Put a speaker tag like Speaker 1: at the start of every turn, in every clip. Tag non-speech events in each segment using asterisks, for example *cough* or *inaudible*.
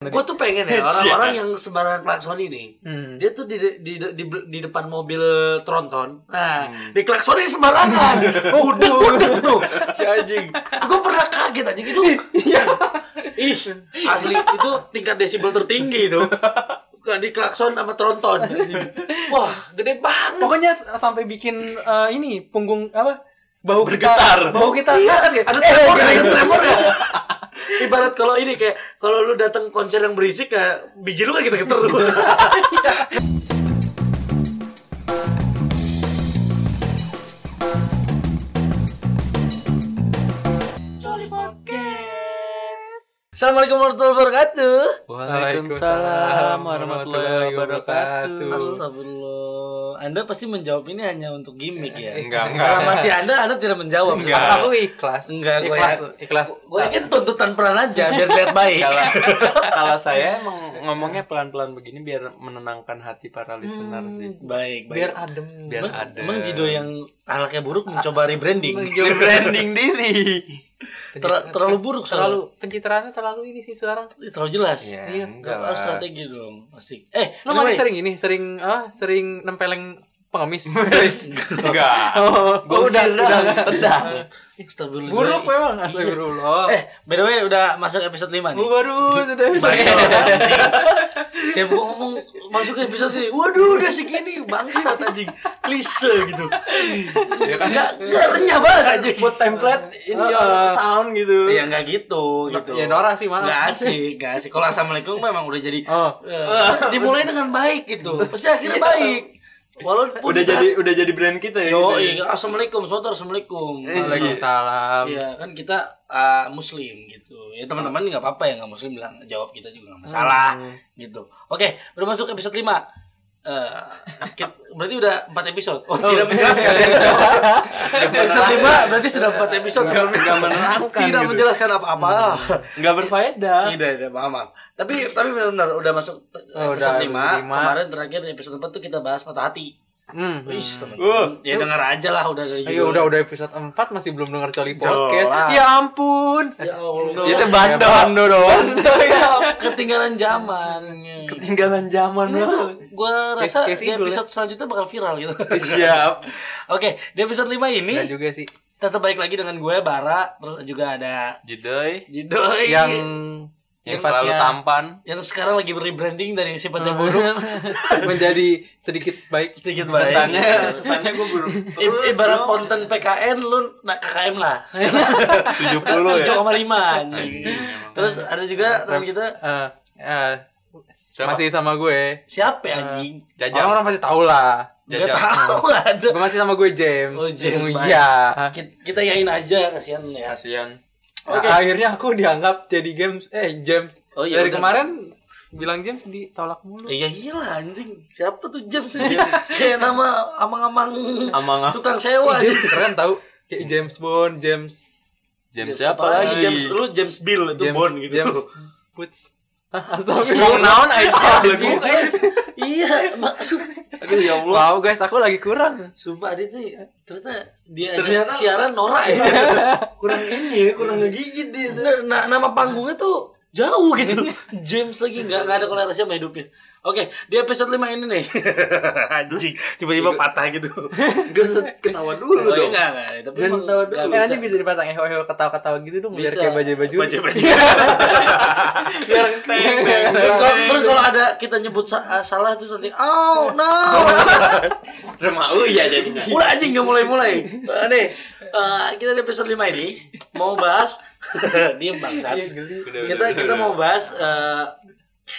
Speaker 1: tadi?
Speaker 2: Gue tuh pengen
Speaker 1: *laughs*
Speaker 2: ya orang-orang yang sembarangan klakson ini.
Speaker 1: Hmm.
Speaker 2: Dia tuh di di di, di depan mobil tronton. Nah,
Speaker 1: Hmm.
Speaker 2: di klaksonin
Speaker 1: *laughs*
Speaker 2: sembarangan. Budek budek tuh.
Speaker 1: Si anjing. iya.
Speaker 2: Gue pernah kaget anjing itu. Ih, asli itu tingkat desibel tertinggi itu. Di klakson sama
Speaker 1: *laughs*
Speaker 2: tronton. Wah, gede banget.
Speaker 1: Pokoknya s- sampai bikin eh, ini punggung apa? Bahu
Speaker 3: Bergetar.
Speaker 1: kita, bahu kita kan ya?
Speaker 2: Ada
Speaker 1: Eh,
Speaker 2: tremor ya,
Speaker 1: eh,
Speaker 2: ada tremor ya. Ibarat kalau ini kayak kalau lu datang konser yang berisik kayak biji lu kan kita
Speaker 3: *laughs*
Speaker 2: keter lu.
Speaker 3: Iya.
Speaker 2: Assalamualaikum warahmatullahi wabarakatuh.
Speaker 1: Waalaikumsalam warahmatullahi wabarakatuh.
Speaker 2: Astagfirullah. Anda pasti menjawab ini hanya untuk gimmick ya.
Speaker 3: Enggak, enggak.
Speaker 2: Dalam hati Anda, Anda tidak menjawab.
Speaker 3: Enggak.
Speaker 1: Aku ikhlas.
Speaker 2: Enggak, gua
Speaker 1: ikhlas,
Speaker 2: ya-
Speaker 1: ikhlas.
Speaker 3: Iya.
Speaker 2: Gue yakin tuntutan peran aja biar lihat baik.
Speaker 1: Kalau kalau saya emang ngomongnya pelan-pelan begini biar menenangkan hati para listener
Speaker 3: Hmm.
Speaker 1: sih.
Speaker 2: baik, baik.
Speaker 1: Biar adem.
Speaker 3: Biar
Speaker 2: emang,
Speaker 3: ada.
Speaker 2: emang Jido yang ahlaknya buruk mencoba rebranding.
Speaker 3: branding diri.
Speaker 2: *laughs* Ter- terlalu buruk soalnya.
Speaker 1: Terlalu pencitraannya terlalu ini sih sekarang.
Speaker 2: Ih, terlalu jelas.
Speaker 3: Ya,
Speaker 2: Iya,
Speaker 3: enggak
Speaker 2: harus
Speaker 3: lah.
Speaker 2: strategi dong. Asik. Eh,
Speaker 1: Lo
Speaker 2: anyway.
Speaker 1: masih sering ini, sering ah, sering nempeleng pengemis.
Speaker 2: Nah, *laughs*
Speaker 3: Enggak.
Speaker 1: Oh,
Speaker 3: Gua
Speaker 1: udah,
Speaker 3: usir
Speaker 1: udah,
Speaker 3: dong, tendang.
Speaker 2: Astagfirullah.
Speaker 1: Buruk memang, astagfirullah.
Speaker 2: Eh, by the way udah masuk episode 5 nih.
Speaker 1: Gua baru
Speaker 3: *laughs*
Speaker 1: sudah
Speaker 2: Bacot, anjing. Setiap gua ngomong masuk ke episode ini, waduh udah segini bangsat anjing, klise gitu.
Speaker 3: Ya kan?
Speaker 2: Enggak enggak renyah banget anjing.
Speaker 1: Iya Kan buat template ini
Speaker 2: Heeh.
Speaker 1: ya, sound gitu.
Speaker 2: Ya enggak gitu gitu.
Speaker 1: Ya, Nora sih, maaf.
Speaker 2: Enggak asik, enggak asik. Kalau assalamualaikum memang udah jadi
Speaker 1: Oh. Iya.
Speaker 2: eh, dimulai dengan baik gitu. Pasti akhirnya baik. Walaupun
Speaker 3: Udah
Speaker 2: kita-
Speaker 3: jadi udah jadi brand kita ya.
Speaker 2: Yo,
Speaker 3: gitu ya.
Speaker 2: iya. assalamualaikum, suatu assalamualaikum.
Speaker 1: Waalaikumsalam.
Speaker 2: Iya kan kita ah, muslim gitu. Ya teman-teman nggak apa-apa ya nggak muslim bilang jawab kita juga nggak masalah gitu. Oke, udah masuk episode 5 Eh, *laughs* ki- berarti udah 4 episode. Oh, tidak menjelaskan. episode 5 berarti sudah 4 episode kalau tidak
Speaker 3: menerangkan
Speaker 2: Tidak
Speaker 3: gitu.
Speaker 2: menjelaskan apa-apa.
Speaker 1: Enggak berfaedah.
Speaker 2: Tidak, tidak, maaf, maaf. Tapi tapi benar-benar udah masuk te-
Speaker 1: Oh,
Speaker 2: episode
Speaker 1: udah,
Speaker 2: 5.
Speaker 1: episode lima.
Speaker 2: Kemarin terakhir di episode 4 tuh kita bahas patah hati.
Speaker 1: Hmm.
Speaker 2: Wih, teman-teman. Ya dengar aja lah udah dari
Speaker 1: Ayo
Speaker 2: judul.
Speaker 1: udah udah episode 4 masih belum dengar Coli
Speaker 2: Jelas.
Speaker 1: Podcast. Ya ampun.
Speaker 2: Ya Allah.
Speaker 3: Itu Iya, bando.
Speaker 1: Bando doang.
Speaker 2: *laughs* ketinggalan zaman.
Speaker 3: Ketinggalan zaman
Speaker 2: Ini tuh gue rasa
Speaker 1: Kayak- kayak
Speaker 2: di
Speaker 1: single, ya.
Speaker 2: episode selanjutnya bakal viral gitu.
Speaker 3: Siap.
Speaker 2: *laughs* Oke, di episode 5 ini
Speaker 1: Enggak Iya juga sih.
Speaker 2: tetap balik lagi dengan gue Bara, terus juga ada
Speaker 3: Jidoy
Speaker 2: Jidoy
Speaker 1: Yang
Speaker 3: yang
Speaker 1: sifatnya
Speaker 3: selalu tampan.
Speaker 2: yang sekarang lagi rebranding dari
Speaker 1: Ah.
Speaker 2: sifatnya buruk
Speaker 1: *laughs* menjadi sedikit baik.
Speaker 2: sedikit baik.
Speaker 3: Kesannya kesannya gue buruk.
Speaker 2: I- ibarat konten PKN lu nak KKM lah.
Speaker 3: 70 ya.
Speaker 2: 7,5 anjing. Terus ada juga teman kita
Speaker 1: Eh, eh,
Speaker 3: Siapa?
Speaker 1: masih sama gue.
Speaker 2: siapa ya, anjing?
Speaker 3: Jajang.
Speaker 1: Orang-orang pasti tahu lah.
Speaker 2: Gak
Speaker 3: Jajang.
Speaker 2: tahu nggak ada.
Speaker 1: Gue masih sama gue James.
Speaker 2: Oh, James,
Speaker 1: Oh,
Speaker 2: baik.
Speaker 1: Iya.
Speaker 2: Kita, kita yain aja kasihan ya.
Speaker 3: Kasihan.
Speaker 1: Nah, akhirnya aku dianggap jadi James eh James.
Speaker 2: Oh, iya,
Speaker 1: Dari
Speaker 2: udah.
Speaker 1: kemarin bilang James ditolak mulu.
Speaker 2: Iya iyalah anjing. Siapa tuh James ini? Kayak nama amang-amang
Speaker 3: Amang
Speaker 2: tukang sewa aja.
Speaker 1: James keren
Speaker 2: Eh,
Speaker 1: tau kayak James Bond, James
Speaker 3: James siapa
Speaker 2: apalagi?
Speaker 3: lagi?
Speaker 2: James lu James Bill itu
Speaker 1: James,
Speaker 2: Bond gitu.
Speaker 1: James Woods.
Speaker 3: Mau
Speaker 1: *laughs* Astagfirullah.
Speaker 3: naon Aisyah lagi.
Speaker 2: iya, maksud
Speaker 1: Aduh ya Allah. Wow guys, aku lagi kurang.
Speaker 2: sumpah dia tuh ternyata dia aja
Speaker 3: Ternyata-
Speaker 2: siaran norak ya.
Speaker 3: Kurang ini, *laughs* kurang ngegigit dia.
Speaker 2: Nah, na- nama panggungnya tuh jauh gitu. James lagi nggak nggak ada korelasi sama hidupnya. Oke, di episode 5 ini nih. *laughs* Anjing, tiba-tiba patah gitu.
Speaker 3: Gue ketawa dulu
Speaker 2: Oh, iya,
Speaker 3: dong.
Speaker 2: Enggak, enggak, tapi
Speaker 1: Dan
Speaker 2: emang nggak
Speaker 1: eh, nanti
Speaker 2: bisa.
Speaker 1: bisa dipasang eho eho ketawa-ketawa gitu dong biar kayak baju-baju. *laughs*
Speaker 2: Baju-baju.
Speaker 1: Biar teng
Speaker 2: terus kalau terus kalau ada kita nyebut sa- eh, salah terus nanti oh no
Speaker 1: Nah.
Speaker 3: Remau ya
Speaker 1: *laughs*
Speaker 3: jadinya.
Speaker 2: mulai aja nggak mulai mulai
Speaker 1: Nah,
Speaker 2: nih eh, kita di episode 5 ini mau bahas *laughs* dia bangsat
Speaker 1: Iya, gitu.
Speaker 2: kita kita mau bahas eh,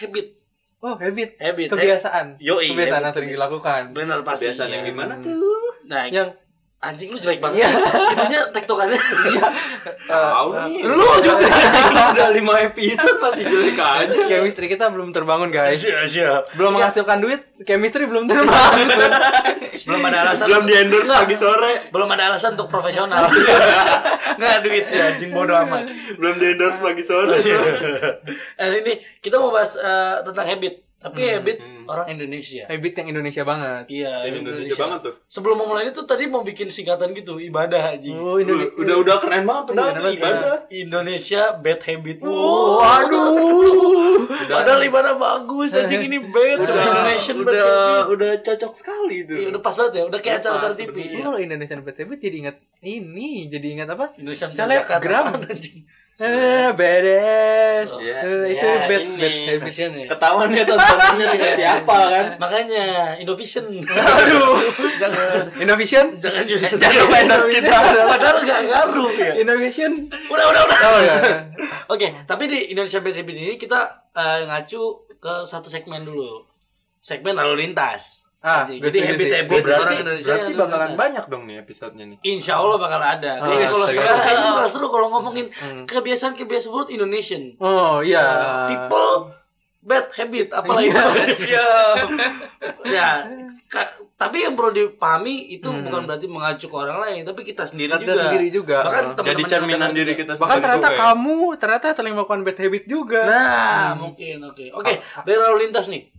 Speaker 2: habit
Speaker 1: Oh, habit.
Speaker 2: Habit,
Speaker 1: Kebiasaan.
Speaker 2: eh. Yoi, habit.
Speaker 1: Kebiasaan yang sering dilakukan.
Speaker 2: benar pasti Iya.
Speaker 3: Kebiasaan yang gimana tuh?
Speaker 2: nah
Speaker 1: Yang Iya.
Speaker 2: anjing lu jelek banget itunya tektokannya
Speaker 3: Tahu nih.
Speaker 2: lu juga
Speaker 3: *laughs* udah 5 episode masih jelek aja.
Speaker 1: chemistry kita belum terbangun, guys.
Speaker 2: siap siap
Speaker 1: Belum menghasilkan duit, chemistry belum terbangun. *laughs*
Speaker 2: belum ada alasan
Speaker 3: Belum di endorse pagi sore,
Speaker 2: belum ada alasan untuk profesional nggak ada duit ya anjing bodoh amat *laughs*
Speaker 3: belum di endorse pagi sore.
Speaker 2: Hari ini kita mau bahas eh, tentang habit. tapi habit
Speaker 3: Hmm.
Speaker 2: orang Indonesia
Speaker 1: Habit yang Indonesia banget.
Speaker 2: iya
Speaker 3: Dari Indonesia banget tuh.
Speaker 2: sebelum memulai itu tadi mau bikin singkatan gitu ibadah aja
Speaker 1: Oh, Indonesia.
Speaker 3: Udah udah keren banget padahal
Speaker 1: Iya,
Speaker 3: tuh
Speaker 1: banget,
Speaker 3: ibadah.
Speaker 2: Indonesia bad habit
Speaker 1: Oh,
Speaker 2: Wow.
Speaker 1: aduh.
Speaker 2: Padahal ibadah bagus anjing ini bad cuma
Speaker 1: Udah,
Speaker 2: Indonesian bad
Speaker 3: udah
Speaker 2: habit.
Speaker 3: udah cocok sekali tuh.
Speaker 2: Iya, udah pas banget ya, udah kayak
Speaker 3: Udah
Speaker 2: acara-acara
Speaker 3: pas,
Speaker 2: TV.
Speaker 3: bener.
Speaker 2: Iya.
Speaker 1: Kalau Indonesian Bad Habit jadi ingat ini, jadi ingat apa?
Speaker 2: Indonesia
Speaker 1: Selebgram.
Speaker 2: *laughs* anjing.
Speaker 1: Eh, beres.
Speaker 2: So,
Speaker 1: Eh,
Speaker 3: ya,
Speaker 1: itu
Speaker 3: ya,
Speaker 1: bad,
Speaker 3: ini.
Speaker 1: bad habit.
Speaker 2: Kasihan ya.
Speaker 3: Ketahuan ya tontonannya seperti apa kan?
Speaker 2: Makanya Indovision. Aduh, *laughs* jangan
Speaker 1: Innovation?
Speaker 2: jangan justru
Speaker 3: Jangan lupa endorse kita.
Speaker 2: Padahal gak ngaruh ya.
Speaker 1: Innovation?
Speaker 2: Udah, udah, udah.
Speaker 1: Oh
Speaker 3: iya.
Speaker 1: ya.
Speaker 2: *laughs* Oke, tapi di Indonesia Bad Habit ini kita eh, ngacu ke satu segmen dulu. Segmen lalu lintas.
Speaker 1: Ah,
Speaker 2: Anjing.
Speaker 1: berarti
Speaker 2: jadi habit
Speaker 1: sih.
Speaker 2: habit
Speaker 1: Berarti-
Speaker 2: orang Indonesia.
Speaker 3: Berarti
Speaker 2: yang lalu
Speaker 3: bakalan
Speaker 2: lintas.
Speaker 3: banyak dong nih episodenya nih.
Speaker 2: Insya Allah bakal ada.
Speaker 1: Ah,
Speaker 2: Kayaknya kalau seru,
Speaker 1: segala-
Speaker 2: kayaknya bakal seru kalau ngomongin
Speaker 1: Hmm.
Speaker 2: kebiasaan-kebiasaan buat Indonesian.
Speaker 1: Oh iya.
Speaker 2: People bad habit apalagi
Speaker 1: Iya.
Speaker 2: Siap. *laughs* ya, ka- tapi yang perlu dipahami itu
Speaker 1: Hmm.
Speaker 2: bukan berarti mengacu ke orang lain, tapi kita sendiri
Speaker 1: Kita
Speaker 2: juga.
Speaker 1: sendiri juga.
Speaker 2: Bahkan
Speaker 1: Ah.
Speaker 2: teman-teman
Speaker 3: Jadi
Speaker 2: yang
Speaker 3: cerminan
Speaker 2: dengar
Speaker 3: diri
Speaker 2: juga.
Speaker 3: kita
Speaker 1: Bahkan
Speaker 3: sendiri
Speaker 1: ternyata
Speaker 3: juga ya.
Speaker 1: kamu ternyata sering melakukan bad habit juga. Hmm.
Speaker 2: Nah, mungkin oke. Oke, dari lalu lintas nih.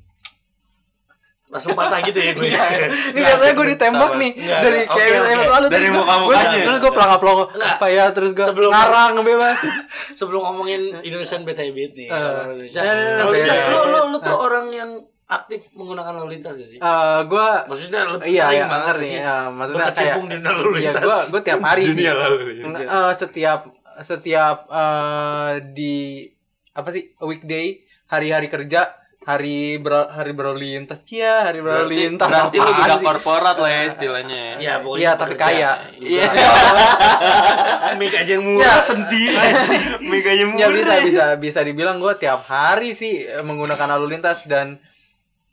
Speaker 2: Langsung patah gitu ya
Speaker 1: *laughs*
Speaker 2: gue.
Speaker 1: Iya, Ini biasanya gue
Speaker 3: iya,
Speaker 1: ditembak
Speaker 3: Sabar.
Speaker 1: nih
Speaker 2: Nggak,
Speaker 1: dari
Speaker 2: Iya, oke,
Speaker 1: kayak
Speaker 2: oke.
Speaker 1: episode lalu
Speaker 3: Dari
Speaker 1: terus gua-
Speaker 3: muka-mukanya.
Speaker 1: gua- Terus gue pelangga pelongo
Speaker 2: Nggak.
Speaker 1: apa ya terus gue
Speaker 2: Sebelum-
Speaker 1: ngarang
Speaker 3: *laughs*
Speaker 1: bebas.
Speaker 2: Sebelum ngomongin Indonesian bad habit nih.
Speaker 1: Eh,
Speaker 2: orang Indonesia.
Speaker 1: eh,
Speaker 2: Lalu
Speaker 1: bad
Speaker 2: lintas lu lu
Speaker 1: habit.
Speaker 2: lu tuh orang yang aktif menggunakan lalu lintas gak sih?
Speaker 1: Eh gue
Speaker 2: Maksudnya lebih
Speaker 1: iya
Speaker 2: sering
Speaker 1: iya
Speaker 2: banget
Speaker 1: ngerti.
Speaker 2: sih.
Speaker 1: Ya, maksudnya kayak
Speaker 2: Berkecimpung di dunia lalu
Speaker 1: Iya,
Speaker 2: lintas.
Speaker 1: gue gue tiap hari sih.
Speaker 3: Dunia lalu.
Speaker 1: Nge- eh, setiap setiap eh, di apa sih weekday hari-hari kerja hari ber, hari berlalu lintas ya hari
Speaker 3: Berarti,
Speaker 1: berlalu lintas
Speaker 3: berarti lu
Speaker 1: apaan
Speaker 3: udah
Speaker 1: sih?
Speaker 3: korporat lah ya istilahnya ya.
Speaker 2: Iya, pokoknya
Speaker 1: Iya, tapi
Speaker 2: pekerja.
Speaker 1: kaya.
Speaker 2: Iya. *laughs* Mik aja yang
Speaker 1: Ya.
Speaker 2: murah sedih.
Speaker 3: Iya.
Speaker 2: anjing.
Speaker 3: Meganya
Speaker 1: ya bisa bisa bisa dibilang gue tiap hari sih eh, menggunakan lalu lintas dan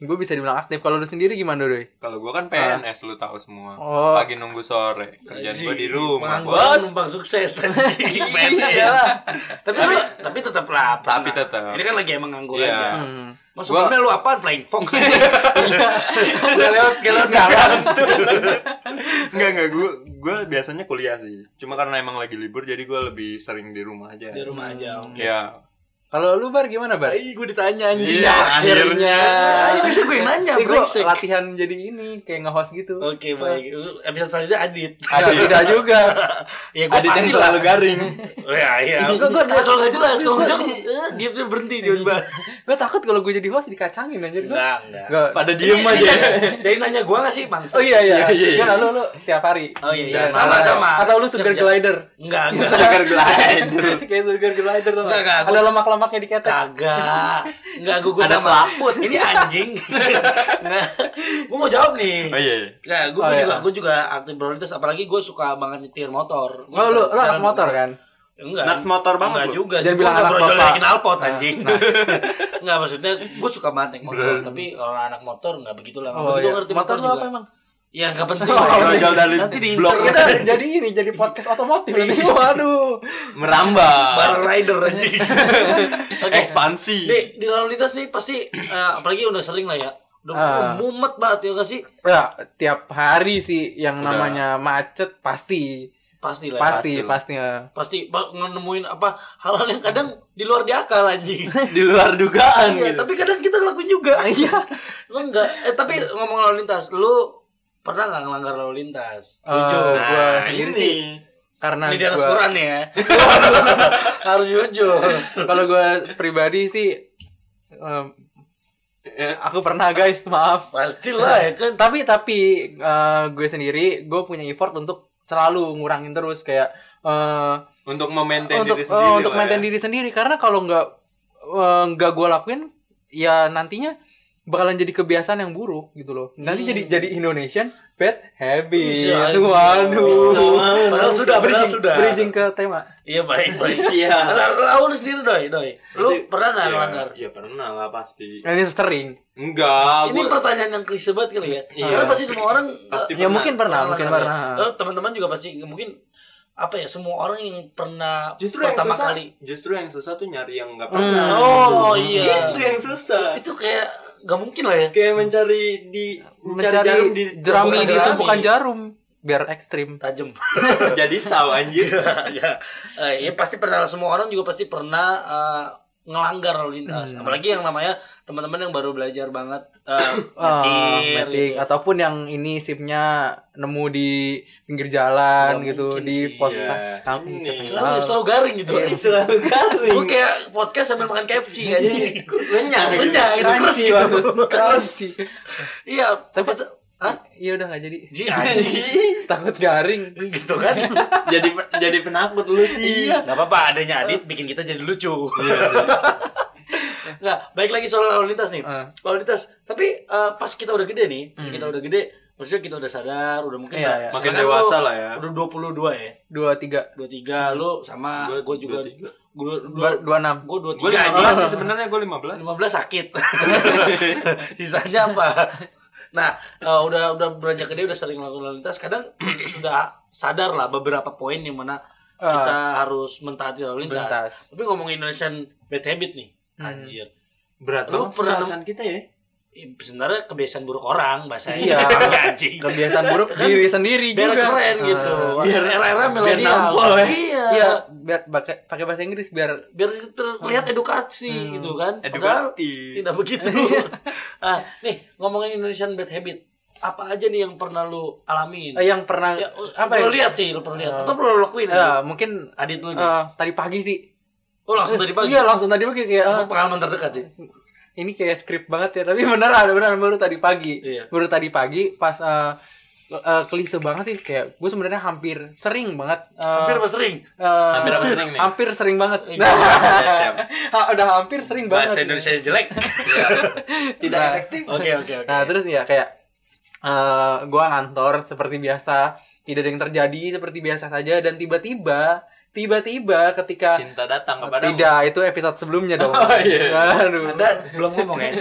Speaker 1: gue bisa dibilang aktif kalau lu sendiri gimana doy
Speaker 3: Kalau gua kan PNS lu tahu semua.
Speaker 1: Oh.
Speaker 3: Pagi nunggu sore. Kerjaan gua di rumah,
Speaker 2: Bos,
Speaker 3: Bos. *laughs* Iya.
Speaker 2: numpang sukses anjing. Tapi lu tapi tetap lah.
Speaker 3: Tapi
Speaker 2: pernah.
Speaker 3: tetap.
Speaker 2: Ini kan lagi emang nganggur
Speaker 3: Iya.
Speaker 2: aja.
Speaker 1: Hmm.
Speaker 2: Mas sebelumnya lu apaan flying fox?
Speaker 3: *laughs*
Speaker 2: Udah lewat ke lewat
Speaker 3: Enggak enggak gua gua biasanya kuliah sih. Cuma karena emang lagi libur jadi gua lebih sering di rumah aja.
Speaker 2: Di rumah aja. oke.
Speaker 3: Ya.
Speaker 1: kalau lu bar gimana bar
Speaker 2: Ih, gue ditanya anjing.
Speaker 3: Iya,
Speaker 1: akhirnya.
Speaker 2: Ayo bisa gue yang nanya,
Speaker 1: Tapi gue
Speaker 2: Iya, brengsek.
Speaker 1: Eh, latihan jadi ini kayak nge-host gitu
Speaker 2: Oke, baik. Episode selanjutnya Adit.
Speaker 1: ada tidak juga
Speaker 2: *laughs* Ya gue
Speaker 3: Adit yang terlalu garing.
Speaker 2: Ya, iya. Gue gue jelas kalau nggak jelas kalau
Speaker 3: *laughs*
Speaker 2: nggak jelas dia dia berhenti tiba-tiba.
Speaker 1: gue takut kalau gue jadi host dikacangin anjir gue
Speaker 2: Enggak, enggak.
Speaker 1: Nggak.
Speaker 3: Pada diem
Speaker 2: Jadi-
Speaker 3: aja.
Speaker 2: *laughs* Jadi nanya gue nggak sih bang?
Speaker 1: oh iya iya
Speaker 3: Iya, iya, iya.
Speaker 1: Nggak, lu lu tiap hari
Speaker 2: Oh iya, iya. sama
Speaker 1: Jangan marah.
Speaker 2: sama.
Speaker 1: atau lu sugar
Speaker 2: Siap, siap.
Speaker 1: glider
Speaker 2: Enggak,
Speaker 3: *laughs*
Speaker 2: enggak.
Speaker 3: Sugar glider.
Speaker 1: *laughs* kayak sugar glider tuh
Speaker 2: Nggak, nggak,
Speaker 1: ada
Speaker 2: gua-
Speaker 1: lemak-lemaknya diketek
Speaker 2: Kagak. Enggak, gue gue
Speaker 3: Ada
Speaker 2: sama. Ini
Speaker 1: *laughs*
Speaker 2: anjing. Enggak. Gue mau jawab nih.
Speaker 3: Oh iya. iya.
Speaker 2: Nah, gue
Speaker 1: Oh, iya.
Speaker 2: juga gue juga aktif prioritas apalagi gue suka banget nyetir motor. Gua
Speaker 1: oh
Speaker 2: suka
Speaker 1: lu lu anak
Speaker 2: jalan-
Speaker 1: motor kan
Speaker 2: Enggak.
Speaker 3: Anak motor banget
Speaker 2: Enggak
Speaker 3: lu.
Speaker 2: juga sih.
Speaker 1: Jangan bilang
Speaker 2: Gua
Speaker 1: anak
Speaker 2: brojol
Speaker 1: bapak.
Speaker 2: dari knalpot anjing.
Speaker 1: Nah,
Speaker 2: *laughs* Enggak maksudnya gue suka banget naik motor, tapi orang anak motor enggak begitu lah.
Speaker 1: oh
Speaker 2: Gue
Speaker 1: iya
Speaker 2: ngerti
Speaker 1: motor lu
Speaker 2: juga.
Speaker 1: apa emang
Speaker 2: Ya enggak penting.
Speaker 1: *laughs* Oh,
Speaker 2: lah.
Speaker 3: brojol dari
Speaker 2: Nanti diincer
Speaker 3: blok.
Speaker 1: kita
Speaker 2: kita
Speaker 1: jadi ini jadi podcast otomotif nanti *laughs* waduh
Speaker 3: Merambah.
Speaker 2: bareng
Speaker 1: *laughs*
Speaker 2: rider anjing. Oke. Di,
Speaker 3: Ekspansi.
Speaker 2: di lalu lintas nih pasti eh, apalagi udah sering lah ya. Udah
Speaker 1: Ah.
Speaker 2: mumet banget ya enggak sih?
Speaker 1: ya tiap hari sih yang
Speaker 3: Udah.
Speaker 1: namanya macet pasti
Speaker 2: Pasti lah. ya.
Speaker 1: pasti
Speaker 3: pasti
Speaker 1: pasti ya.
Speaker 2: Pasti ba- nemuin apa hal-hal yang kadang di luar di akal anjing.
Speaker 3: Di luar dugaan
Speaker 2: Iya,
Speaker 3: gitu.
Speaker 2: tapi kadang kita ngelakuin juga.
Speaker 1: Iya.
Speaker 2: Lu enggak eh tapi ngomong lalu lintas, lu pernah nggak ngelanggar lalu lintas?
Speaker 1: Eh,
Speaker 2: Jujur.
Speaker 1: gua
Speaker 3: Nah,
Speaker 1: sendiri
Speaker 3: ini.
Speaker 1: sih karena
Speaker 2: Ini di atas
Speaker 1: gua-
Speaker 2: Quran ya. Harus jujur.
Speaker 1: *laughs* kalau gue pribadi sih em,
Speaker 3: Ya,
Speaker 1: *laughs* aku pernah guys maaf
Speaker 2: Pastilah ya kan.
Speaker 1: tapi tapi eh, gue sendiri gue punya effort untuk selalu ngurangin terus kayak eh,
Speaker 3: Untuk memaintain
Speaker 1: untuk
Speaker 3: diri
Speaker 1: eh,
Speaker 3: sendiri.
Speaker 1: untuk
Speaker 3: lah ya.
Speaker 1: maintain diri sendiri karena kalau nggak eh, nggak gue lakuin ya nantinya bakalan jadi kebiasaan yang buruk gitu loh nanti jadi jadi Indonesian bad habit
Speaker 2: Hmm. Bisa.
Speaker 1: waduh
Speaker 2: Padahal sudah, padahal
Speaker 1: bridging,
Speaker 2: sudah.
Speaker 1: bridging ke tema
Speaker 2: Iya baik baik.
Speaker 3: *laughs* Iya.
Speaker 2: Lalu sendiri doi doi. Lu
Speaker 3: Berarti-
Speaker 2: pernah nggak
Speaker 3: Iya,
Speaker 2: ngelanggar?
Speaker 3: Iya pernah lah pasti.
Speaker 1: ini sering
Speaker 3: Enggak,
Speaker 2: Ini
Speaker 3: gua
Speaker 2: pertanyaan yang klise banget kali ya.
Speaker 3: Iya.
Speaker 2: Karena pasti semua orang
Speaker 3: pasti
Speaker 1: ya mungkin pernah mungkin
Speaker 2: ngelanggar ya.
Speaker 1: pernah
Speaker 2: Eh, Teman-teman juga pasti mungkin apa ya semua orang yang pernah
Speaker 3: Justru
Speaker 2: pertama
Speaker 3: yang susah,
Speaker 2: kali.
Speaker 3: justru yang susah tuh nyari yang nggak pernah.
Speaker 2: Oh iya.
Speaker 3: Itu yang susah.
Speaker 2: Itu kayak nggak mungkin lah ya.
Speaker 3: Kayak mencari di mencari,
Speaker 1: mencari
Speaker 3: jarum di
Speaker 1: jerami gitu.
Speaker 2: bukan
Speaker 1: di
Speaker 2: jerami.
Speaker 1: tumpukan jarum biar ekstrim
Speaker 3: *laughs*
Speaker 2: Tajam.
Speaker 3: jadi saw anjir. iya.
Speaker 2: iya, ya, eh, ya pasti pernah semua orang juga pasti pernah eh, ngelanggar lalu lintas.
Speaker 1: Hmm.
Speaker 2: Apalagi yang namanya teman-teman yang baru belajar banget eh,
Speaker 1: Ah,
Speaker 2: nyetir,
Speaker 1: metik.
Speaker 2: gitu.
Speaker 1: ataupun yang ini sipnya nemu di pinggir jalan
Speaker 2: Nggak
Speaker 1: gitu
Speaker 2: mungkin
Speaker 1: di
Speaker 2: sih, iya.
Speaker 1: pos
Speaker 3: ya. Ini.
Speaker 1: kami siapa yang
Speaker 2: Selalu,
Speaker 1: tahu.
Speaker 2: selalu garing gitu.
Speaker 1: Iya.
Speaker 4: selalu garing
Speaker 2: Gue
Speaker 3: *laughs*
Speaker 2: kayak podcast sambil makan kepci aja.
Speaker 4: renyah gitu.
Speaker 2: Renyah gitu,
Speaker 1: Crunchy
Speaker 2: keras gitu.
Speaker 1: banget.
Speaker 2: *laughs* Keras.
Speaker 1: Crunchy.
Speaker 2: Iya,
Speaker 1: Tapi-
Speaker 2: tapi Hah?
Speaker 1: Iya udah nggak jadi.
Speaker 2: Ji, anjing.
Speaker 1: Takut garing.
Speaker 2: *laughs* gitu kan
Speaker 1: Iya.
Speaker 2: Iya.
Speaker 4: jadi jadi penakut lu
Speaker 3: Iya.
Speaker 4: sih
Speaker 2: nggak apa-apa adanya Adit bikin kita jadi lucu
Speaker 1: *laughs*
Speaker 2: nggak baik iya. Nah, lagi soal lalu lintas nih
Speaker 1: Ah.
Speaker 2: lalu lintas tapi eh, pas kita udah gede nih pas
Speaker 1: Hmm.
Speaker 2: kita udah gede maksudnya kita udah sadar udah mungkin
Speaker 1: Iya,
Speaker 2: lah,
Speaker 1: iya.
Speaker 3: Makin
Speaker 2: sekarang
Speaker 3: dewasa
Speaker 2: lu
Speaker 3: lah ya.
Speaker 2: udah 22 ya
Speaker 1: Dua tiga Hmm.
Speaker 2: 23 lu sama
Speaker 3: Gua-
Speaker 2: gue juga
Speaker 3: 23.
Speaker 2: gue
Speaker 1: dua, dua enam.
Speaker 2: gue
Speaker 3: Gue
Speaker 2: 23
Speaker 3: 15
Speaker 2: aja
Speaker 3: sih sebenarnya gue 15.
Speaker 2: 15 sakit. *laughs* Sisanya apa? Nah, eh, udah udah beranjak gede udah sering lakukan lalu lintas, kadang *clears throat* sudah sadar lah beberapa poin yang mana
Speaker 1: Ah.
Speaker 2: kita harus mentaati lalu lintas.
Speaker 1: Lintas.
Speaker 2: Tapi ngomongin Indonesian bad habit nih,
Speaker 1: Hmm.
Speaker 2: anjir.
Speaker 3: Berat
Speaker 2: Lu
Speaker 3: banget sih
Speaker 2: pernah-
Speaker 3: alasan kita ya.
Speaker 2: Ih, Sebenarnya kebiasaan buruk orang bahasanya. *laughs*
Speaker 1: Iya.
Speaker 2: anjing.
Speaker 1: Kebiasaan
Speaker 2: *laughs*
Speaker 1: buruk
Speaker 2: Kan
Speaker 1: diri sendiri
Speaker 2: Biar
Speaker 1: juga.
Speaker 2: keren gitu.
Speaker 1: Ah.
Speaker 2: Biar era-era milenial.
Speaker 1: nampol ya.
Speaker 2: Iya.
Speaker 1: Iya, biar pakai pakai bahasa Inggris biar
Speaker 2: Biar terlihat edukasi
Speaker 1: Hmm.
Speaker 2: gitu kan. Padahal
Speaker 3: Edukasi.
Speaker 2: Tidak *laughs* begitu. ah, nih ngomongin Indonesian bad habit, apa aja nih yang pernah lu alamin?
Speaker 1: eh, yang pernah
Speaker 2: ya,
Speaker 1: apa
Speaker 2: lu
Speaker 1: ya?
Speaker 2: lihat sih, lu pernah lihat
Speaker 1: Eh,
Speaker 2: atau perlu lu lakuin?
Speaker 1: Eh,
Speaker 2: aja?
Speaker 1: mungkin
Speaker 2: Adit lu nih.
Speaker 1: eh, tadi pagi sih.
Speaker 2: oh langsung tadi pagi.
Speaker 1: Iya, langsung tadi pagi kayak
Speaker 2: Apa
Speaker 1: ah,
Speaker 2: pengalaman terdekat sih.
Speaker 1: ini kayak skrip banget ya, tapi *laughs* beneran beneran baru tadi pagi.
Speaker 2: Iya.
Speaker 1: Baru tadi pagi pas eh eh, klise banget sih kayak gue sebenarnya hampir sering banget eh,
Speaker 2: Hampir apa sering?
Speaker 1: eh,
Speaker 3: Hampir apa
Speaker 1: *laughs*
Speaker 3: sering nih?
Speaker 1: hampir sering banget
Speaker 2: Iya.
Speaker 1: nah, *laughs*
Speaker 3: Siap.
Speaker 1: ha- udah hampir sering banget
Speaker 2: Bahasa Indonesia jelek.
Speaker 3: Iya.
Speaker 4: tidak
Speaker 1: Nah.
Speaker 4: efektif
Speaker 2: Oke oke oke.
Speaker 1: Nah terus ya kayak eh gue ngantor seperti biasa, tidak ada yang terjadi seperti biasa saja dan tiba-tiba, tiba-tiba ketika
Speaker 3: Cinta datang kepada
Speaker 1: tidak itu episode sebelumnya dong. Aduh.
Speaker 2: Anda belum ngomong *laughs* ya?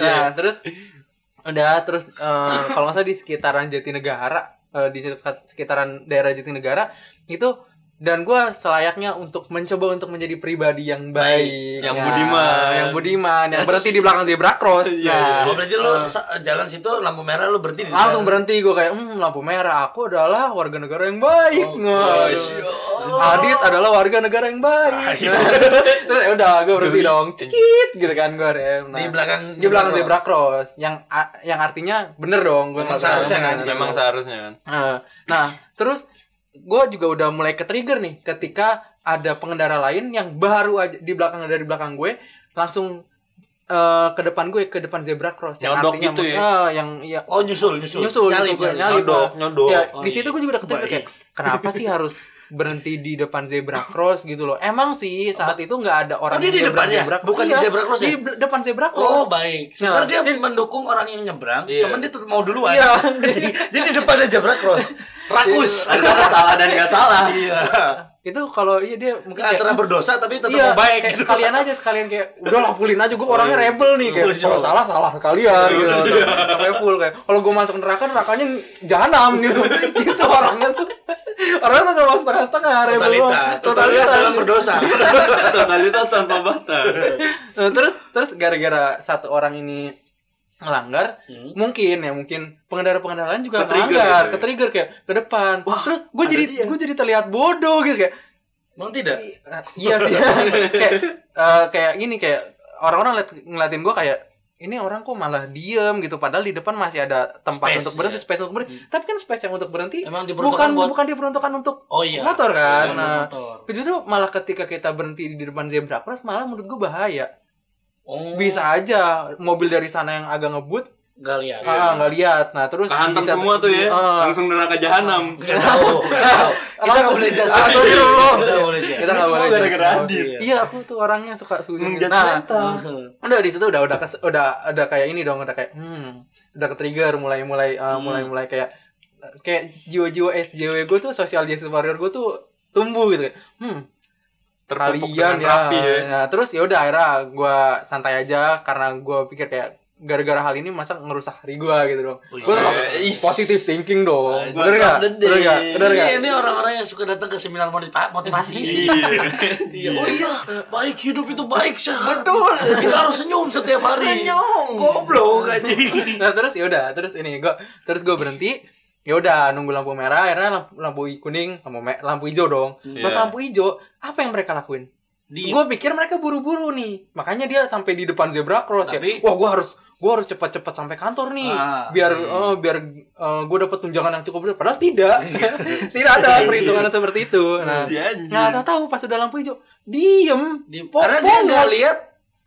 Speaker 1: Nah terus udah terus eh, kalau nggak salah di sekitaran Jatinegara, eh, di sekat- sekitaran daerah Jatinegara itu dan gue selayaknya untuk mencoba untuk menjadi pribadi yang baik,
Speaker 3: Yang
Speaker 1: Nah,
Speaker 3: budiman.
Speaker 1: yang budiman, yang berhenti di belakang zebra cross. Nah,
Speaker 2: Oh, berarti lu sa- jalan situ lampu merah lu berhenti di
Speaker 1: langsung
Speaker 2: jalan.
Speaker 1: berhenti gue kayak hmm lampu merah aku adalah warga negara yang baik
Speaker 2: Oh,
Speaker 1: Waduh. Adit adalah warga negara yang baik *laughs* terus ya udah gue berhenti dong cekit gitu kan gue rem
Speaker 2: Di belakang
Speaker 1: di belakang
Speaker 2: zebra
Speaker 1: zebra cross yang a- yang artinya bener dong gue
Speaker 2: Memang seharusnya kan,
Speaker 3: Memang Memang seharusnya kan.
Speaker 1: nah terus gue juga udah mulai ke trigger nih ketika ada pengendara lain yang baru aja di belakang dari belakang gue langsung eh, ke depan gue ke depan zebra cross yang
Speaker 3: Nyodok
Speaker 1: artinya
Speaker 3: gitu ya?
Speaker 1: eh, yang ya
Speaker 2: Oh, nyusul, nyusul.
Speaker 1: nyusul
Speaker 2: Nyalip,
Speaker 1: nyusul,
Speaker 2: nyalip.
Speaker 1: nyalip,
Speaker 3: Nyodok,
Speaker 1: Pak.
Speaker 3: nyodok.
Speaker 1: ya,
Speaker 2: Oh,
Speaker 1: di
Speaker 2: iya.
Speaker 1: situ gue juga udah ketrigger
Speaker 2: Baik.
Speaker 1: kayak kenapa sih harus berhenti di depan zebra cross gitu loh emang sih saat itu nggak ada orang
Speaker 2: Oh, dia di
Speaker 1: nyebrang
Speaker 2: depannya? Bukan di
Speaker 1: Iya,
Speaker 2: zebra cross ya?
Speaker 1: di be- depan zebra cross
Speaker 2: Oh baik. Sebenarnya dia mendukung orang yang nyebrang,
Speaker 3: Iya.
Speaker 2: cuman dia tetap mau duluan.
Speaker 1: Iya.
Speaker 2: *laughs* jadi, jadi depan ada zebra cross. Rakus.
Speaker 4: antara salah dan nggak salah
Speaker 2: iya.
Speaker 1: itu kalau iya dia mungkin kayak,
Speaker 2: Antara berdosa tapi tetap
Speaker 1: iya,
Speaker 2: mau baik. gitu. Oh,
Speaker 1: kayak sekalian aja sekalian kayak udah lah fullin aja gue orangnya rebel nih kayak
Speaker 2: Iya.
Speaker 1: kalau salah salah kalian gitu sampai full kayak kalau gue masuk neraka nerakanya jahanam gitu *laughs* gitu orangnya tuh orangnya tuh kalau setengah setengah
Speaker 2: *laughs*
Speaker 1: rebel
Speaker 2: Totalitas,
Speaker 1: banget.
Speaker 2: totalitas dalam *laughs* berdosa.
Speaker 3: Totalitas tanpa batas.
Speaker 1: *laughs* Nah, terus terus gara-gara satu orang ini melanggar,
Speaker 2: Hmm.
Speaker 1: mungkin ya mungkin pengendara-pengendara lain juga
Speaker 3: Ketrigger
Speaker 1: melanggar,
Speaker 3: gitu ya.
Speaker 1: ke trigger kayak ke depan. terus gue jadi gue jadi terlihat bodoh gitu kayak
Speaker 2: Emang tidak?
Speaker 1: eh, iya
Speaker 2: *laughs*
Speaker 1: sih. kayak eh, kayak gini kayak orang-orang liat, ngeliatin gue kayak ini orang kok malah diem gitu padahal di depan masih ada tempat
Speaker 2: Space,
Speaker 1: untuk berhenti,
Speaker 2: iya.
Speaker 1: space untuk berhenti. Tapi kan space yang untuk berhenti
Speaker 2: Emang diperuntukkan
Speaker 1: bukan
Speaker 2: buat-
Speaker 1: bukan diperuntukkan untuk
Speaker 2: Oh iya.
Speaker 1: motor kan.
Speaker 2: Iya,
Speaker 1: Nah,
Speaker 2: motor.
Speaker 1: justru malah ketika kita berhenti di depan zebra cross malah menurut gue bahaya
Speaker 2: Oh,
Speaker 1: bisa aja mobil dari sana yang agak ngebut
Speaker 2: Gak lihat.
Speaker 1: ah nggak lihat nah terus
Speaker 3: Kehantam
Speaker 1: bisa-
Speaker 3: semua tuh ya.
Speaker 1: Ah.
Speaker 3: Langsung neraka jahanam.
Speaker 2: Gak tahu. nggak tahu. *laughs* Kita nggak boleh judge.
Speaker 1: Ah, sorry,
Speaker 2: Kita
Speaker 1: Allah.
Speaker 2: nggak boleh judge.
Speaker 1: kita nggak
Speaker 3: Semua
Speaker 1: boleh
Speaker 3: gara-gara
Speaker 1: judge.
Speaker 3: Adit.
Speaker 1: Oh, iya aku tuh orangnya suka sujud nah
Speaker 3: Menjudgmental.
Speaker 1: udah di situ udah udah kes- udah udah kayak ini dong udah kayak hmm udah ke trigger mulai mulai
Speaker 3: Hmm.
Speaker 1: eh, mulai mulai kayak kayak jiwa-jiwa SJW gue tuh social justice warrior gue tuh tumbuh gitu kayak hmm
Speaker 3: Terpupuk
Speaker 1: kalian
Speaker 3: dengan
Speaker 1: ya.
Speaker 3: rapi ya.
Speaker 1: ya. terus ya udah akhirnya gue santai aja karena gue pikir kayak gara-gara hal ini masa ngerusak hari gue gitu dong.
Speaker 3: Oh,
Speaker 2: Wih,
Speaker 1: Gue
Speaker 3: yes.
Speaker 1: positive thinking dong.
Speaker 2: Wah,
Speaker 1: Bener gak?
Speaker 4: the day.
Speaker 1: Bener gak? Bener
Speaker 2: Ini,
Speaker 1: gak?
Speaker 2: Iya,
Speaker 3: Iya,
Speaker 2: ini orang-orang yang suka datang ke seminar motiva- motivasi. Iya. Oh iya, baik hidup itu baik sehat. Betul. Kita harus senyum setiap hari. Iya.
Speaker 4: Senyum.
Speaker 2: Goblok anjing.
Speaker 1: Nah terus ya udah terus ini gue terus gue berhenti ya udah nunggu lampu merah akhirnya lampu, lampu kuning lampu me- lampu hijau dong pas
Speaker 3: Iya.
Speaker 1: lampu hijau apa yang mereka lakuin
Speaker 2: Hmm. di
Speaker 1: Gue pikir mereka buru-buru nih. Makanya dia sampai di depan zebra cross
Speaker 2: Tapi-
Speaker 1: kayak, wah gue harus gue harus cepat-cepat sampai kantor nih
Speaker 2: Ah,
Speaker 1: biar eh, biar gue dapat tunjangan yang cukup besar. Padahal tidak.
Speaker 2: Iya.
Speaker 1: *laughs* tidak ada perhitungan seperti itu. Nah,
Speaker 3: Si anjing.
Speaker 1: nggak tahu pas udah lampu hijau diem
Speaker 2: di
Speaker 1: Po-
Speaker 2: karena dia
Speaker 1: ponggol.
Speaker 2: nggak lihat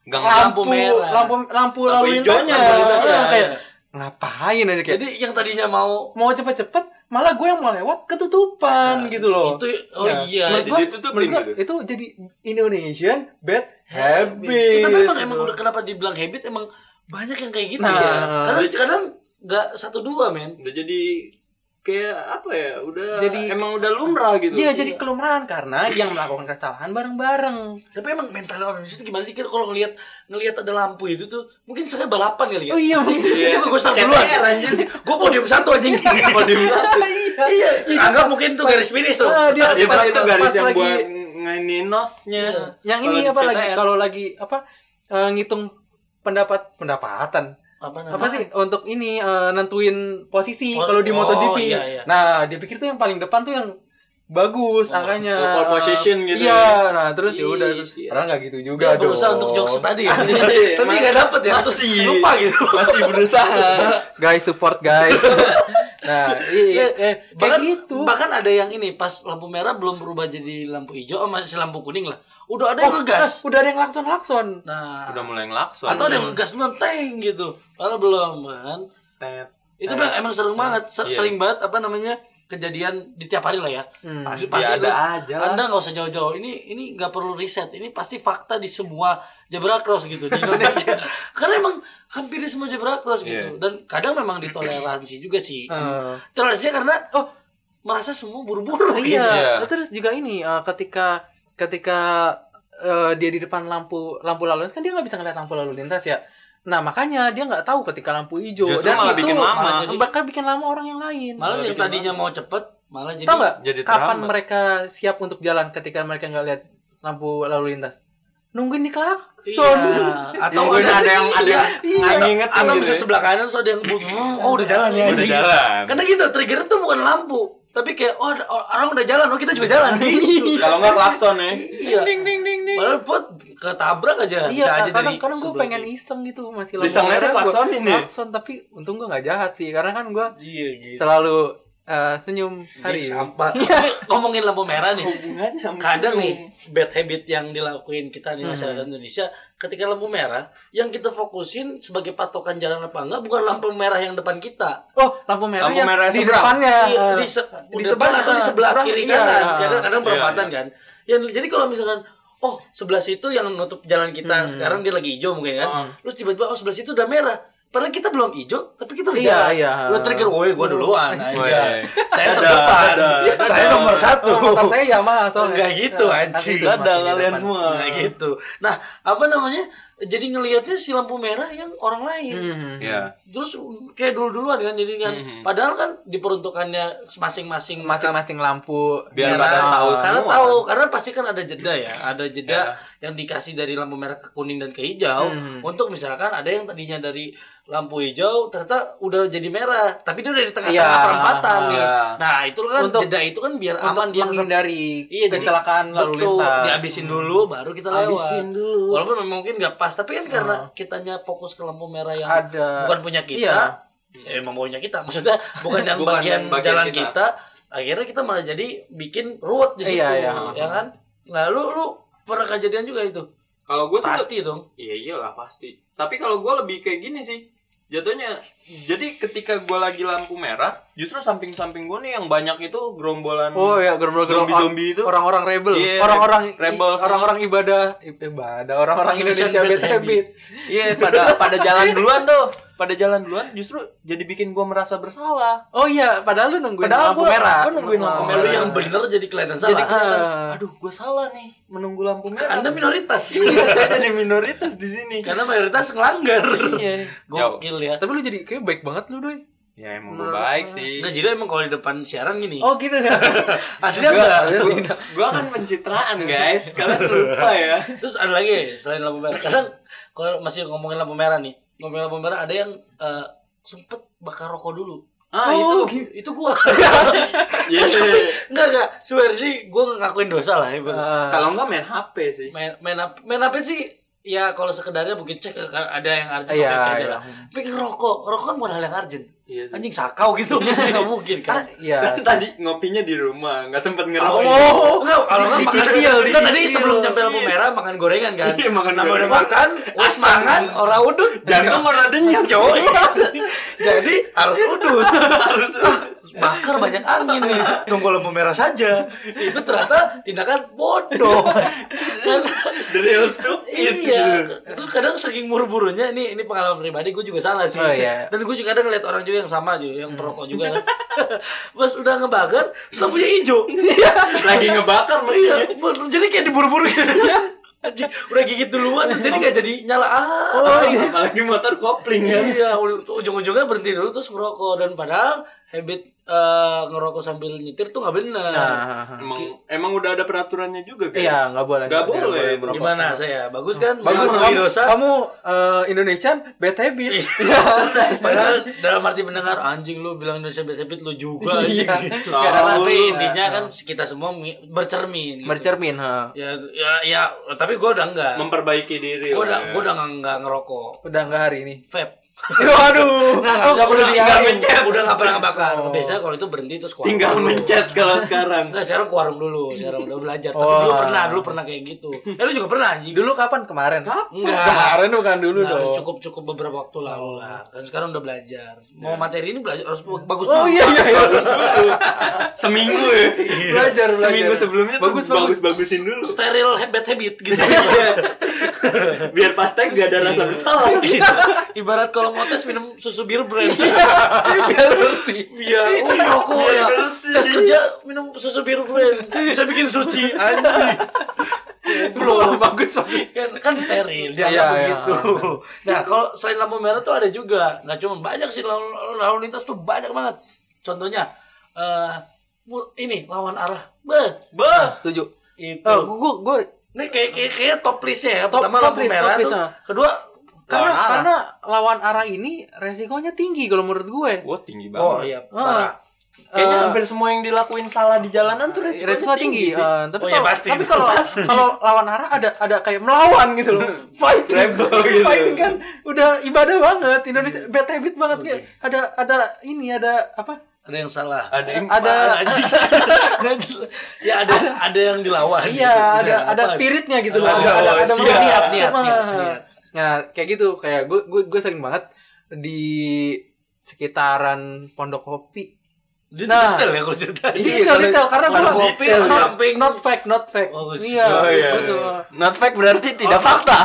Speaker 3: Gang
Speaker 2: Lampu
Speaker 1: lampu
Speaker 2: merah.
Speaker 1: lampu lampu
Speaker 3: Lampu
Speaker 1: lalu lintasnya
Speaker 3: hijaunya, lalu
Speaker 2: kualitasnya.
Speaker 1: Orang kayak ngapain aja kayak
Speaker 2: Jadi yang tadinya mau
Speaker 1: mau cepet-cepet malah gue yang mau lewat ketutupan gitu loh
Speaker 2: itu oh
Speaker 1: Ya.
Speaker 2: iya.
Speaker 1: Menurut
Speaker 3: jadi
Speaker 1: gua-
Speaker 3: ditutupin
Speaker 1: menurut gua
Speaker 3: gitu.
Speaker 1: itu jadi Indonesian bad habit
Speaker 2: Kita memang emang udah kenapa dibilang habit emang banyak yang kayak gitu
Speaker 1: Nah.
Speaker 2: ya. Karena kadang nggak satu dua men.
Speaker 3: udah jadi kayak apa ya udah
Speaker 1: Jadi-
Speaker 3: emang udah lumrah gitu
Speaker 1: Iya, jadi kelumrahan karena yang melakukan kesalahan bareng-bareng.
Speaker 2: Tapi emang mental orang Indonesia itu gimana sih? Kira kalau ngelihat ngelihat ada lampu itu tuh mungkin saya balapan kali ya.
Speaker 1: Oh iya,
Speaker 2: *laughs*
Speaker 1: mungkin.
Speaker 2: Iya, gue start
Speaker 4: CTR,
Speaker 2: duluan. Gue podium satu anjing. podium satu.
Speaker 1: Iya.
Speaker 2: Anggap mungkin tuh garis finish tuh.
Speaker 1: Ah, dia
Speaker 3: itu
Speaker 1: pas-
Speaker 3: Ya, itu garis
Speaker 1: pas
Speaker 3: yang
Speaker 1: lagi-
Speaker 3: buat ngainin nosnya
Speaker 2: Iya.
Speaker 1: Yang ini
Speaker 3: Kalau
Speaker 1: apa lagi
Speaker 3: CTR.
Speaker 1: kalau lagi apa eh, ngitung pendapat pendapatan
Speaker 2: Apa
Speaker 1: apa sih untuk ini eh, nentuin posisi
Speaker 2: Oh,
Speaker 1: kalau di
Speaker 2: oh,
Speaker 1: MotoGP.
Speaker 2: iya, iya.
Speaker 1: Nah, dia pikir tuh yang paling depan tuh yang bagus
Speaker 2: Oh,
Speaker 1: angkanya.
Speaker 3: oh, pole position gitu
Speaker 1: Iya, nah terus ya udah terus
Speaker 3: Iya.
Speaker 1: padahal nggak gitu
Speaker 2: Dia
Speaker 1: juga
Speaker 2: berusaha
Speaker 1: dong.
Speaker 2: untuk
Speaker 1: *laughs*
Speaker 2: jokes tadi ya.
Speaker 3: Iya,
Speaker 2: Tapi
Speaker 3: mas-
Speaker 2: nggak dapet ya. Terus
Speaker 3: masih.
Speaker 2: lupa gitu.
Speaker 3: masih berusaha
Speaker 1: Guys support
Speaker 2: *laughs*
Speaker 1: guys. nah, iya, eh, kayak
Speaker 2: bahkan,
Speaker 1: gitu.
Speaker 2: bahkan ada yang ini pas lampu merah belum berubah jadi lampu hijau oh, masih lampu kuning lah udah ada yang ngegas
Speaker 1: Oh, udah ada yang lakson-lakson.
Speaker 2: nah
Speaker 3: udah mulai ngelakson
Speaker 2: atau ada yang ngegas duluan teng gitu padahal belum kan
Speaker 1: Tet.
Speaker 2: itu emang, emang sering banget se-
Speaker 3: Eh. Iya.
Speaker 2: sering banget apa namanya kejadian di tiap hari lah ya
Speaker 1: Hmm.
Speaker 2: pasti
Speaker 3: Ya,
Speaker 2: pasti
Speaker 3: ada
Speaker 2: lu-
Speaker 3: aja lah.
Speaker 2: anda nggak usah jauh-jauh ini ini nggak perlu riset ini pasti fakta di semua zebra cross gitu di Indonesia karena emang hampir di semua zebra cross gitu
Speaker 3: Iya.
Speaker 2: dan kadang memang ditoleransi juga sih
Speaker 1: Eh,
Speaker 2: toleransinya karena oh merasa semua buru-buru
Speaker 1: iya.
Speaker 2: gitu.
Speaker 3: Iya.
Speaker 1: Nah, terus juga ini eh, ketika ketika eh, dia di depan lampu lampu lalu lintas kan dia nggak bisa ngeliat lampu lalu lintas ya. Nah makanya dia nggak tahu ketika lampu hijau
Speaker 3: Justru
Speaker 1: dan
Speaker 3: malah
Speaker 1: itu
Speaker 3: bikin lama.
Speaker 1: malah jadi- bahkan bikin lama orang yang lain.
Speaker 2: malah yang
Speaker 3: Jadi
Speaker 2: tadinya mau cepet malah jadi
Speaker 1: Tahu nggak
Speaker 3: jadi
Speaker 1: kapan
Speaker 3: terhambat.
Speaker 1: mereka siap untuk jalan ketika mereka nggak lihat lampu lalu lintas? Nungguin di
Speaker 2: Iya.
Speaker 1: klakson.
Speaker 2: atau
Speaker 3: Nungguin Iya, ada
Speaker 2: *laughs*
Speaker 3: yang- ada yang
Speaker 2: Iya.
Speaker 3: nggak
Speaker 2: Atau-
Speaker 3: ngingetin
Speaker 2: atau
Speaker 3: gitu
Speaker 2: bisa
Speaker 3: ya.
Speaker 2: sebelah kanan terus ada yang bunyi oh udah jalan ya
Speaker 3: udah
Speaker 2: anjing.
Speaker 3: jalan
Speaker 2: karena gitu trigger tuh bukan lampu tapi kayak oh ada- orang udah jalan oh kita juga jalan gitu
Speaker 3: kalau nggak klakson ya
Speaker 2: iya padahal buat ketabrak aja
Speaker 1: *laughs* Iya,
Speaker 2: bisa aja
Speaker 1: kadang
Speaker 2: dari
Speaker 1: kadang gue
Speaker 2: sebelah
Speaker 1: pengen
Speaker 2: kiri.
Speaker 1: iseng gitu masih
Speaker 3: Iseng aja
Speaker 1: merah, gua
Speaker 3: klaksonin ya?
Speaker 1: klakson, tapi untung gue nggak jahat sih karena kan gue
Speaker 2: iya gitu
Speaker 1: selalu eh, senyum
Speaker 2: Jadi
Speaker 1: hari ini.
Speaker 2: sampah
Speaker 1: Iya.
Speaker 2: Tapi *laughs* ngomongin lampu merah nih
Speaker 3: hubungannya sama
Speaker 2: kadang
Speaker 3: itu.
Speaker 2: nih bad habit yang dilakuin kita di
Speaker 1: Hmm.
Speaker 2: masyarakat Indonesia ketika lampu merah yang kita fokusin sebagai patokan jalan apa enggak bukan lampu merah yang depan kita
Speaker 1: Oh, lampu merah,
Speaker 3: Lampu
Speaker 1: yang
Speaker 3: merah
Speaker 1: di
Speaker 3: seberang.
Speaker 1: depannya.
Speaker 2: Iya,
Speaker 1: Eh,
Speaker 2: di, se-
Speaker 1: di
Speaker 2: di depan
Speaker 1: depan,
Speaker 2: atau di
Speaker 1: ah,
Speaker 2: sebelah
Speaker 1: seberang,
Speaker 2: kiri
Speaker 1: iya.
Speaker 2: kanan ya kan kadang
Speaker 3: Iya,
Speaker 2: perempatan
Speaker 3: iya.
Speaker 2: kan yang jadi kalau misalkan oh sebelah situ yang nutup jalan kita sekarang dia lagi hijau mungkin kan terus tiba-tiba oh sebelah situ udah merah Padahal kita belum hijau, tapi kita udah
Speaker 1: Iya,
Speaker 2: jalan.
Speaker 1: iya.
Speaker 2: Udah trigger, Hmm. woi gua duluan.
Speaker 3: Woi.
Speaker 2: aja. Saya
Speaker 3: Dadah,
Speaker 2: terdepan.
Speaker 3: dadah,
Speaker 2: *laughs* Saya
Speaker 3: dadah.
Speaker 2: nomor satu.
Speaker 1: Oh, motor saya Yamaha soalnya.
Speaker 2: Enggak gitu,
Speaker 1: Eh,
Speaker 2: anjing.
Speaker 1: tapi itu
Speaker 3: Dadah
Speaker 1: masih di
Speaker 3: kalian
Speaker 1: depan.
Speaker 3: semua.
Speaker 2: Nah gitu. Nah, apa namanya? Jadi ngelihatnya si lampu merah yang orang lain.
Speaker 1: Hmm.
Speaker 3: Iya.
Speaker 2: Terus kayak dulu-duluan kan jadi kan
Speaker 3: Hmm.
Speaker 2: padahal kan diperuntukannya masing-masing
Speaker 1: Masing-masing lampu
Speaker 3: Biar
Speaker 1: merah.
Speaker 3: pada tahu
Speaker 2: karena
Speaker 3: semua.
Speaker 2: tahu karena pasti kan ada jeda ya ada jeda yang dikasih dari lampu merah ke kuning dan ke hijau
Speaker 1: Hmm.
Speaker 2: untuk misalkan ada yang tadinya dari lampu hijau ternyata udah jadi merah tapi dia udah di tengah-tengah
Speaker 1: Iya.
Speaker 2: perempatan nih.
Speaker 3: Iya.
Speaker 2: nah itu kan
Speaker 1: Untuk-
Speaker 2: jeda itu kan biar
Speaker 1: Untuk
Speaker 2: aman dia nggak-
Speaker 1: menghindari
Speaker 2: Iya, jadi-
Speaker 1: kecelakaan lalu
Speaker 2: Betul,
Speaker 1: lintas.
Speaker 2: dihabisin dulu baru kita lewat.
Speaker 1: Habisin dulu.
Speaker 2: Walaupun memang mungkin nggak pas, tapi kan karena kitanya fokus ke lampu merah yang
Speaker 1: Ada-
Speaker 2: bukan punya kita,
Speaker 1: iya.
Speaker 2: ya emang punya kita. Maksudnya bukan yang
Speaker 3: Bukan
Speaker 2: bagian,
Speaker 3: yang bagian
Speaker 2: jalan kita.
Speaker 3: kita.
Speaker 2: akhirnya kita malah jadi bikin ruwet di situ,
Speaker 1: Iya, iya.
Speaker 2: ya kan? Lalu lu pernah kejadian juga itu?
Speaker 3: kalau gue sih
Speaker 2: Pasti dong.
Speaker 3: Iya iyalah pasti. Tapi kalau gue lebih kayak gini sih, jatuhnya. Jadi ketika gue lagi lampu merah, justru samping-samping gue nih yang banyak itu gerombolan.
Speaker 1: Oh ya, gerombol-gerombol
Speaker 3: Zombie-zombie itu.
Speaker 1: orang-orang rebel,
Speaker 3: Iya,
Speaker 1: orang-orang
Speaker 3: rebel
Speaker 1: i- orang-orang ibadah, ibadah, orang-orang
Speaker 2: Indonesian
Speaker 1: Indonesia bad
Speaker 2: bad habit.
Speaker 1: habit.
Speaker 3: Iya pada pada jalan duluan tuh, pada jalan duluan justru jadi bikin gue merasa bersalah.
Speaker 1: Oh iya, padahal lu nungguin
Speaker 3: Padahal
Speaker 1: lampu
Speaker 3: gua-
Speaker 1: merah.
Speaker 3: gua nungguin lampu
Speaker 2: Kalau
Speaker 3: merah.
Speaker 2: lu yang bener jadi kelihatan salah.
Speaker 1: Oh, iya.
Speaker 2: Kan
Speaker 1: Ah.
Speaker 3: Aduh gue salah nih menunggu lampu merah. *laughs*
Speaker 2: Anda minoritas.
Speaker 3: Iya, saya jadi minoritas di sini.
Speaker 2: karena mayoritas ngelanggar.
Speaker 3: Iya.
Speaker 2: Gokil ya.
Speaker 1: Tapi lu jadi kayak baik banget lu, Doi.
Speaker 3: Ya emang gue baik
Speaker 1: Iya.
Speaker 3: sih.
Speaker 2: Nggak, Nah, jadi emang kalau di depan siaran gini.
Speaker 1: Oh gitu.
Speaker 2: *laughs* Aslinya
Speaker 1: Gua-
Speaker 2: enggak.
Speaker 1: aslinya tidak.
Speaker 3: Gue kan pencitraan guys, kalian lupa ya.
Speaker 2: Terus ada lagi ya, selain lampu merah. Kadang kalau masih ngomongin lampu merah nih, ngomongin lampu merah ada yang eh, sempet bakar rokok dulu.
Speaker 3: ah
Speaker 2: Oh,
Speaker 3: itu
Speaker 2: gitu. itu gua.
Speaker 3: *laughs*
Speaker 2: *laughs*
Speaker 3: Iya, iya, iya.
Speaker 2: Enggak enggak, swear jadi gua ngakuin dosa lah ya. Bang.
Speaker 1: Ah.
Speaker 3: kalau enggak main HP sih
Speaker 2: main main apa main apa sih ya kalau sekedarnya mungkin cek ke- ada yang urgent
Speaker 1: Iya,
Speaker 2: apa aja
Speaker 1: iya.
Speaker 2: lah tapi ngerokok rokok kan bukan hal yang urgent
Speaker 3: Iya sih.
Speaker 2: anjing sakau
Speaker 3: *laughs*
Speaker 2: gitu nggak mungkin
Speaker 1: Karena
Speaker 2: kan
Speaker 1: iya. *laughs*
Speaker 3: kan tadi ngopinya di rumah nggak sempet ngerokok
Speaker 2: Oh, enggak, kalau enggak makan
Speaker 3: Dicicil,
Speaker 2: Enggak, tadi
Speaker 3: dicicil.
Speaker 2: sebelum nyampe lampu merah makan gorengan kan.
Speaker 3: Iya, makan
Speaker 2: Nama udah
Speaker 3: gorengan.
Speaker 2: makan, wes mangan, orang udut.
Speaker 3: jantung warna denyut
Speaker 2: cowok. *laughs* Jadi harus udut. harus bakar banyak angin nih. Tunggu lampu merah saja. Itu ternyata tindakan bodoh. Karena
Speaker 3: the real stupid gitu.
Speaker 2: Iya. Terus kadang saking buru-burunya ini ini pengalaman pribadi gue juga salah sih.
Speaker 1: Oh, iya.
Speaker 2: Dan gue juga kadang ngeliat orang juga yang sama juga yang perokok juga kan. *laughs* Pas udah ngebakar, terus lampunya hijau. Iya.
Speaker 3: lagi ngebakar
Speaker 2: iya.
Speaker 3: mereka
Speaker 2: Bener. Jadi kayak diburu-buru gitu. Anjing, udah gigit duluan terus jadi nggak jadi nyala ah
Speaker 3: oh, apalagi motor kopling kan
Speaker 2: iya u- ujung-ujungnya berhenti dulu terus ngerokok dan padahal habit eh, ngerokok sambil nyetir tuh nggak bener
Speaker 1: Nah,
Speaker 3: emang emang udah ada peraturannya juga kan
Speaker 1: iya, nggak boleh.
Speaker 3: Nggak boleh.
Speaker 1: merokok.
Speaker 2: gimana saya bagus kan
Speaker 1: Bagus
Speaker 2: Mengakui
Speaker 1: kamu,
Speaker 2: dosa
Speaker 1: kamu eh, Indonesian bad habit. Iya.
Speaker 2: Padahal dalam arti mendengar anjing lu bilang Indonesia bad habit lu juga
Speaker 1: Iya.
Speaker 2: gitu.
Speaker 1: Nggak ada
Speaker 2: tapi
Speaker 1: apa-apa.
Speaker 2: intinya kan kita semua mi- bercermin. gitu.
Speaker 1: Bercermin, ha.
Speaker 2: Ya ya ya tapi gua udah enggak.
Speaker 3: memperbaiki diri
Speaker 2: Gua
Speaker 3: lah
Speaker 2: udah
Speaker 3: ya.
Speaker 2: gua udah enggak, enggak ngerokok.
Speaker 1: Udah nggak hari ini.
Speaker 2: Vape.
Speaker 1: Waduh.
Speaker 2: Nah,
Speaker 1: Oh,
Speaker 2: udah udah
Speaker 1: udah
Speaker 2: enggak
Speaker 1: diain.
Speaker 2: mencet, udah enggak pernah ngebakar.
Speaker 1: Oh.
Speaker 2: Biasanya kalau itu berhenti terus keluar.
Speaker 3: tinggal mencet kalau sekarang
Speaker 2: Enggak, sekarang ke warung dulu, sekarang udah belajar. Tapi
Speaker 1: Oh.
Speaker 2: dulu pernah, dulu pernah kayak gitu. Eh, lu juga pernah anjing.
Speaker 1: Dulu kapan kemarin?
Speaker 2: Enggak.
Speaker 1: Kemarin bukan dulu
Speaker 2: Nah,
Speaker 1: dong. Oh,
Speaker 2: cukup cukup beberapa waktu lalu lah. Kan sekarang udah belajar. Mau materi ini belajar harus bagus
Speaker 1: Oh iya iya iya.
Speaker 3: seminggu ya
Speaker 1: Belajar, belajar.
Speaker 3: seminggu sebelumnya
Speaker 1: Bagus,
Speaker 3: bagus
Speaker 1: bagus.
Speaker 3: bagus bagusin dulu
Speaker 2: steril ha- bad habit gitu.
Speaker 1: Iya,
Speaker 3: biar pasteng gak ada
Speaker 2: Iya.
Speaker 3: rasa bersalah
Speaker 2: *laughs* Ibarat kalau mau tes minum susu bir brand.
Speaker 1: Biar ngerti.
Speaker 2: Iya, oh rokok
Speaker 3: Biar
Speaker 2: ya.
Speaker 3: bersih.
Speaker 2: Tes kerja minum susu bir brand. Bisa bikin suci anjing. Belum bagus bagus kan, kan steril dia
Speaker 1: Iya, iya.
Speaker 2: begitu. Nah, kalau selain lampu merah tuh ada juga. Nggak cuma banyak sih lalu, lalu lintas tuh banyak banget. Contohnya eh mu- ini lawan arah. Beh,
Speaker 3: bah
Speaker 1: Setuju.
Speaker 2: itu.
Speaker 1: Eh, gua gua
Speaker 2: Ini kayak kayak, kayak top listnya ya.
Speaker 1: Top-
Speaker 2: Pertama
Speaker 1: top
Speaker 2: lampu
Speaker 1: list,
Speaker 2: merah
Speaker 1: top list,
Speaker 2: tuh.
Speaker 1: ah.
Speaker 2: Kedua kan-
Speaker 1: karena
Speaker 3: Lawan arah.
Speaker 1: karena lawan arah ini resikonya tinggi kalau menurut gue.
Speaker 3: wah tinggi
Speaker 2: Oh
Speaker 3: banget
Speaker 2: iya,
Speaker 1: Ah.
Speaker 2: parah.
Speaker 3: kayaknya
Speaker 1: Eh,
Speaker 3: hampir semua yang dilakuin salah di jalanan tuh
Speaker 1: resikonya,
Speaker 3: resikonya
Speaker 1: tinggi.
Speaker 3: tinggi, sih.
Speaker 1: eh, tapi
Speaker 2: Oh, iya,
Speaker 1: kalau-
Speaker 2: pasti.
Speaker 1: tapi kalau kalau lawan arah ada ada kayak
Speaker 3: *laughs*
Speaker 1: melawan gitu loh. Fighting.
Speaker 3: Rebel gitu.
Speaker 1: Fighting kan udah ibadah banget. Indonesia bad habit banget kayak ada ada ini ada apa?
Speaker 2: Ada yang salah.
Speaker 3: ada yang
Speaker 1: Ada
Speaker 2: Ada *laughs* anjing. ya ada ada yang dilawan.
Speaker 1: Iya,
Speaker 2: gitu.
Speaker 1: ada
Speaker 2: Sudah,
Speaker 1: ada
Speaker 2: apa?
Speaker 1: spiritnya gitu
Speaker 2: Oh,
Speaker 1: loh. Ada
Speaker 3: oh,
Speaker 1: ada ada
Speaker 3: siap.
Speaker 1: niat,
Speaker 2: Niat, niat,
Speaker 1: Cuma-
Speaker 2: niat, niat.
Speaker 1: Nah, kayak gitu. Kayak gue gue gue sering banget di sekitaran Pondok Kopi.
Speaker 2: Dia
Speaker 1: Nah.
Speaker 2: detail ya kalau cerita.
Speaker 1: Iya, detail,
Speaker 3: kalau-
Speaker 1: detail karena
Speaker 2: kalau
Speaker 1: gue
Speaker 2: kopi,
Speaker 1: not,
Speaker 2: samping.
Speaker 1: not fact, not fact.
Speaker 2: Oh,
Speaker 1: iya,
Speaker 3: oh, iya, Oh.
Speaker 1: gitu.
Speaker 3: iya. not fact berarti tidak *laughs* fakta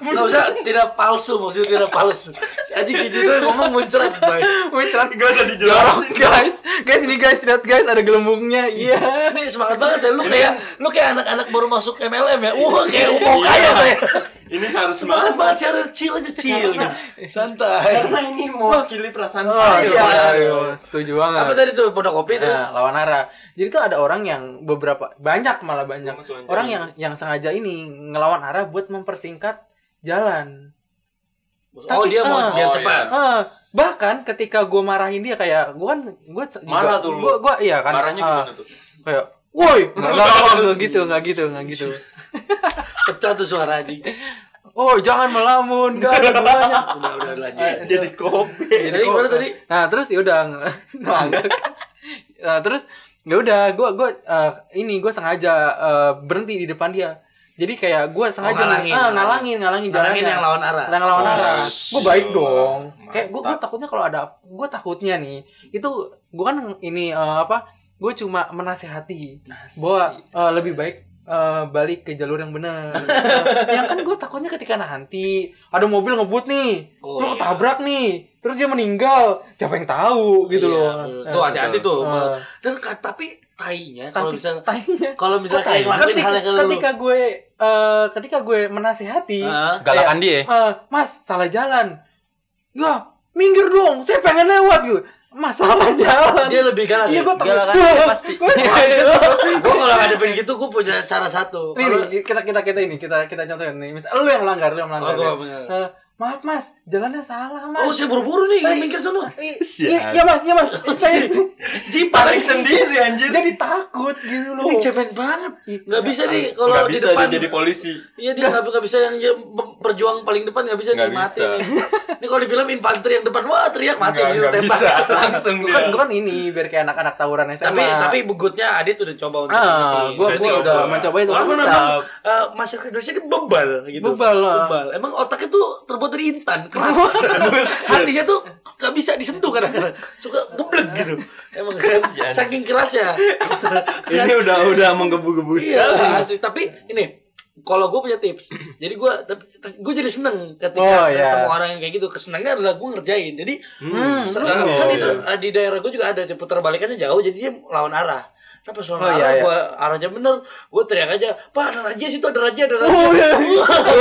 Speaker 2: Enggak usah tidak palsu, maksudnya tidak palsu. Anjing si Dito ngomong muncrat baik.
Speaker 1: Wait, lah.
Speaker 3: gak usah
Speaker 1: Jorok,
Speaker 3: dijelasin
Speaker 1: guys. Guys, ini guys, lihat guys ada gelembungnya. Iya.
Speaker 2: Ini semangat banget ya lu kayak lu kayak anak-anak baru masuk MLM ya. Wah, kayak mau kaya saya.
Speaker 3: ini harus
Speaker 2: Semangat banget sih, harus chill aja chill. gitu. Santai.
Speaker 3: karena ini mewakili perasaan
Speaker 1: Oh,
Speaker 3: saya
Speaker 1: iya,
Speaker 2: iya.
Speaker 1: iya. Setuju banget.
Speaker 2: Apa tadi tuh pondok kopi terus?
Speaker 1: Nah, lawan arah. Jadi tuh ada orang yang beberapa banyak malah banyak
Speaker 3: Musuhan
Speaker 1: orang yang
Speaker 3: jalan.
Speaker 1: yang sengaja ini ngelawan arah buat mempersingkat jalan.
Speaker 2: Oh,
Speaker 1: Tapi-
Speaker 2: dia mau
Speaker 1: ah.
Speaker 2: biar
Speaker 3: Oh,
Speaker 2: cepat.
Speaker 3: iya.
Speaker 1: Ah, bahkan ketika gue marahin dia kayak gue kan gue
Speaker 3: Marah tuh lu.
Speaker 1: Gue gue iya kan.
Speaker 3: marahnya
Speaker 1: ah,
Speaker 3: gimana tuh
Speaker 1: Kayak
Speaker 3: *laughs*
Speaker 1: woi, nggak nggak, nggak gitu, nggak gitu, nggak gitu.
Speaker 2: Pecah tuh suara anjing.
Speaker 1: Oh, jangan melamun, gak ada gunanya.
Speaker 2: *laughs* Udah udah lanjut.
Speaker 3: jadi kopi
Speaker 2: Jadi
Speaker 1: Jadi
Speaker 2: gimana
Speaker 1: gua-
Speaker 2: tadi?
Speaker 1: Nah, terus ya udah *laughs* melanggar. nah, terus ya udah gua gua eh, ini gua sengaja eh, berhenti di depan dia. Jadi kayak gua sengaja
Speaker 2: Oh, ngalangin.
Speaker 1: ah, ngalangin,
Speaker 2: Ngalangin
Speaker 1: ngalangin jalannya.
Speaker 2: yang lawan arah.
Speaker 1: Yang lawan
Speaker 3: Oh,
Speaker 1: arah. Gua baik dong. Kayak gua, gua
Speaker 3: mantap.
Speaker 1: takutnya kalau ada gua takutnya nih, itu gua kan ini eh, apa? Gue cuma menasehati bahwa eh, lebih baik eh, balik ke jalur yang
Speaker 2: *laughs*
Speaker 1: benar. yang kan gue takutnya ketika nanti ada mobil ngebut nih,
Speaker 2: Oh,
Speaker 1: terus
Speaker 2: iya.
Speaker 1: ketabrak nih, terus dia meninggal, siapa yang tahu gitu
Speaker 2: Iya,
Speaker 1: loh.
Speaker 2: betul.
Speaker 1: Nah,
Speaker 2: Tuh hati-hati tuh.
Speaker 1: Ah.
Speaker 2: Dan ka- tapi Oh, tainya kalau
Speaker 1: tapi
Speaker 2: misalnya
Speaker 1: tainya
Speaker 2: kalau misalnya
Speaker 1: kok
Speaker 2: kayak
Speaker 1: tai?
Speaker 2: ngelakuin
Speaker 1: ketika,
Speaker 2: hal yang lu
Speaker 1: ketika gue eh, ketika gue menasehati,
Speaker 2: Hah?
Speaker 3: galakan dia
Speaker 1: eh, Mas salah jalan, ya minggir dong, saya pengen lewat gitu. Mas salah jalan.
Speaker 2: dia lebih galak.
Speaker 1: Iya gue takut.
Speaker 4: Galakan
Speaker 1: Wah,
Speaker 4: dia pasti.
Speaker 1: gua takut.
Speaker 2: Gue kalau ngadepin gitu gue punya cara satu.
Speaker 1: Nih,
Speaker 2: Kalau
Speaker 1: nih, kita kita kita ini kita kita contohin nih. Misal lu yang melanggar, lu yang melanggar.
Speaker 2: Oh, gua
Speaker 1: ya.
Speaker 2: bener.
Speaker 1: Eh, maaf mas, jalannya salah mas.
Speaker 2: Oh, saya buru-buru nih, yang minggir
Speaker 1: *laughs*
Speaker 2: sono.
Speaker 1: I- iya, iya mas, iya mas, saya
Speaker 2: Jipan
Speaker 3: sendiri anjir.
Speaker 1: jadi takut gitu loh.
Speaker 2: Ini cemen banget. Nggak bisa nih kalau
Speaker 3: Nggak
Speaker 2: di
Speaker 3: bisa
Speaker 2: depan.
Speaker 3: dia jadi polisi.
Speaker 2: Iya dia nggak nggak bisa yang je- pe- perjuang paling depan nggak bisa
Speaker 3: Nggak
Speaker 2: nih, mati
Speaker 3: bisa.
Speaker 2: nih. Ini kalau di film infanteri yang depan wah teriak mati
Speaker 3: Nggak-
Speaker 2: disuruh
Speaker 3: nggak
Speaker 2: tembak.
Speaker 3: bisa. *laughs* Langsung
Speaker 1: Gue
Speaker 3: dia.
Speaker 1: kan, gua kan ini biar kayak anak-anak tawuran SMA.
Speaker 2: tapi tapi begutnya Adit udah coba untuk.
Speaker 1: ah, gue
Speaker 3: Udah coba.
Speaker 1: udah mencoba itu.
Speaker 2: Walaupun
Speaker 1: Mantap.
Speaker 2: memang eh, masyarakat Indonesia ini bebal gitu.
Speaker 1: Bebal ah. lah.
Speaker 2: Bebal. Emang otaknya tuh terbuat dari intan,
Speaker 1: *laughs*
Speaker 2: keras. Hatinya tuh gak bisa disentuh kadang-kadang. Suka geblek gitu. Emang keras,
Speaker 3: Kasian.
Speaker 2: saking kerasnya.
Speaker 3: Ini udah udah menggebu-gebu sekali.
Speaker 2: Iya asli. Tapi ini kalau gue punya tips, *clears throat* jadi gue gue jadi seneng ketika
Speaker 1: Oh, iya.
Speaker 2: ketemu orang yang kayak gitu. Kesenangan adalah gue ngerjain. Jadi
Speaker 1: Hmm,
Speaker 2: se-
Speaker 3: seneng
Speaker 2: kan
Speaker 3: ya.
Speaker 2: itu eh, di daerah gue juga ada di putar balikannya jauh, jadi dia lawan arah. Nah pas lawan
Speaker 1: Oh, iya,
Speaker 2: arah,
Speaker 1: iya.
Speaker 2: gue arahnya bener, gue teriak aja, pak ada raja situ ada raja ada raja.
Speaker 1: Oh, iya.
Speaker 2: *laughs*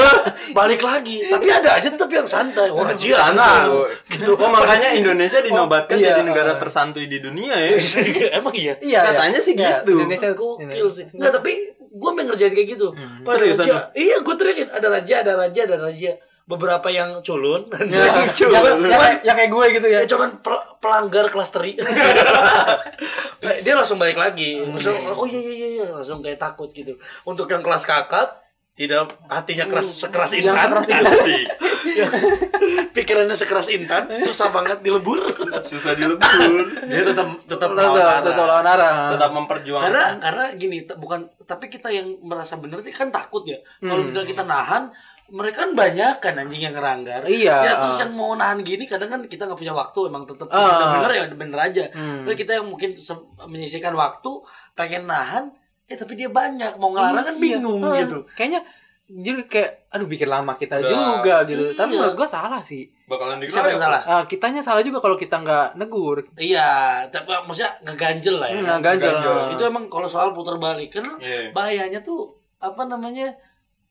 Speaker 2: Balik lagi, tapi ada aja tapi yang santai, oh raja
Speaker 3: Sana.
Speaker 2: tenang. gitu.
Speaker 3: Oh makanya Indonesia dinobatkan
Speaker 1: Oh, iya.
Speaker 3: jadi negara tersantui di dunia *laughs* ya.
Speaker 2: *laughs* Emang iya.
Speaker 1: Iya,
Speaker 3: Katanya
Speaker 1: iya.
Speaker 3: sih
Speaker 1: Iya,
Speaker 3: gitu.
Speaker 1: Indonesia
Speaker 2: Gokil sih. Enggak, tapi gue pengen ngerjain kayak gitu. Pak, ada
Speaker 3: seriusan
Speaker 2: raja. Iya, gue teriakin. Ada raja, ada raja, ada raja. Beberapa yang culun.
Speaker 1: Ya, yang,
Speaker 2: *laughs* Cuman-
Speaker 1: yang, yang kayak- yang kayak gue gitu ya.
Speaker 2: Ya, cuman pel- pelanggar kelas *laughs* teri. Nah, dia langsung balik lagi. Langsung, oh iya iya iya, iya. langsung kayak takut gitu. Untuk yang kelas kakap, tidak hatinya Hmm. keras sekeras
Speaker 1: Yang
Speaker 2: intan. *laughs*
Speaker 1: sekeras
Speaker 3: Asik.
Speaker 2: Pikirannya sekeras intan, susah banget dilebur.
Speaker 3: Susah dilebur.
Speaker 2: dia tetap tetap
Speaker 1: Tetap tetap lawan arah.
Speaker 3: Tetap memperjuangkan.
Speaker 2: karena
Speaker 1: Kan?
Speaker 2: karena gini t- bukan tapi kita yang merasa bener itu kan takut ya kalau
Speaker 1: Hmm.
Speaker 2: misalnya kita nahan mereka kan banyak kan anjing yang ngeranggar
Speaker 1: Iya,
Speaker 2: ya terus
Speaker 1: ah.
Speaker 2: yang mau nahan gini kadang kan kita nggak punya waktu emang tetap
Speaker 1: Ah.
Speaker 2: bener ya bener aja
Speaker 1: Hmm.
Speaker 2: Tapi kita yang mungkin se- menyisihkan waktu pengen nahan ya tapi dia banyak mau ngelarang kan
Speaker 1: Iya.
Speaker 2: bingung
Speaker 1: Ah,
Speaker 2: gitu
Speaker 1: Kayaknya jadi kayak aduh bikin lama kita
Speaker 3: Udah.
Speaker 1: juga gitu. Tapi
Speaker 2: Iya.
Speaker 1: menurut gue salah sih.
Speaker 3: Bakalan dikeroyok.
Speaker 2: siapa yang salah
Speaker 1: Ah, kitanya salah juga kalau kita nggak negur.
Speaker 2: iya tapi maksudnya ngeganjel lah ya
Speaker 1: Nah, ganjel.
Speaker 3: ganjel.
Speaker 1: Ah.
Speaker 2: itu emang kalau soal putar balik kan
Speaker 3: Iya.
Speaker 2: bahayanya tuh apa namanya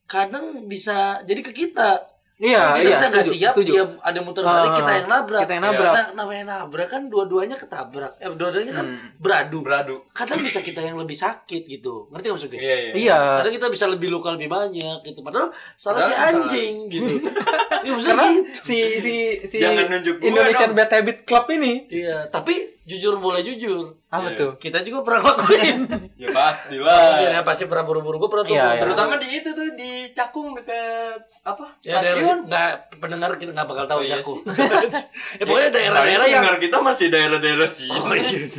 Speaker 2: kadang bisa jadi ke kita
Speaker 1: Iya,
Speaker 2: Kalau kita
Speaker 1: iya.
Speaker 2: bisa nggak
Speaker 1: setuju,
Speaker 2: siap
Speaker 1: setuju.
Speaker 2: dia ada muter balik
Speaker 1: Ah,
Speaker 2: kita yang nabrak
Speaker 1: kita yang nabrak.
Speaker 2: Nah, namanya nabrak kan dua-duanya ketabrak eh dua-duanya kan
Speaker 1: Hmm.
Speaker 2: beradu
Speaker 3: Beradu.
Speaker 2: kadang bisa kita yang lebih sakit gitu ngerti nggak maksudnya
Speaker 3: Iya, iya.
Speaker 1: Iya.
Speaker 2: kadang kita bisa lebih luka lebih banyak gitu padahal salah si
Speaker 3: Padahal kan salah.
Speaker 2: anjing
Speaker 1: *laughs*
Speaker 2: gitu ya, maksudnya
Speaker 1: Karena
Speaker 2: gitu.
Speaker 1: si si si
Speaker 3: Jangan nunjuk gua
Speaker 1: Indonesian
Speaker 3: dong.
Speaker 1: Bad Habit Club ini
Speaker 2: iya tapi jujur boleh jujur
Speaker 1: apa
Speaker 3: Iya.
Speaker 1: tuh?
Speaker 2: kita juga pernah
Speaker 1: *laughs*
Speaker 2: ngelakuin
Speaker 3: Ya pastilah.
Speaker 2: ya, pasti pernah buru-buru gue pernah tuh
Speaker 1: Iya, iya.
Speaker 3: Terutama di itu tuh di Cakung dekat apa?
Speaker 2: Ya, daerah,
Speaker 3: Stasiun.
Speaker 2: nggak pendengar kita nggak bakal tahu
Speaker 3: Oh,
Speaker 2: ya
Speaker 3: iya
Speaker 2: aku. *laughs* ya pokoknya daerah-daerah
Speaker 3: Paling
Speaker 2: yang Oh, iya.
Speaker 3: dengar kita masih daerah-daerah sih. *laughs*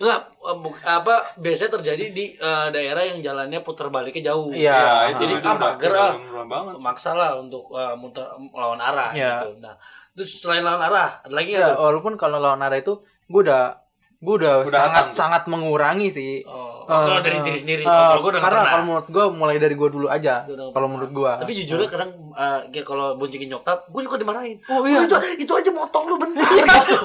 Speaker 2: Enggak, eh, bu- apa biasanya terjadi di eh, daerah yang jalannya putar baliknya jauh.
Speaker 1: Iya.
Speaker 3: Ya, itu
Speaker 2: Jadi,
Speaker 3: itu
Speaker 2: ah,
Speaker 3: udah-
Speaker 2: mager,
Speaker 3: udah
Speaker 2: ah.
Speaker 3: murah banget.
Speaker 2: Maksa lah untuk eh, muter melawan arah
Speaker 1: Iya.
Speaker 2: gitu. Nah, terus selain lawan arah, ada lagi
Speaker 1: Ya,
Speaker 2: enggak? tuh?
Speaker 1: walaupun kalau lawan arah itu gue udah gue udah,
Speaker 3: Udah
Speaker 1: sangat
Speaker 3: hatam.
Speaker 1: sangat mengurangi sih.
Speaker 2: Oh,
Speaker 1: Eh,
Speaker 2: kalau dari diri sendiri,
Speaker 1: eh,
Speaker 2: kalau gue udah nggak
Speaker 1: karena
Speaker 2: pernah.
Speaker 1: kalau menurut gue mulai dari gue dulu aja.
Speaker 2: Gua udah nggak
Speaker 1: Kalau menurut gue.
Speaker 2: Tapi jujur lah kadang eh, kayak kalau boncengin nyokap, gue juga dimarahin.
Speaker 1: Oh, iya.
Speaker 2: itu, itu aja motong lu bentar. gitu.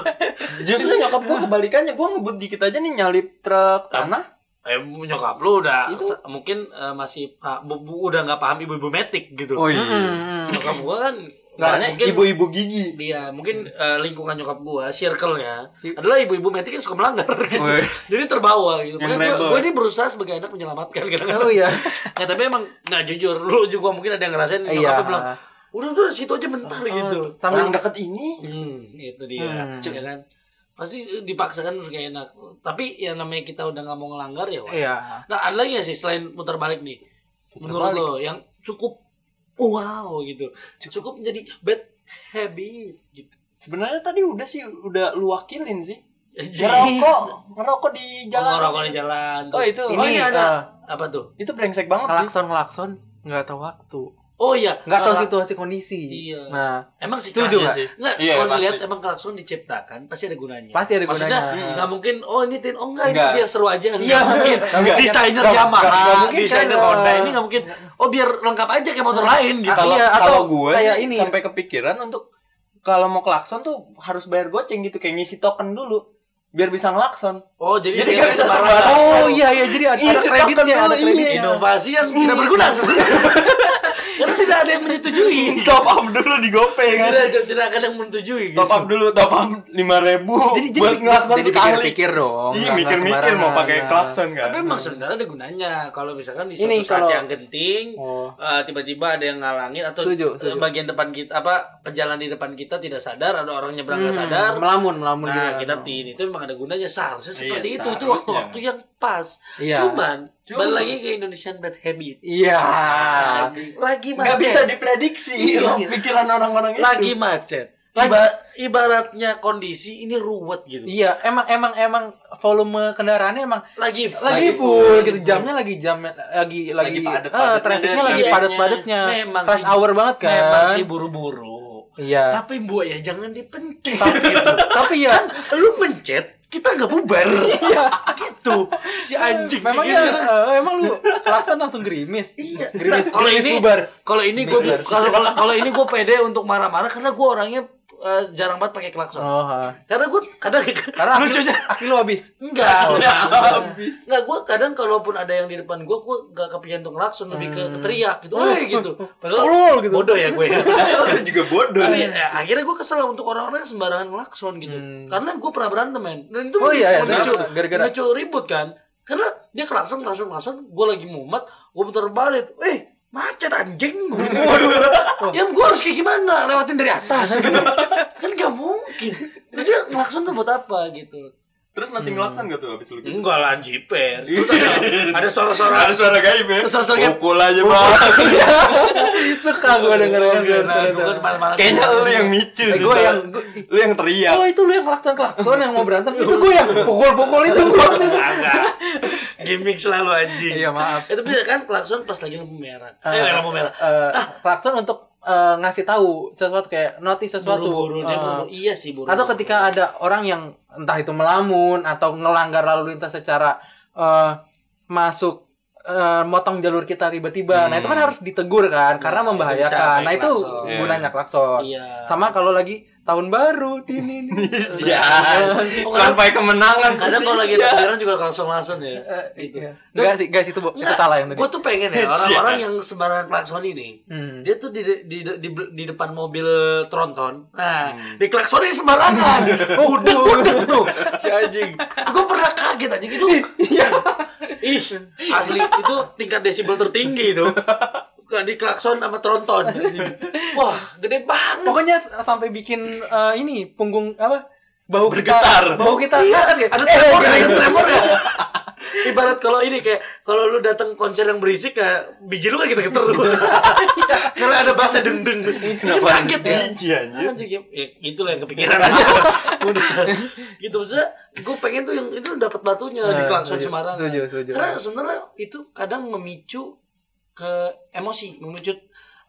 Speaker 3: Justru nyokap gua kebalikannya, gua ngebut dikit aja nih nyalip truk tanah.
Speaker 2: *laughs* eh, nyokap lu udah sa- mungkin eh, masih ah, bu- bu- udah nggak paham ibu-ibu metik gitu.
Speaker 3: Oh iya.
Speaker 1: Hmm,
Speaker 2: Nyokap gue kan
Speaker 3: Makanya
Speaker 2: mungkin-
Speaker 3: ibu-ibu gigi.
Speaker 2: Iya, mungkin eh, lingkungan nyokap gua, circle-nya
Speaker 1: Iya.
Speaker 2: adalah ibu-ibu metik yang suka melanggar gitu.
Speaker 3: Wes.
Speaker 2: Jadi terbawa gitu.
Speaker 3: Yang
Speaker 2: Makanya gua,
Speaker 3: rebel.
Speaker 2: gua ini berusaha sebagai anak menyelamatkan kadang-kadang.
Speaker 1: Oh iya. *laughs*
Speaker 2: Nah, tapi emang nggak jujur, lu juga mungkin ada yang ngerasain
Speaker 1: Iya.
Speaker 2: nyokapnya bilang, "Udah udah situ aja bentar" gitu.
Speaker 1: Sambil
Speaker 3: Oh, deket ini.
Speaker 2: Hmm, itu dia.
Speaker 1: Hmm.
Speaker 2: Ya kan? Pasti eh, dipaksakan harus gak enak. Tapi ya namanya kita udah nggak mau ngelanggar ya. Wak.
Speaker 1: iya.
Speaker 2: Nah, ada lagi nggak sih selain putar balik nih? menurut lo yang cukup wow gitu. Cukup menjadi bad habit gitu.
Speaker 3: Sebenarnya tadi udah sih udah lu wakilin sih.
Speaker 2: Jadi
Speaker 3: Ngerokok, ngerokok di jalan.
Speaker 2: Iya. Oh, ngerokok di jalan.
Speaker 3: Oh,
Speaker 2: terus-
Speaker 3: itu.
Speaker 2: Oh,
Speaker 1: Ini,
Speaker 2: iya ada.
Speaker 1: eh,
Speaker 2: apa tuh?
Speaker 3: Itu brengsek banget sih.
Speaker 1: Ngelakson ngelakson nggak tahu waktu.
Speaker 2: Oh iya.
Speaker 1: Nggak tahu
Speaker 2: Kelak-
Speaker 1: situasi kondisi.
Speaker 2: Iya.
Speaker 1: Nah
Speaker 2: Emang sih
Speaker 1: Setuju
Speaker 2: kelakson-
Speaker 1: nggak?
Speaker 2: Nggak,
Speaker 3: Iya,
Speaker 2: kalau
Speaker 3: pasti.
Speaker 2: dilihat emang klakson diciptakan pasti ada gunanya.
Speaker 1: Pasti ada
Speaker 2: Maksudnya,
Speaker 1: gunanya.
Speaker 2: nggak mungkin oh ini tin oh enggak,
Speaker 3: Nggak.
Speaker 2: ini biar seru aja. Nggak
Speaker 1: Iya.
Speaker 2: mungkin.
Speaker 1: Nggak.
Speaker 2: Desainer
Speaker 1: Nggak,
Speaker 2: Yamaha,
Speaker 1: nggak, nggak mungkin
Speaker 2: desainer
Speaker 1: kan,
Speaker 2: Honda
Speaker 1: eh,
Speaker 2: ini nggak mungkin. Oh biar lengkap aja kayak motor lain gitu.
Speaker 1: Ah,
Speaker 3: Kalau
Speaker 1: iya, atau
Speaker 3: kalau gue
Speaker 1: kayak
Speaker 3: sih
Speaker 1: ini.
Speaker 3: sampai kepikiran untuk kalau mau klakson tuh harus bayar goceng gitu kayak ngisi token dulu biar bisa ngelakson.
Speaker 2: Oh jadi,
Speaker 3: Jadi
Speaker 2: dia
Speaker 3: nggak
Speaker 2: kayak
Speaker 3: bisa
Speaker 2: sembarangan.
Speaker 3: sembarangan.
Speaker 1: Oh iya iya jadi ada, ada
Speaker 3: Iya,
Speaker 1: kreditnya
Speaker 3: tetap
Speaker 1: ada
Speaker 3: dulu,
Speaker 1: kreditnya.
Speaker 3: iya.
Speaker 1: *laughs*
Speaker 2: Inovasi yang tidak berguna sebenarnya. Karena tidak tidak ada yang
Speaker 1: Iya.
Speaker 2: menyetujui
Speaker 3: top up dulu di GoPay kan.
Speaker 2: tidak tidak ada yang menyetujui gitu.
Speaker 3: Top up dulu, top up 5000
Speaker 1: Jadi jadi
Speaker 3: Oh, buat ngelakson
Speaker 1: jadi
Speaker 3: sekali.
Speaker 1: pikir-pikir dong.
Speaker 3: Iya,
Speaker 1: nggak- nggak
Speaker 3: mikir-mikir mau
Speaker 1: sembarangan.
Speaker 3: pakai klakson kan.
Speaker 2: tapi emang sebenarnya ada gunanya kalau misalkan di suatu
Speaker 1: Ini
Speaker 2: saat
Speaker 1: kalau-
Speaker 2: yang genting
Speaker 1: Oh.
Speaker 2: eh, tiba-tiba ada yang ngalangin atau eh,
Speaker 1: Setuju, setuju.
Speaker 2: bagian depan kita apa pejalan di depan kita tidak sadar ada orang nyebrang nggak
Speaker 1: Hmm,
Speaker 2: sadar
Speaker 1: melamun melamun
Speaker 2: nah
Speaker 1: gitu.
Speaker 2: kita tin itu memang ada gunanya seharusnya seperti itu itu
Speaker 3: Iya, seharusnya.
Speaker 2: waktu-waktu yang pas
Speaker 1: Iya.
Speaker 2: cuman
Speaker 3: Cuman.
Speaker 2: balik lagi ke Indonesian bad habit
Speaker 1: Iya.
Speaker 2: lagi macet
Speaker 3: Nggak bisa diprediksi
Speaker 2: Iya.
Speaker 3: loh, pikiran orang-orang itu.
Speaker 2: lagi macet
Speaker 1: Lagi-
Speaker 2: Iba- ibaratnya kondisi ini ruwet gitu
Speaker 1: Iya, emang emang emang volume kendaraannya emang
Speaker 2: lagi
Speaker 1: lagi full gitu jamnya lagi jam lagi
Speaker 3: Lagi
Speaker 1: lagi,
Speaker 3: padat-padatnya
Speaker 1: eh, trafficnya
Speaker 3: dan
Speaker 1: lagi
Speaker 2: trafficnya.
Speaker 1: padat-padatnya
Speaker 2: Memang
Speaker 1: rush
Speaker 2: sih-
Speaker 1: hour banget kan
Speaker 2: memang sih buru-buru
Speaker 1: iya
Speaker 2: tapi buat ya jangan dipencet
Speaker 1: tapi ya
Speaker 2: kan lu mencet kita nggak bubar gitu si anjing
Speaker 1: memang ya
Speaker 2: gitu.
Speaker 1: eh, emang lu laksan langsung gerimis
Speaker 2: Iya.
Speaker 1: gerimis
Speaker 2: Nah, kalau
Speaker 1: gerimis
Speaker 2: ini
Speaker 1: bubar
Speaker 2: kalau ini gue kalau kalau kalau ini gue pede untuk marah-marah karena gue orangnya eh, jarang banget pakai klakson.
Speaker 1: oh ha.
Speaker 2: Karena gue kadang *laughs*
Speaker 1: karena Oh.
Speaker 2: lucunya
Speaker 1: lucunya aki lu habis
Speaker 2: enggak. enggak. *laughs* Enggak gue kadang kalaupun ada yang di depan gue gue enggak kepikiran untuk klakson lebih ke teriak gitu. Woi gitu.
Speaker 1: Hmm. Oh. Tolol, gitu.
Speaker 2: bodoh ya gue.
Speaker 1: *laughs*
Speaker 3: Iya, Lu juga bodoh. ya.
Speaker 2: Tapi eh, akhirnya gue kesel untuk orang-orang yang sembarangan ngelakson gitu.
Speaker 1: Iya. Hmm.
Speaker 2: Karena gue pernah berantem men. Dan itu
Speaker 1: Oh, iya, iya.
Speaker 2: memicu,
Speaker 1: Gara- gara-gara.
Speaker 2: memicu ribut kan. Karena dia kelakson, kelakson, kelakson. Gue lagi mumet, gue putar balik. Eh, macet
Speaker 1: *laughs*
Speaker 2: anjing gue. Waduh. ya gue harus kayak gimana? Lewatin dari atas gitu. kan gak mungkin. Jadi ngelakson tuh buat apa gitu.
Speaker 3: Terus masih ngelakson gak tuh habis lu gitu?
Speaker 2: Enggak lah, jiper. Terus ada, ada suara-suara.
Speaker 3: Ada suara gaib ya?
Speaker 2: Terus suara kayak-
Speaker 3: Pukul aja bang
Speaker 1: suka gue denger
Speaker 2: Nah, itu kan marah-marah.
Speaker 3: Kayaknya lu yang micu sih
Speaker 1: gue
Speaker 3: Sa.
Speaker 1: yang gua-
Speaker 3: Lu yang teriak
Speaker 1: Oh itu lu yang klakson klakson yang mau berantem itu gue yang pukul-pukul itu gue
Speaker 2: Enggak. Gimik selalu anjing.
Speaker 1: Iya, maaf.
Speaker 2: Itu bisa kan klakson pas lagi lampu merah. eh, lampu merah.
Speaker 1: Eh, klakson untuk eh, ngasih tahu sesuatu kayak notice sesuatu
Speaker 2: Buru-buru dia
Speaker 1: Eh,
Speaker 2: buru. Iya sih buru.
Speaker 1: atau ketika ada orang yang entah itu melamun atau ngelanggar lalu lintas secara eh, masuk eh, motong jalur kita tiba-tiba nah itu kan harus ditegur kan karena
Speaker 2: Hmm.
Speaker 1: membahayakan
Speaker 2: Iya, bisa
Speaker 1: nah
Speaker 2: pakai
Speaker 1: itu
Speaker 2: klakson.
Speaker 3: Iya.
Speaker 1: gunanya klakson
Speaker 2: Iya.
Speaker 1: sama kalau lagi tahun baru
Speaker 2: *laughs*
Speaker 1: tini
Speaker 3: Sian Sampai kemenangan
Speaker 2: kadang kalau
Speaker 1: Iya.
Speaker 2: lagi lampu merah juga klakson-klakson ya.
Speaker 1: gitu.
Speaker 2: Gitu.
Speaker 1: Enggak sih, guys itu, bu- itu salah yang tadi.
Speaker 2: Gue tuh pengen ya orang-orang yang sembarangan klakson ini.
Speaker 1: Hmm.
Speaker 2: Dia tuh di di, di, di depan mobil tronton. Nah, di klaksonin
Speaker 1: *laughs*
Speaker 2: sembarangan.
Speaker 1: Oh,
Speaker 2: Budek budek tuh. Si anjing. Gue pernah kaget anjing itu. Iya. Ih, asli itu tingkat desibel tertinggi itu. Di klakson sama tronton. Wah, gede banget.
Speaker 1: Pokoknya s- sampai bikin eh, ini punggung apa? Bau
Speaker 3: Bergetar.
Speaker 1: kita, bau kita kaget ya.
Speaker 2: Iya. Ada tremor ya, ada tremor ya. Ibarat kalau ini kayak kalau lu datang konser yang berisik kayak biji lu kan gitu geter lu. Karena ada bahasa dendeng.
Speaker 3: Kenapa Iya.
Speaker 2: Kaget ya.
Speaker 3: biji anjir
Speaker 2: Anjir, ya, ya gitu lah yang kepikiran aja. Udah. gitu maksudnya gue pengen tuh yang itu dapat batunya di
Speaker 1: Nah,
Speaker 2: klakson
Speaker 1: setuju,
Speaker 2: Semarang.
Speaker 1: setuju, setuju.
Speaker 2: Karena sebenarnya itu kadang memicu ke emosi, memicu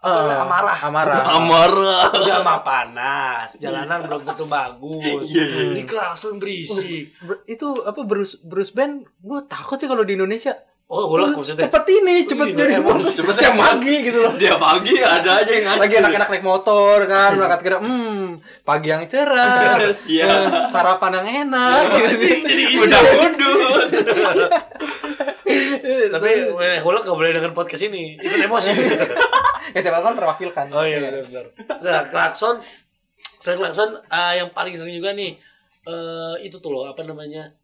Speaker 2: apa
Speaker 1: Eh,
Speaker 2: namanya, amarah.
Speaker 1: amarah.
Speaker 3: Amarah
Speaker 2: *laughs* Udah mah panas, jalanan belum tentu bagus.
Speaker 1: Iya,
Speaker 2: Di klakson berisik.
Speaker 1: Ber- itu apa Bruce Bruce Band gue takut sih kalau di Indonesia
Speaker 2: Oh, ulas maksudnya.
Speaker 1: cepet ini cepet
Speaker 2: Iya,
Speaker 1: jadi
Speaker 2: emang.
Speaker 1: bos *laughs*
Speaker 3: Cepet
Speaker 1: tiap
Speaker 3: emang.
Speaker 1: pagi gitu loh
Speaker 3: Dia pagi ada aja yang
Speaker 1: lagi
Speaker 2: Iya.
Speaker 1: anak-anak naik motor kan berangkat kerja hmm pagi yang
Speaker 2: *laughs*
Speaker 1: cerah
Speaker 3: Siap.
Speaker 1: eh, sarapan yang enak gitu.
Speaker 2: Jadi
Speaker 3: Udah mudut
Speaker 2: tapi eh, Hulak gak boleh dengan podcast ini. Ikut
Speaker 1: *laughs*
Speaker 2: emosi.
Speaker 1: ya siapa tahu kan terwakilkan
Speaker 2: Oh iya benar-benar. Nah, klakson selain klakson eh, yang paling sering juga nih eh itu tuh loh apa namanya?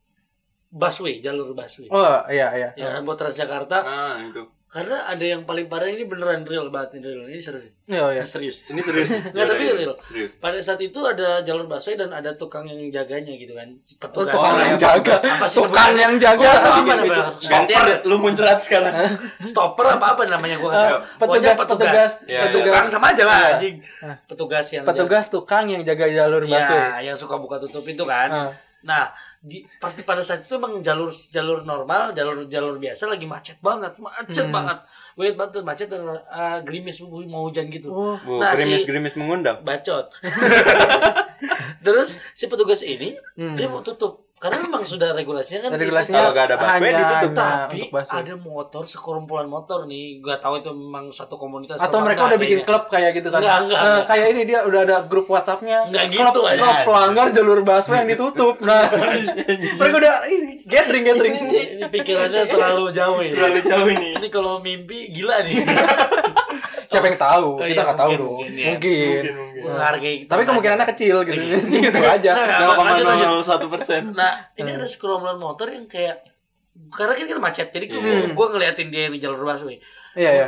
Speaker 2: busway, jalur busway.
Speaker 1: oh iya iya
Speaker 2: Ya kan buat Transjakarta
Speaker 3: Nah itu
Speaker 2: karena ada yang paling parah ini beneran real banget ini real ini serius.
Speaker 1: iya iya
Speaker 2: Serius.
Speaker 3: Ini serius
Speaker 2: Nggak, tapi real.
Speaker 3: Serius
Speaker 2: Pada saat itu ada jalur busway dan ada tukang yang jaganya gitu kan. Petugas.
Speaker 1: Oh, tukang
Speaker 2: Apa-
Speaker 1: yang jaga
Speaker 2: Apa sih
Speaker 1: tukang
Speaker 2: sebutannya?
Speaker 1: yang
Speaker 2: Gua nggak tahu
Speaker 1: jaga
Speaker 2: apa
Speaker 3: gitu.
Speaker 2: namanya.
Speaker 3: Ganti ada- lu muncrat sekarang
Speaker 2: stopper apa apa namanya gua nggak tahu. Pokoknya
Speaker 1: Eh, petugas petugas
Speaker 3: Iya, iya.
Speaker 1: petugas
Speaker 2: Tukang sama aja lah
Speaker 1: Iya.
Speaker 2: anjing. Petugas yang
Speaker 1: petugas tukang yang jaga jalur busway
Speaker 2: Iya, yang suka buka tutup itu kan.
Speaker 1: Ah.
Speaker 2: Nah, di pasti pada saat itu emang jalur jalur normal, jalur jalur biasa lagi macet banget, macet
Speaker 1: Hmm.
Speaker 2: banget. Wait banget macet dan uh, gerimis mau hujan gitu.
Speaker 1: Oh.
Speaker 3: Wow,
Speaker 2: nah, si
Speaker 3: Gerimis-gerimis mengundang
Speaker 2: bacot. *laughs* Terus si petugas ini dia mau tutup karena memang sudah regulasinya kan itu.
Speaker 1: Hmm. regulasinya
Speaker 3: Kalau nggak ada busway,
Speaker 1: hanya
Speaker 3: ditutup.
Speaker 1: nah,
Speaker 2: tapi
Speaker 1: untuk busway.
Speaker 2: ada motor sekerumpulan motor nih gak tahu itu memang satu komunitas
Speaker 1: atau
Speaker 2: apa
Speaker 1: mereka
Speaker 2: enggak
Speaker 1: udah bikin
Speaker 2: kayaknya.
Speaker 1: klub kayak gitu kan
Speaker 2: Enggak, enggak,
Speaker 1: Eh,
Speaker 2: enggak.
Speaker 1: kayak ini dia udah ada grup WhatsApp-nya
Speaker 2: Enggak
Speaker 1: klub,
Speaker 2: gitu,
Speaker 1: klub
Speaker 2: anjing.
Speaker 1: pelanggar jalur busway yang
Speaker 2: *laughs*
Speaker 1: ditutup nah mereka udah ini, gathering gathering
Speaker 2: iya, ini pikirannya terlalu jauh ya
Speaker 3: Terlalu jauh ini
Speaker 1: *laughs* Iya.
Speaker 2: ini kalau mimpi gila nih
Speaker 1: siapa yang
Speaker 2: Oh,
Speaker 1: tahu?
Speaker 2: iya,
Speaker 1: kita nggak tahu
Speaker 2: mungkin,
Speaker 1: dong. Mungkin.
Speaker 2: mungkin, ya.
Speaker 3: Mungkin, mungkin.
Speaker 2: menghargai kita
Speaker 1: Tapi
Speaker 2: aja.
Speaker 1: kemungkinannya kecil gitu. *laughs* gitu
Speaker 2: Nah,
Speaker 1: aja.
Speaker 2: lanjut, lanjut.
Speaker 3: 0,001 persen.
Speaker 2: Nah,
Speaker 1: *laughs* Eh.
Speaker 2: ini ada sekerombolan motor yang kayak karena kan kita macet, jadi gue
Speaker 1: Hmm.
Speaker 2: gue ngeliatin dia di jalur busway.
Speaker 1: Iya,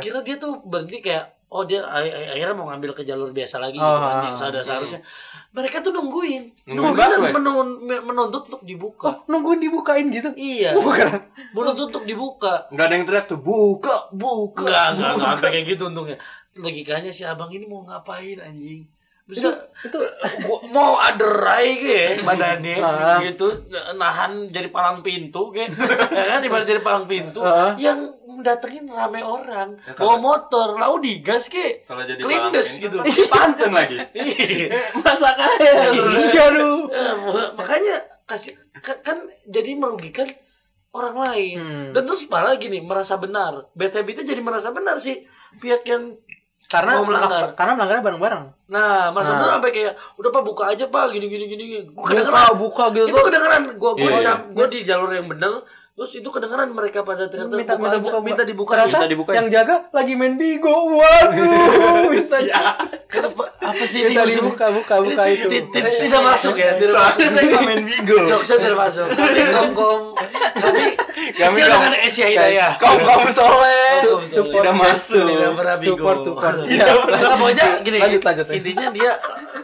Speaker 2: Gua
Speaker 1: iya.
Speaker 2: kira dia tuh berhenti kayak oh dia a- a- akhirnya mau ngambil ke jalur biasa lagi
Speaker 1: Oh,
Speaker 2: gitu kan
Speaker 1: ah, iya.
Speaker 2: yang seada- seharusnya. Mereka tuh nungguin,
Speaker 3: Nungguin
Speaker 2: dan
Speaker 3: busway?
Speaker 2: menun- me- menuntut untuk dibuka.
Speaker 1: Nah, Nungguin dibukain gitu.
Speaker 2: Iya,
Speaker 1: Oh. Bukan.
Speaker 2: menuntut untuk dibuka.
Speaker 3: Enggak ada yang teriak tuh, buka, buka.
Speaker 2: Enggak, enggak, enggak sampai kayak gitu untungnya. Logikanya si abang ini mau ngapain anjing? Bisa
Speaker 1: Itu
Speaker 2: gua mau aderai ke
Speaker 1: *laughs*
Speaker 2: badannya
Speaker 1: Ah.
Speaker 2: gitu nahan jadi palang pintu
Speaker 1: *laughs*
Speaker 2: ke ya kan ibarat jadi palang pintu
Speaker 1: Ah.
Speaker 2: yang datengin rame orang
Speaker 3: Ya,
Speaker 2: bawa
Speaker 3: kalau-
Speaker 2: motor lalu digas ke
Speaker 3: Kalau jadi
Speaker 2: kelindes
Speaker 3: palang
Speaker 2: gitu
Speaker 3: pintu, pasti Pantun lagi.
Speaker 1: masa kaya. Iya lu.
Speaker 2: Eh, mak- makanya kasih ka- kan jadi merugikan orang lain
Speaker 1: Hmm.
Speaker 2: dan terus malah gini merasa benar BTB itu jadi merasa benar sih pihak yang
Speaker 1: Karena
Speaker 2: Mau melanggar.
Speaker 1: karena melanggarnya bareng-bareng.
Speaker 2: nah merasa
Speaker 1: Nah.
Speaker 2: benar sampai kayak udah pak buka aja pak gini gini gini gini." Gua
Speaker 1: Buka,
Speaker 2: kedengeran
Speaker 1: buka gitu.
Speaker 2: itu kedengeran gua gua,
Speaker 3: Iya,
Speaker 2: di,
Speaker 3: iya.
Speaker 2: sam- gua di jalur yang benar terus itu kedengeran mereka pada teriak
Speaker 1: minta minta buka,
Speaker 2: minta dibuka
Speaker 1: Ternyata
Speaker 3: Minta dibuka.
Speaker 1: yang jaga lagi main bigo
Speaker 2: *laughs*
Speaker 1: waduh bisa
Speaker 2: Kenapa- apa sih ini
Speaker 1: minta
Speaker 2: maksudnya?
Speaker 1: dibuka buka buka itu
Speaker 2: Tid- tid- tidak masuk ya tidak masuk
Speaker 3: Soalnya saya nggak main bigo.
Speaker 2: Jokesnya tidak masuk tapi kom-kom kami kecil
Speaker 3: kom-
Speaker 2: dengan Asia Hidayah
Speaker 3: Kau kamu soleh.
Speaker 2: Su- support
Speaker 3: Tidak masuk.
Speaker 2: tidak pernah bigo
Speaker 1: support support
Speaker 2: Iya. Nah, pokoknya gini
Speaker 1: lanjut lanjut
Speaker 2: intinya dia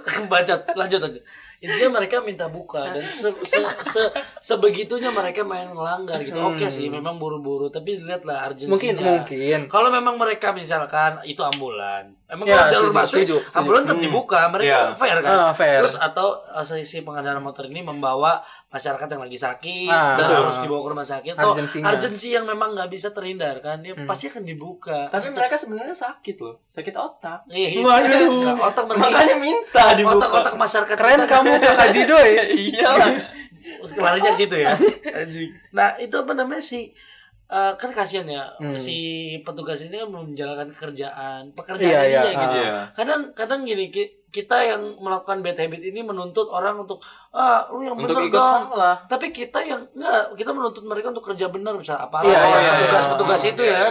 Speaker 2: *laughs* bacot lanjut lanjut intinya mereka minta buka dan se, se- se- sebegitunya mereka main melanggar gitu oke sih memang buru-buru tapi lihatlah urgensinya
Speaker 1: Hmm. mungkin mungkin
Speaker 2: kalau memang mereka misalkan itu ambulan emang
Speaker 1: Ya,
Speaker 2: kalau jalur
Speaker 1: setuju,
Speaker 2: busway
Speaker 1: setuju, setuju.
Speaker 2: ambulan tetap dibuka mereka
Speaker 3: Ya.
Speaker 2: fair kan
Speaker 1: Ah, fair.
Speaker 2: terus atau uh, si si pengendara motor ini membawa masyarakat yang lagi sakit
Speaker 1: Ah,
Speaker 2: dan
Speaker 1: betul.
Speaker 2: harus dibawa ke rumah sakit atau
Speaker 1: Urgensinya. Hmm.
Speaker 2: urgensi yang memang nggak bisa terhindarkan dia pasti akan dibuka
Speaker 3: Tapi mereka sebenarnya sakit loh, sakit otak.
Speaker 2: Iya,
Speaker 1: Waduh.
Speaker 2: nggak, otak mereka
Speaker 3: Makanya minta dibuka.
Speaker 2: otak-otak masyarakat
Speaker 1: keren
Speaker 2: kita kan *laughs*
Speaker 1: kamu ya? kakak jidoy *laughs*
Speaker 3: Iya lah.
Speaker 2: larinya ke situ ya. Nah, itu apa namanya sih? Eh, kan kasihan ya
Speaker 1: Hmm.
Speaker 2: si petugas ini kan menjalankan kerjaan,
Speaker 1: Iya,
Speaker 2: pekerjaan ini
Speaker 1: iya,
Speaker 2: ya gitu.
Speaker 3: Iya.
Speaker 2: Kadang-kadang gini ki- kita yang melakukan bad habit ini menuntut orang untuk ah lu yang
Speaker 3: Untuk
Speaker 2: bener
Speaker 3: ikut
Speaker 2: dong.
Speaker 3: salah.
Speaker 2: Tapi kita yang enggak, kita menuntut mereka untuk kerja benar misalnya apa
Speaker 1: Iya, iya, iya.
Speaker 2: petugas-petugas itu
Speaker 3: Iya,
Speaker 2: ya.
Speaker 3: iya.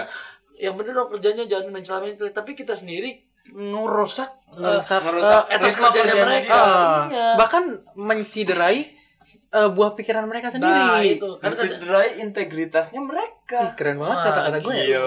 Speaker 2: Yang bener dong kerjanya jangan mencela-mencela, tapi kita sendiri ngerusak eh,
Speaker 1: Merusak,
Speaker 3: Ngerusak
Speaker 1: eh,
Speaker 2: etos
Speaker 3: ritme
Speaker 2: kerjanya
Speaker 3: kerjaan
Speaker 2: mereka.
Speaker 3: dia.
Speaker 1: eh,
Speaker 2: Iya.
Speaker 1: bahkan menciderai eh, buah pikiran mereka sendiri
Speaker 2: Nah, itu kan
Speaker 3: Mencederai integritasnya mereka.
Speaker 1: Ih, keren banget
Speaker 2: Wah,
Speaker 1: kata-kata gue ya.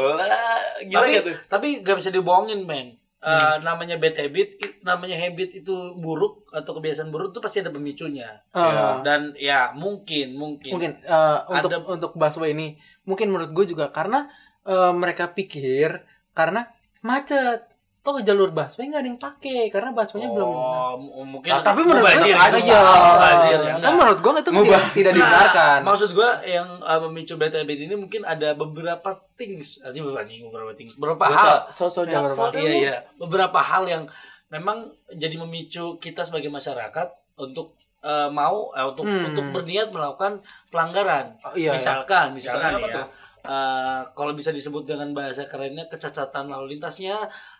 Speaker 3: Gila, gila
Speaker 2: tapi
Speaker 3: gak tuh?
Speaker 2: tapi gak bisa dibohongin men Eh,
Speaker 1: Hmm.
Speaker 2: namanya bad habit i- namanya habit itu buruk atau kebiasaan buruk itu pasti ada pemicunya
Speaker 1: Eh,
Speaker 2: dan ya mungkin mungkin,
Speaker 1: mungkin eh, untuk
Speaker 2: Ada-
Speaker 1: untuk busway ini mungkin menurut gue juga karena eh, mereka pikir karena macet toh jalur busway nggak ada yang pakai karena busway-nya belum
Speaker 2: Oh, m- mungkin
Speaker 1: Nah, tapi menurut
Speaker 2: mubazir
Speaker 1: gue
Speaker 2: itu.
Speaker 1: iya
Speaker 2: Mubazir, ya,
Speaker 1: kan
Speaker 2: enggak.
Speaker 1: menurut gue itu tidak,
Speaker 3: Mubazir.
Speaker 1: tidak
Speaker 2: Nah,
Speaker 1: dibenarkan
Speaker 2: maksud gua yang eh, memicu bad habit ini mungkin ada beberapa things artinya beberapa anjing, beberapa things beberapa hal
Speaker 3: sosok
Speaker 1: Iya,
Speaker 3: jaksel
Speaker 2: iya iya beberapa hal yang memang jadi memicu kita sebagai masyarakat untuk eh, mau eh, untuk
Speaker 1: Hmm.
Speaker 2: untuk berniat melakukan pelanggaran
Speaker 1: Oh, iya, iya.
Speaker 2: misalkan misalkan
Speaker 3: ya. Misalnya apa
Speaker 2: ya eh, kalau bisa disebut dengan bahasa kerennya kecacatan lalu lintasnya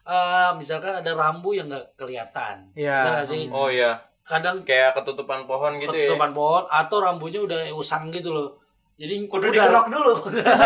Speaker 2: eh, misalkan ada rambu yang nggak kelihatan
Speaker 1: Iya.
Speaker 2: Bener nggak sih?
Speaker 3: Oh iya,
Speaker 2: kadang
Speaker 3: kayak ketutupan pohon gitu ya.
Speaker 2: ketutupan pohon atau rambunya udah usang gitu loh jadi pudar.
Speaker 3: Kudu dikerok dulu.
Speaker 2: *laughs*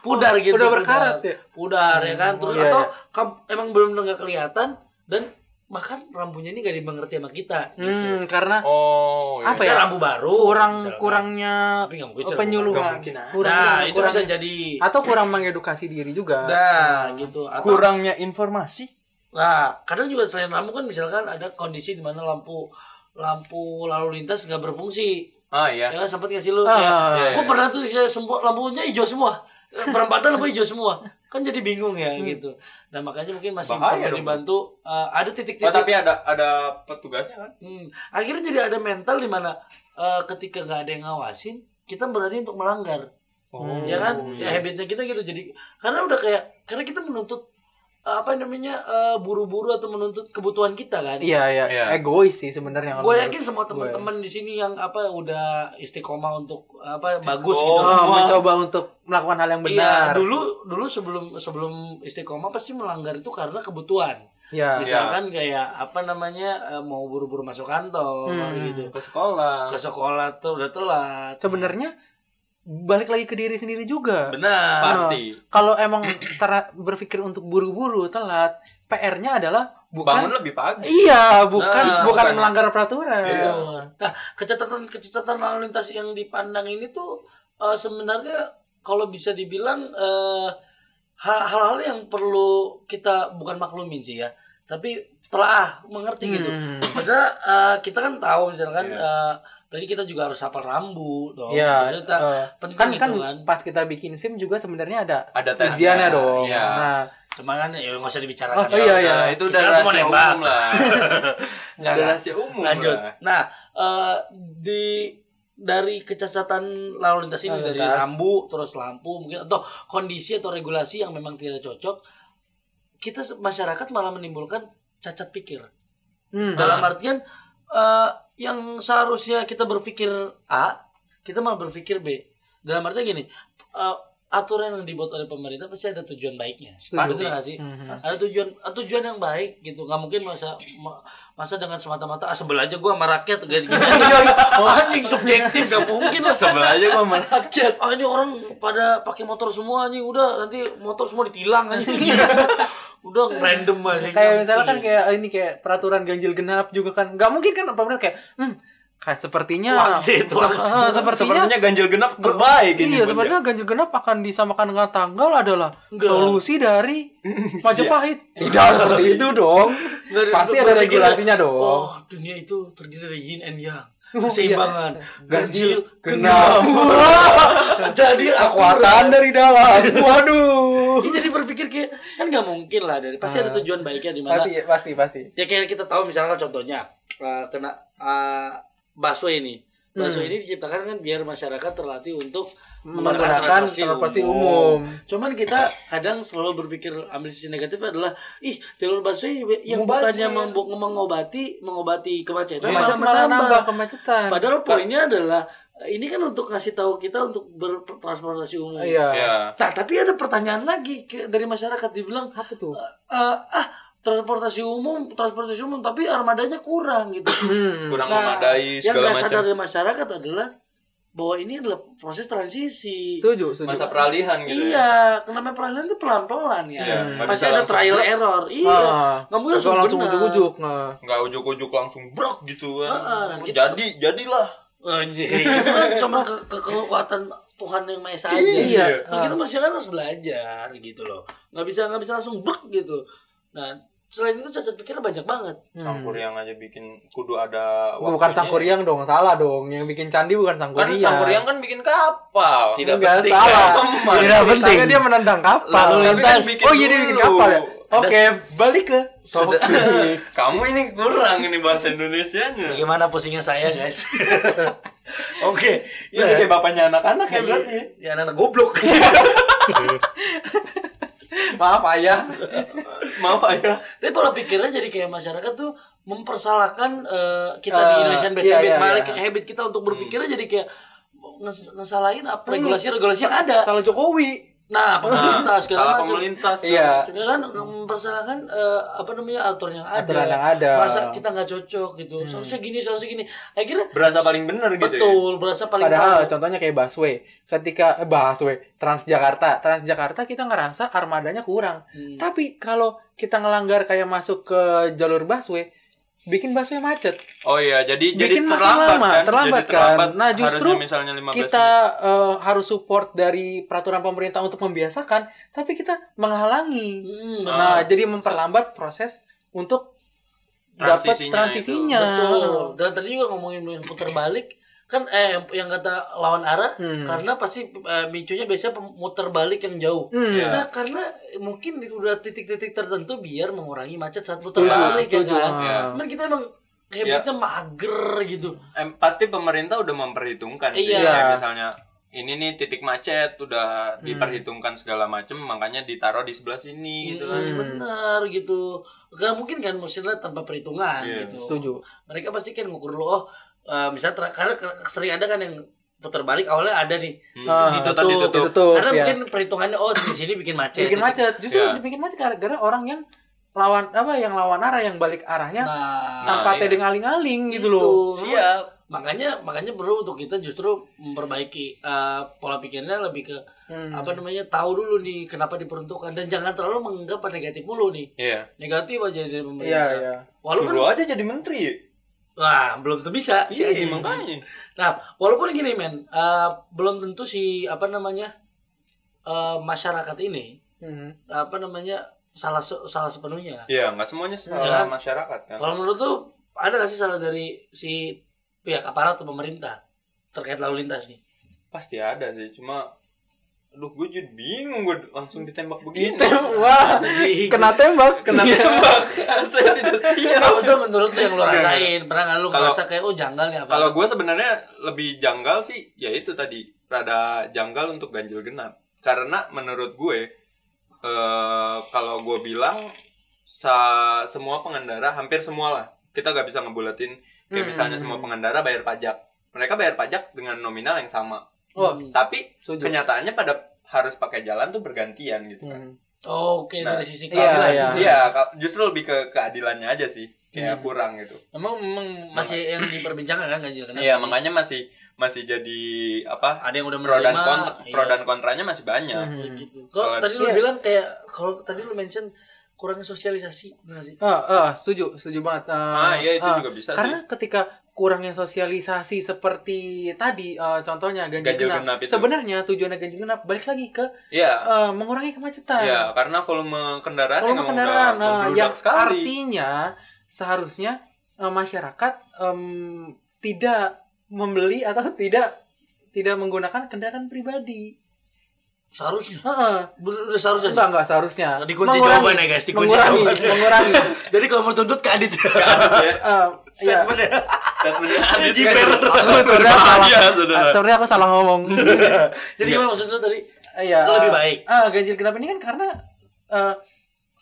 Speaker 2: pudar gitu
Speaker 1: udah
Speaker 2: pudar.
Speaker 1: berkarat ya
Speaker 2: pudar ya kan terus
Speaker 1: Iya,
Speaker 2: atau kam- emang belum nggak kelihatan dan bahkan rambunya ini gak dimengerti sama kita gitu.
Speaker 1: hmm, karena
Speaker 3: Oh,
Speaker 1: Apa
Speaker 2: Bisa
Speaker 1: ya?
Speaker 2: rambu baru
Speaker 1: kurang
Speaker 2: misalkan.
Speaker 1: kurangnya
Speaker 2: tapi nggak mungkin sih rambu
Speaker 1: penyuluhan
Speaker 3: Nggak mungkin ada.
Speaker 2: baru.
Speaker 1: kurang,
Speaker 2: nah itu
Speaker 1: kurang-
Speaker 2: bisa jadi
Speaker 1: atau kurang mengedukasi diri juga
Speaker 2: nah gitu atau,
Speaker 3: Kurangnya informasi.
Speaker 2: nah kadang juga selain rambu kan misalkan ada kondisi di mana lampu lampu lalu lintas nggak berfungsi
Speaker 3: Ah
Speaker 2: ya
Speaker 3: iya.
Speaker 2: kan sempat ngasih lu
Speaker 1: Ah,
Speaker 2: kayak,
Speaker 1: iya,
Speaker 2: gua
Speaker 3: iya.
Speaker 2: pernah tuh ya, semua lampunya hijau semua perempatan lampu hijau semua kan jadi bingung ya
Speaker 1: Hmm.
Speaker 2: gitu nah makanya mungkin masih
Speaker 3: Bahaya
Speaker 2: perlu
Speaker 3: dong.
Speaker 2: dibantu eh, ada titik-titik
Speaker 3: Oh, tapi ada ada petugasnya kan?
Speaker 2: Hmm. Akhirnya jadi ada mental di mana eh, ketika nggak ada yang ngawasin, kita berani untuk melanggar.
Speaker 3: Oh,
Speaker 2: ya kan? Ya
Speaker 1: iya.
Speaker 2: habitnya kita gitu jadi karena udah kayak karena kita menuntut eh, apa namanya eh, buru-buru atau menuntut kebutuhan kita kan.
Speaker 1: iya iya
Speaker 3: Iya.
Speaker 1: egois sih sebenarnya
Speaker 2: Gue
Speaker 1: kalau
Speaker 2: yakin semua teman-teman di sini yang apa udah istiqomah untuk apa bagus gitu.
Speaker 1: menurut gue. Oh, mencoba untuk melakukan hal yang
Speaker 2: Iya,
Speaker 1: benar
Speaker 2: dulu dulu sebelum sebelum istiqomah pasti melanggar itu karena kebutuhan.
Speaker 1: Iya.
Speaker 2: Misalkan kayak apa namanya eh, mau buru-buru masuk kantor
Speaker 1: Hmm.
Speaker 2: gitu.
Speaker 3: Ke sekolah.
Speaker 2: Ke sekolah tuh udah telat.
Speaker 1: sebenarnya balik lagi ke diri sendiri juga.
Speaker 2: Benar.
Speaker 3: Pasti.
Speaker 1: Kalau emang tera- berpikir untuk buru-buru telat, PR-nya adalah
Speaker 3: bangun
Speaker 1: bukan
Speaker 3: lebih pagi
Speaker 1: iya bukan
Speaker 2: Nah,
Speaker 1: bukan
Speaker 3: bukan.
Speaker 1: melanggar peraturan
Speaker 3: Iya.
Speaker 2: Betul. Nah, kecatatan kecatatan lalu lintas yang dipandang ini tuh eh, sebenarnya kalau bisa dibilang eh, hal- hal-hal yang perlu kita bukan maklumin sih ya, tapi telah mengerti gitu.
Speaker 1: Hmm.
Speaker 2: Padahal eh, kita kan tahu misalkan
Speaker 3: Iya.
Speaker 2: eh, berarti kita juga harus hafal rambu dong.
Speaker 1: Iya,
Speaker 2: Oh, Maksudnya kita-
Speaker 1: eh,
Speaker 2: penting
Speaker 1: kan
Speaker 2: gitu
Speaker 1: kan
Speaker 2: kan.
Speaker 1: pas kita bikin SIM juga sebenarnya ada
Speaker 3: ada tes
Speaker 1: ujiannya dong.
Speaker 3: Iya.
Speaker 1: Nah,
Speaker 2: Cuma kan ya nggak usah dibicarakan.
Speaker 1: Oh, iya, iya.
Speaker 3: Nah, itu
Speaker 2: Kita
Speaker 3: udah
Speaker 2: kan semua
Speaker 3: rahasia
Speaker 2: nembak.
Speaker 3: umum lah
Speaker 2: Nggak,
Speaker 3: udah
Speaker 2: nggak.
Speaker 3: rahasia umum
Speaker 2: Lanjut.
Speaker 3: lah.
Speaker 2: Nah, eh, di dari kecacatan lalu lintas ini
Speaker 1: Lalu
Speaker 2: dari
Speaker 1: lintas.
Speaker 2: rambu terus lampu mungkin atau kondisi atau regulasi yang memang tidak cocok, kita se- masyarakat malah menimbulkan cacat pikir.
Speaker 1: hmm.
Speaker 2: Dalam artian eh, yang seharusnya kita berpikir A, kita malah berpikir B. Dalam artian gini, eh, aturan yang dibuat oleh pemerintah pasti ada tujuan baiknya.
Speaker 1: Setuju.
Speaker 2: Betul nggak sih?
Speaker 1: Mhm.
Speaker 2: ada tujuan eh, tujuan yang baik gitu nggak mungkin masa ma- masa dengan semata-mata ah, sebel aja gue sama rakyat gini, gini aja. Oh, anjing subjektif gak mungkin lah
Speaker 3: sebel aja gua sama rakyat
Speaker 2: ah ini orang pada pakai motor semua anjing udah nanti motor semua ditilang anjing
Speaker 1: *laughs*
Speaker 2: udah random Iya. aja
Speaker 1: Kayak misalnya kan kayak ini kayak peraturan ganjil genap juga kan. Nggak mungkin kan pemerintah kayak hmm kayak sepertinya
Speaker 2: Wangsit,
Speaker 1: se-
Speaker 2: wangsit.
Speaker 1: ah, sepertinya
Speaker 3: sepertinya ganjil genap terbaik ini
Speaker 1: Iya,
Speaker 3: Bunda.
Speaker 1: sebenarnya ganjil genap akan disamakan dengan tanggal adalah
Speaker 2: Nggak.
Speaker 1: solusi *laughs* dari Majapahit. Tidak Iya. seperti itu dong. Pasti ada regulasinya dong.
Speaker 2: oh dunia itu terdiri dari yin and
Speaker 1: *laughs*
Speaker 2: yang
Speaker 1: Oh,
Speaker 2: keseimbangan ganjil genap
Speaker 1: genap. *laughs*
Speaker 2: jadi
Speaker 1: Kekuatan
Speaker 2: aturan.
Speaker 1: dari
Speaker 2: *laughs*
Speaker 1: dalam. Waduh.
Speaker 2: Dia jadi berpikir kayak kan nggak mungkin lah dari pasti ada tujuan baiknya di mana
Speaker 1: Ah. Pasti pasti pasti.
Speaker 2: ya kayak kita tahu misalkan contohnya eh, kena eh, busway ini busway
Speaker 1: Hmm.
Speaker 2: ini diciptakan kan biar masyarakat terlatih untuk
Speaker 1: Menggunakan transportasi umum.
Speaker 2: Cuman kita kadang selalu berpikir ambil sisi negatif adalah ih jalur busway yang bukannya membo- mengobati mengobati kemacetan
Speaker 1: Malah malah nambah kemacetan.
Speaker 2: Padahal poinnya adalah eh, ini kan untuk ngasih tahu kita untuk bertransportasi umum.
Speaker 1: Iya.
Speaker 3: Iya.
Speaker 2: Nah, tapi ada pertanyaan lagi ke- dari masyarakat dibilang
Speaker 1: Apa tuh?
Speaker 2: eh, ah transportasi umum, transportasi umum tapi armadanya kurang gitu.
Speaker 1: *coughs* Hmm.
Speaker 3: kurang
Speaker 2: Nah,
Speaker 3: memadai
Speaker 2: yang
Speaker 3: segala
Speaker 2: nggak sadar
Speaker 3: macam
Speaker 2: dari masyarakat adalah bahwa ini adalah proses transisi.
Speaker 1: Setuju, setuju.
Speaker 3: masa peralihan gitu ya.
Speaker 2: Iya, kenapa peralihan itu pelan-pelan ya.
Speaker 3: Iya, nggak
Speaker 2: Pasti
Speaker 3: bisa
Speaker 2: ada
Speaker 3: langsung
Speaker 2: trial
Speaker 3: brek.
Speaker 2: error. Iya.
Speaker 1: Hmm. Ah,
Speaker 2: nggak mungkin langsung
Speaker 1: langsung
Speaker 2: benar.
Speaker 1: ujuk-ujuk. Nah.
Speaker 3: nggak ujuk-ujuk langsung brok gitu kan.
Speaker 2: Heeh, dan kita-
Speaker 3: jadi jadilah
Speaker 2: Anjir. Itu kan cuma ke, ke kekuatan Tuhan yang Maha Esa aja.
Speaker 1: Iya.
Speaker 2: Nah, kita masyarakat harus belajar gitu loh. Nggak bisa nggak bisa langsung brek gitu. Nah, selain itu cacat pikirnya banyak banget.
Speaker 3: sangkur yang aja bikin kudu ada
Speaker 1: Bukan
Speaker 3: waktunya.
Speaker 2: Iya.
Speaker 1: Sangkuriang dong, salah dong. Yang bikin candi bukan
Speaker 3: kan
Speaker 1: Sangkuriang.
Speaker 3: sangkuriang kan bikin kapal
Speaker 2: Tidak
Speaker 1: Enggak,
Speaker 2: penting.
Speaker 1: salah.
Speaker 3: Teman.
Speaker 2: Tidak penting.
Speaker 1: Karena dia menendang kapal.
Speaker 2: Lalu
Speaker 1: Tapi kan
Speaker 2: lintas.
Speaker 1: bikin Oh iya dia bikin
Speaker 3: dulu.
Speaker 1: kapal ya. Oke,
Speaker 2: Ada-
Speaker 1: balik ke
Speaker 2: Sudah.
Speaker 1: topik.
Speaker 3: *laughs* kamu ini kurang ini bahasa Indonesianya
Speaker 2: Gimana pusingnya saya, guys? Oke.
Speaker 3: Ya,
Speaker 2: Ya,
Speaker 3: kayak bapaknya anak-anak ya berarti.
Speaker 2: *laughs* ya anak goblok.
Speaker 1: *laughs* Maaf ayah.
Speaker 3: Maaf ayah.
Speaker 2: Tapi pola pikirnya jadi kayak masyarakat tuh mempersalahkan eh, kita di
Speaker 1: Eh,
Speaker 2: Indonesian bad
Speaker 1: iya,
Speaker 2: habit,
Speaker 1: iya,
Speaker 2: malah
Speaker 1: iya. Hmm.
Speaker 2: kayak habit kita untuk berpikirnya jadi kayak nges- ngesalahin apa regulasi-regulasi yang ada.
Speaker 1: Salah Jokowi. *laughs*
Speaker 2: Nah, pemerintah segala
Speaker 3: Salah
Speaker 2: macam.
Speaker 3: pemerintah.
Speaker 1: Iya.
Speaker 2: Ya kan mempersalahkan eh, apa namanya aturan yang ada.
Speaker 1: Aturan yang ada.
Speaker 2: Masa kita nggak cocok gitu. Seharusnya gini, seharusnya gini. Akhirnya
Speaker 3: Berasa paling bener gitu. ya?
Speaker 2: betul berasa paling
Speaker 1: Padahal
Speaker 2: tahu.
Speaker 1: contohnya kayak busway. Ketika eh, busway Transjakarta, Transjakarta kita ngerasa armadanya kurang.
Speaker 2: Hmm.
Speaker 1: Tapi kalau kita ngelanggar kayak masuk ke jalur busway, bikin busway macet.
Speaker 3: Oh iya, jadi
Speaker 1: Bikin
Speaker 3: jadi
Speaker 1: makin
Speaker 3: terlambat
Speaker 1: lama,
Speaker 3: kan.
Speaker 1: terlambat
Speaker 3: jadi terlambat
Speaker 1: kan. Nah, justru
Speaker 3: harusnya misalnya 15
Speaker 1: kita
Speaker 3: menit.
Speaker 1: eh, harus support dari peraturan pemerintah untuk membiasakan, tapi kita menghalangi.
Speaker 2: Hmm, benar.
Speaker 1: Nah, jadi memperlambat proses untuk dapat
Speaker 3: Transisinya
Speaker 1: transisinya.
Speaker 2: Betul. Dan tadi juga ngomongin yang putar balik kan eh yang- yang kata lawan arah
Speaker 1: Hmm.
Speaker 2: karena pasti eh, micunya biasanya pem- muter balik yang jauh.
Speaker 1: Hmm.
Speaker 3: Iya.
Speaker 2: Nah, karena mungkin di- udah titik-titik tertentu biar mengurangi macet saat putar
Speaker 1: Setuju,
Speaker 2: balik ya
Speaker 1: setuju.
Speaker 2: kan.
Speaker 1: Iya.
Speaker 2: Cuman kita emang
Speaker 3: Iya.
Speaker 2: habitnya mager gitu.
Speaker 3: Em, pasti pemerintah udah memperhitungkan sih.
Speaker 2: Iya. Hmm.
Speaker 3: Kayak misalnya ini nih titik macet udah diperhitungkan segala macem makanya ditaruh di sebelah sini gitu.
Speaker 2: Hmm, Bener gitu. Gak mungkin kan maksudnya tanpa perhitungan
Speaker 3: Iya.
Speaker 2: gitu.
Speaker 1: Setuju.
Speaker 2: Mereka pasti kan ngukur dulu oh eh, misalnya ter- karena ke- sering ada kan yang putar balik awalnya ada nih
Speaker 3: Hmm.
Speaker 2: Nah,
Speaker 1: Ah,
Speaker 3: ditutup,
Speaker 2: ditutup.
Speaker 3: ditutup.
Speaker 1: Ditutup,
Speaker 2: karena
Speaker 1: ya. gitu.
Speaker 2: mungkin perhitungannya oh di sini bikin macet gitu.
Speaker 1: bikin macet. Justru
Speaker 3: Iya.
Speaker 1: dibikin macet gara-gara orang yang lawan apa yang lawan arah yang balik arahnya
Speaker 2: nah
Speaker 1: tanpa
Speaker 3: iya.
Speaker 1: tedeng aling-aling ya. gitu
Speaker 2: itu.
Speaker 1: loh.
Speaker 3: Siap.
Speaker 2: makanya makanya perlu untuk kita justru memperbaiki eh, pola pikirnya lebih ke
Speaker 1: Hmm.
Speaker 2: apa namanya tahu dulu nih kenapa diperuntukkan dan jangan terlalu menganggap negatif mulu nih
Speaker 3: Iya.
Speaker 2: negatif aja dari pemerintah
Speaker 1: Iya, iya.
Speaker 2: walaupun
Speaker 3: Suruh aja jadi menteri.
Speaker 2: wah belum tuh bisa si
Speaker 3: kan Iya,
Speaker 2: Aji.
Speaker 3: makanya.
Speaker 2: nah walaupun gini men eh, belum tentu si apa namanya eh, masyarakat ini
Speaker 1: Hmm.
Speaker 2: apa namanya salah se- salah sepenuhnya
Speaker 3: Iya, nggak semuanya
Speaker 2: Iya.
Speaker 3: salah masyarakat kan.
Speaker 2: kalau menurut tuh ada nggak sih salah dari si pihak aparat atau pemerintah terkait lalu lintas nih
Speaker 3: Pasti ada sih, cuma Aduh, gue jadi bingung gue langsung ditembak begini.
Speaker 1: Wah, kena tembak, Iya. kena tembak.
Speaker 3: *laughs* Saya tidak siap.
Speaker 2: Apa tuh menurut lu yang lu
Speaker 3: Enggak,
Speaker 2: rasain? Pernah nggak lu
Speaker 3: Kalau-
Speaker 2: ngerasa kayak oh janggal nih apa?
Speaker 3: Kalau gue sebenarnya lebih janggal sih, ya itu tadi rada janggal untuk ganjil genap. Karena menurut gue, eh, kalau gue bilang sa- semua pengendara, hampir semua lah, kita gak bisa ngebulatin kayak
Speaker 1: Hmm.
Speaker 3: misalnya semua pengendara bayar pajak. Mereka bayar pajak dengan nominal yang sama.
Speaker 1: Oh,
Speaker 2: Hmm.
Speaker 3: Tapi
Speaker 1: setuju.
Speaker 3: kenyataannya pada harus pakai jalan tuh bergantian gitu kan.
Speaker 1: Hmm.
Speaker 2: Oh, Oke
Speaker 3: Nah,
Speaker 2: dari sisi
Speaker 1: iya,
Speaker 2: keadilan.
Speaker 1: iya. Hmm.
Speaker 3: Iya, ka- justru lebih ke keadilannya aja sih, kayak kurang gitu.
Speaker 2: Emang memang masih yang diperbincangkan kan ganjil genap.
Speaker 3: Iya, makanya masih masih jadi apa?
Speaker 2: ada yang udah
Speaker 3: pro dan
Speaker 2: menerima,
Speaker 3: kontra,
Speaker 2: iya.
Speaker 3: pro dan kontranya masih banyak.
Speaker 1: Hmm.
Speaker 2: gitu. Kalau
Speaker 3: Kalau-
Speaker 2: tadi lu
Speaker 1: Iya.
Speaker 2: bilang kayak kalau tadi lu mention kurangnya sosialisasi, benar nggak sih?
Speaker 1: Ah, ah, setuju, setuju banget.
Speaker 3: Ah, iya itu
Speaker 1: ah.
Speaker 3: juga bisa
Speaker 1: Karena
Speaker 3: sih.
Speaker 1: ketika kurangnya sosialisasi seperti tadi eh, contohnya ganjil,
Speaker 3: Ganjil
Speaker 1: genap. gitu.
Speaker 3: genap itu.
Speaker 1: Sebenarnya tujuannya ganjil genap balik lagi ke
Speaker 3: Iya.
Speaker 1: eh, mengurangi kemacetan.
Speaker 3: Iya, karena volume kendaraan
Speaker 1: Volume
Speaker 3: yang
Speaker 1: kendaraan
Speaker 3: udah
Speaker 1: nah,
Speaker 3: membludak
Speaker 1: yang
Speaker 3: sekali.
Speaker 1: artinya seharusnya eh, masyarakat em, tidak membeli atau tidak tidak menggunakan kendaraan pribadi.
Speaker 2: Seharusnya.
Speaker 1: Heeh.
Speaker 2: Udah udah seharusnya.
Speaker 1: Enggak, enggak seharusnya.
Speaker 2: Nah, dikunci jawabannya, guys, dikunci
Speaker 1: mengurangi,
Speaker 2: jawabannya.
Speaker 1: mengurangi.
Speaker 2: *laughs* Jadi kalau mau tuntut ke Adit.
Speaker 3: *laughs*
Speaker 1: Eh, iya.
Speaker 2: Statementnya.
Speaker 3: Statementnya Adit
Speaker 2: Jiper.
Speaker 3: kan.
Speaker 1: Aku sudah salah.
Speaker 3: Iya,
Speaker 1: Ah, Sorry, aku salah ngomong.
Speaker 2: Jadi gimana maksud lu tadi?
Speaker 1: Iya.
Speaker 2: Lebih
Speaker 1: eh,
Speaker 2: baik.
Speaker 1: eh, ganjil genap ini kan karena eh,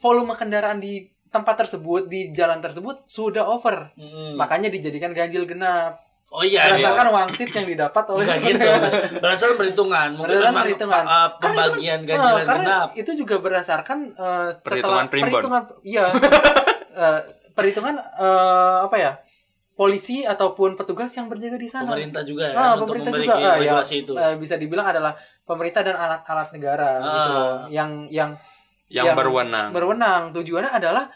Speaker 1: volume kendaraan di tempat tersebut di jalan tersebut sudah over.
Speaker 2: Hmm.
Speaker 1: Makanya dijadikan ganjil genap.
Speaker 2: Oh iya, iya.
Speaker 1: Berdasarkan wangsit yang didapat oleh
Speaker 2: Enggak gitu. Berdasarkan perhitungan, mungkin
Speaker 1: Berdasarkan
Speaker 2: memang,
Speaker 1: perhitungan.
Speaker 2: uh, pembagian
Speaker 1: Karena itu kan-
Speaker 2: ganjil
Speaker 1: eh,
Speaker 2: dan
Speaker 1: karena
Speaker 2: genap.
Speaker 1: itu juga berdasarkan eh,
Speaker 3: Perhitungan
Speaker 1: setelah
Speaker 3: primbon.
Speaker 1: perhitungan
Speaker 3: *laughs*
Speaker 1: iya. Eh, perhitungan eh, apa ya? Polisi ataupun petugas yang berjaga di sana.
Speaker 2: Pemerintah juga ya,
Speaker 1: Ah,
Speaker 2: kan, untuk
Speaker 1: pemerintah
Speaker 2: memiliki
Speaker 1: juga ah, ya,
Speaker 2: regulasi itu.
Speaker 1: eh, bisa dibilang adalah pemerintah dan alat-alat negara
Speaker 2: Ah.
Speaker 1: gitu loh. yang yang
Speaker 3: Yang berwenang.
Speaker 1: berwenang tujuannya adalah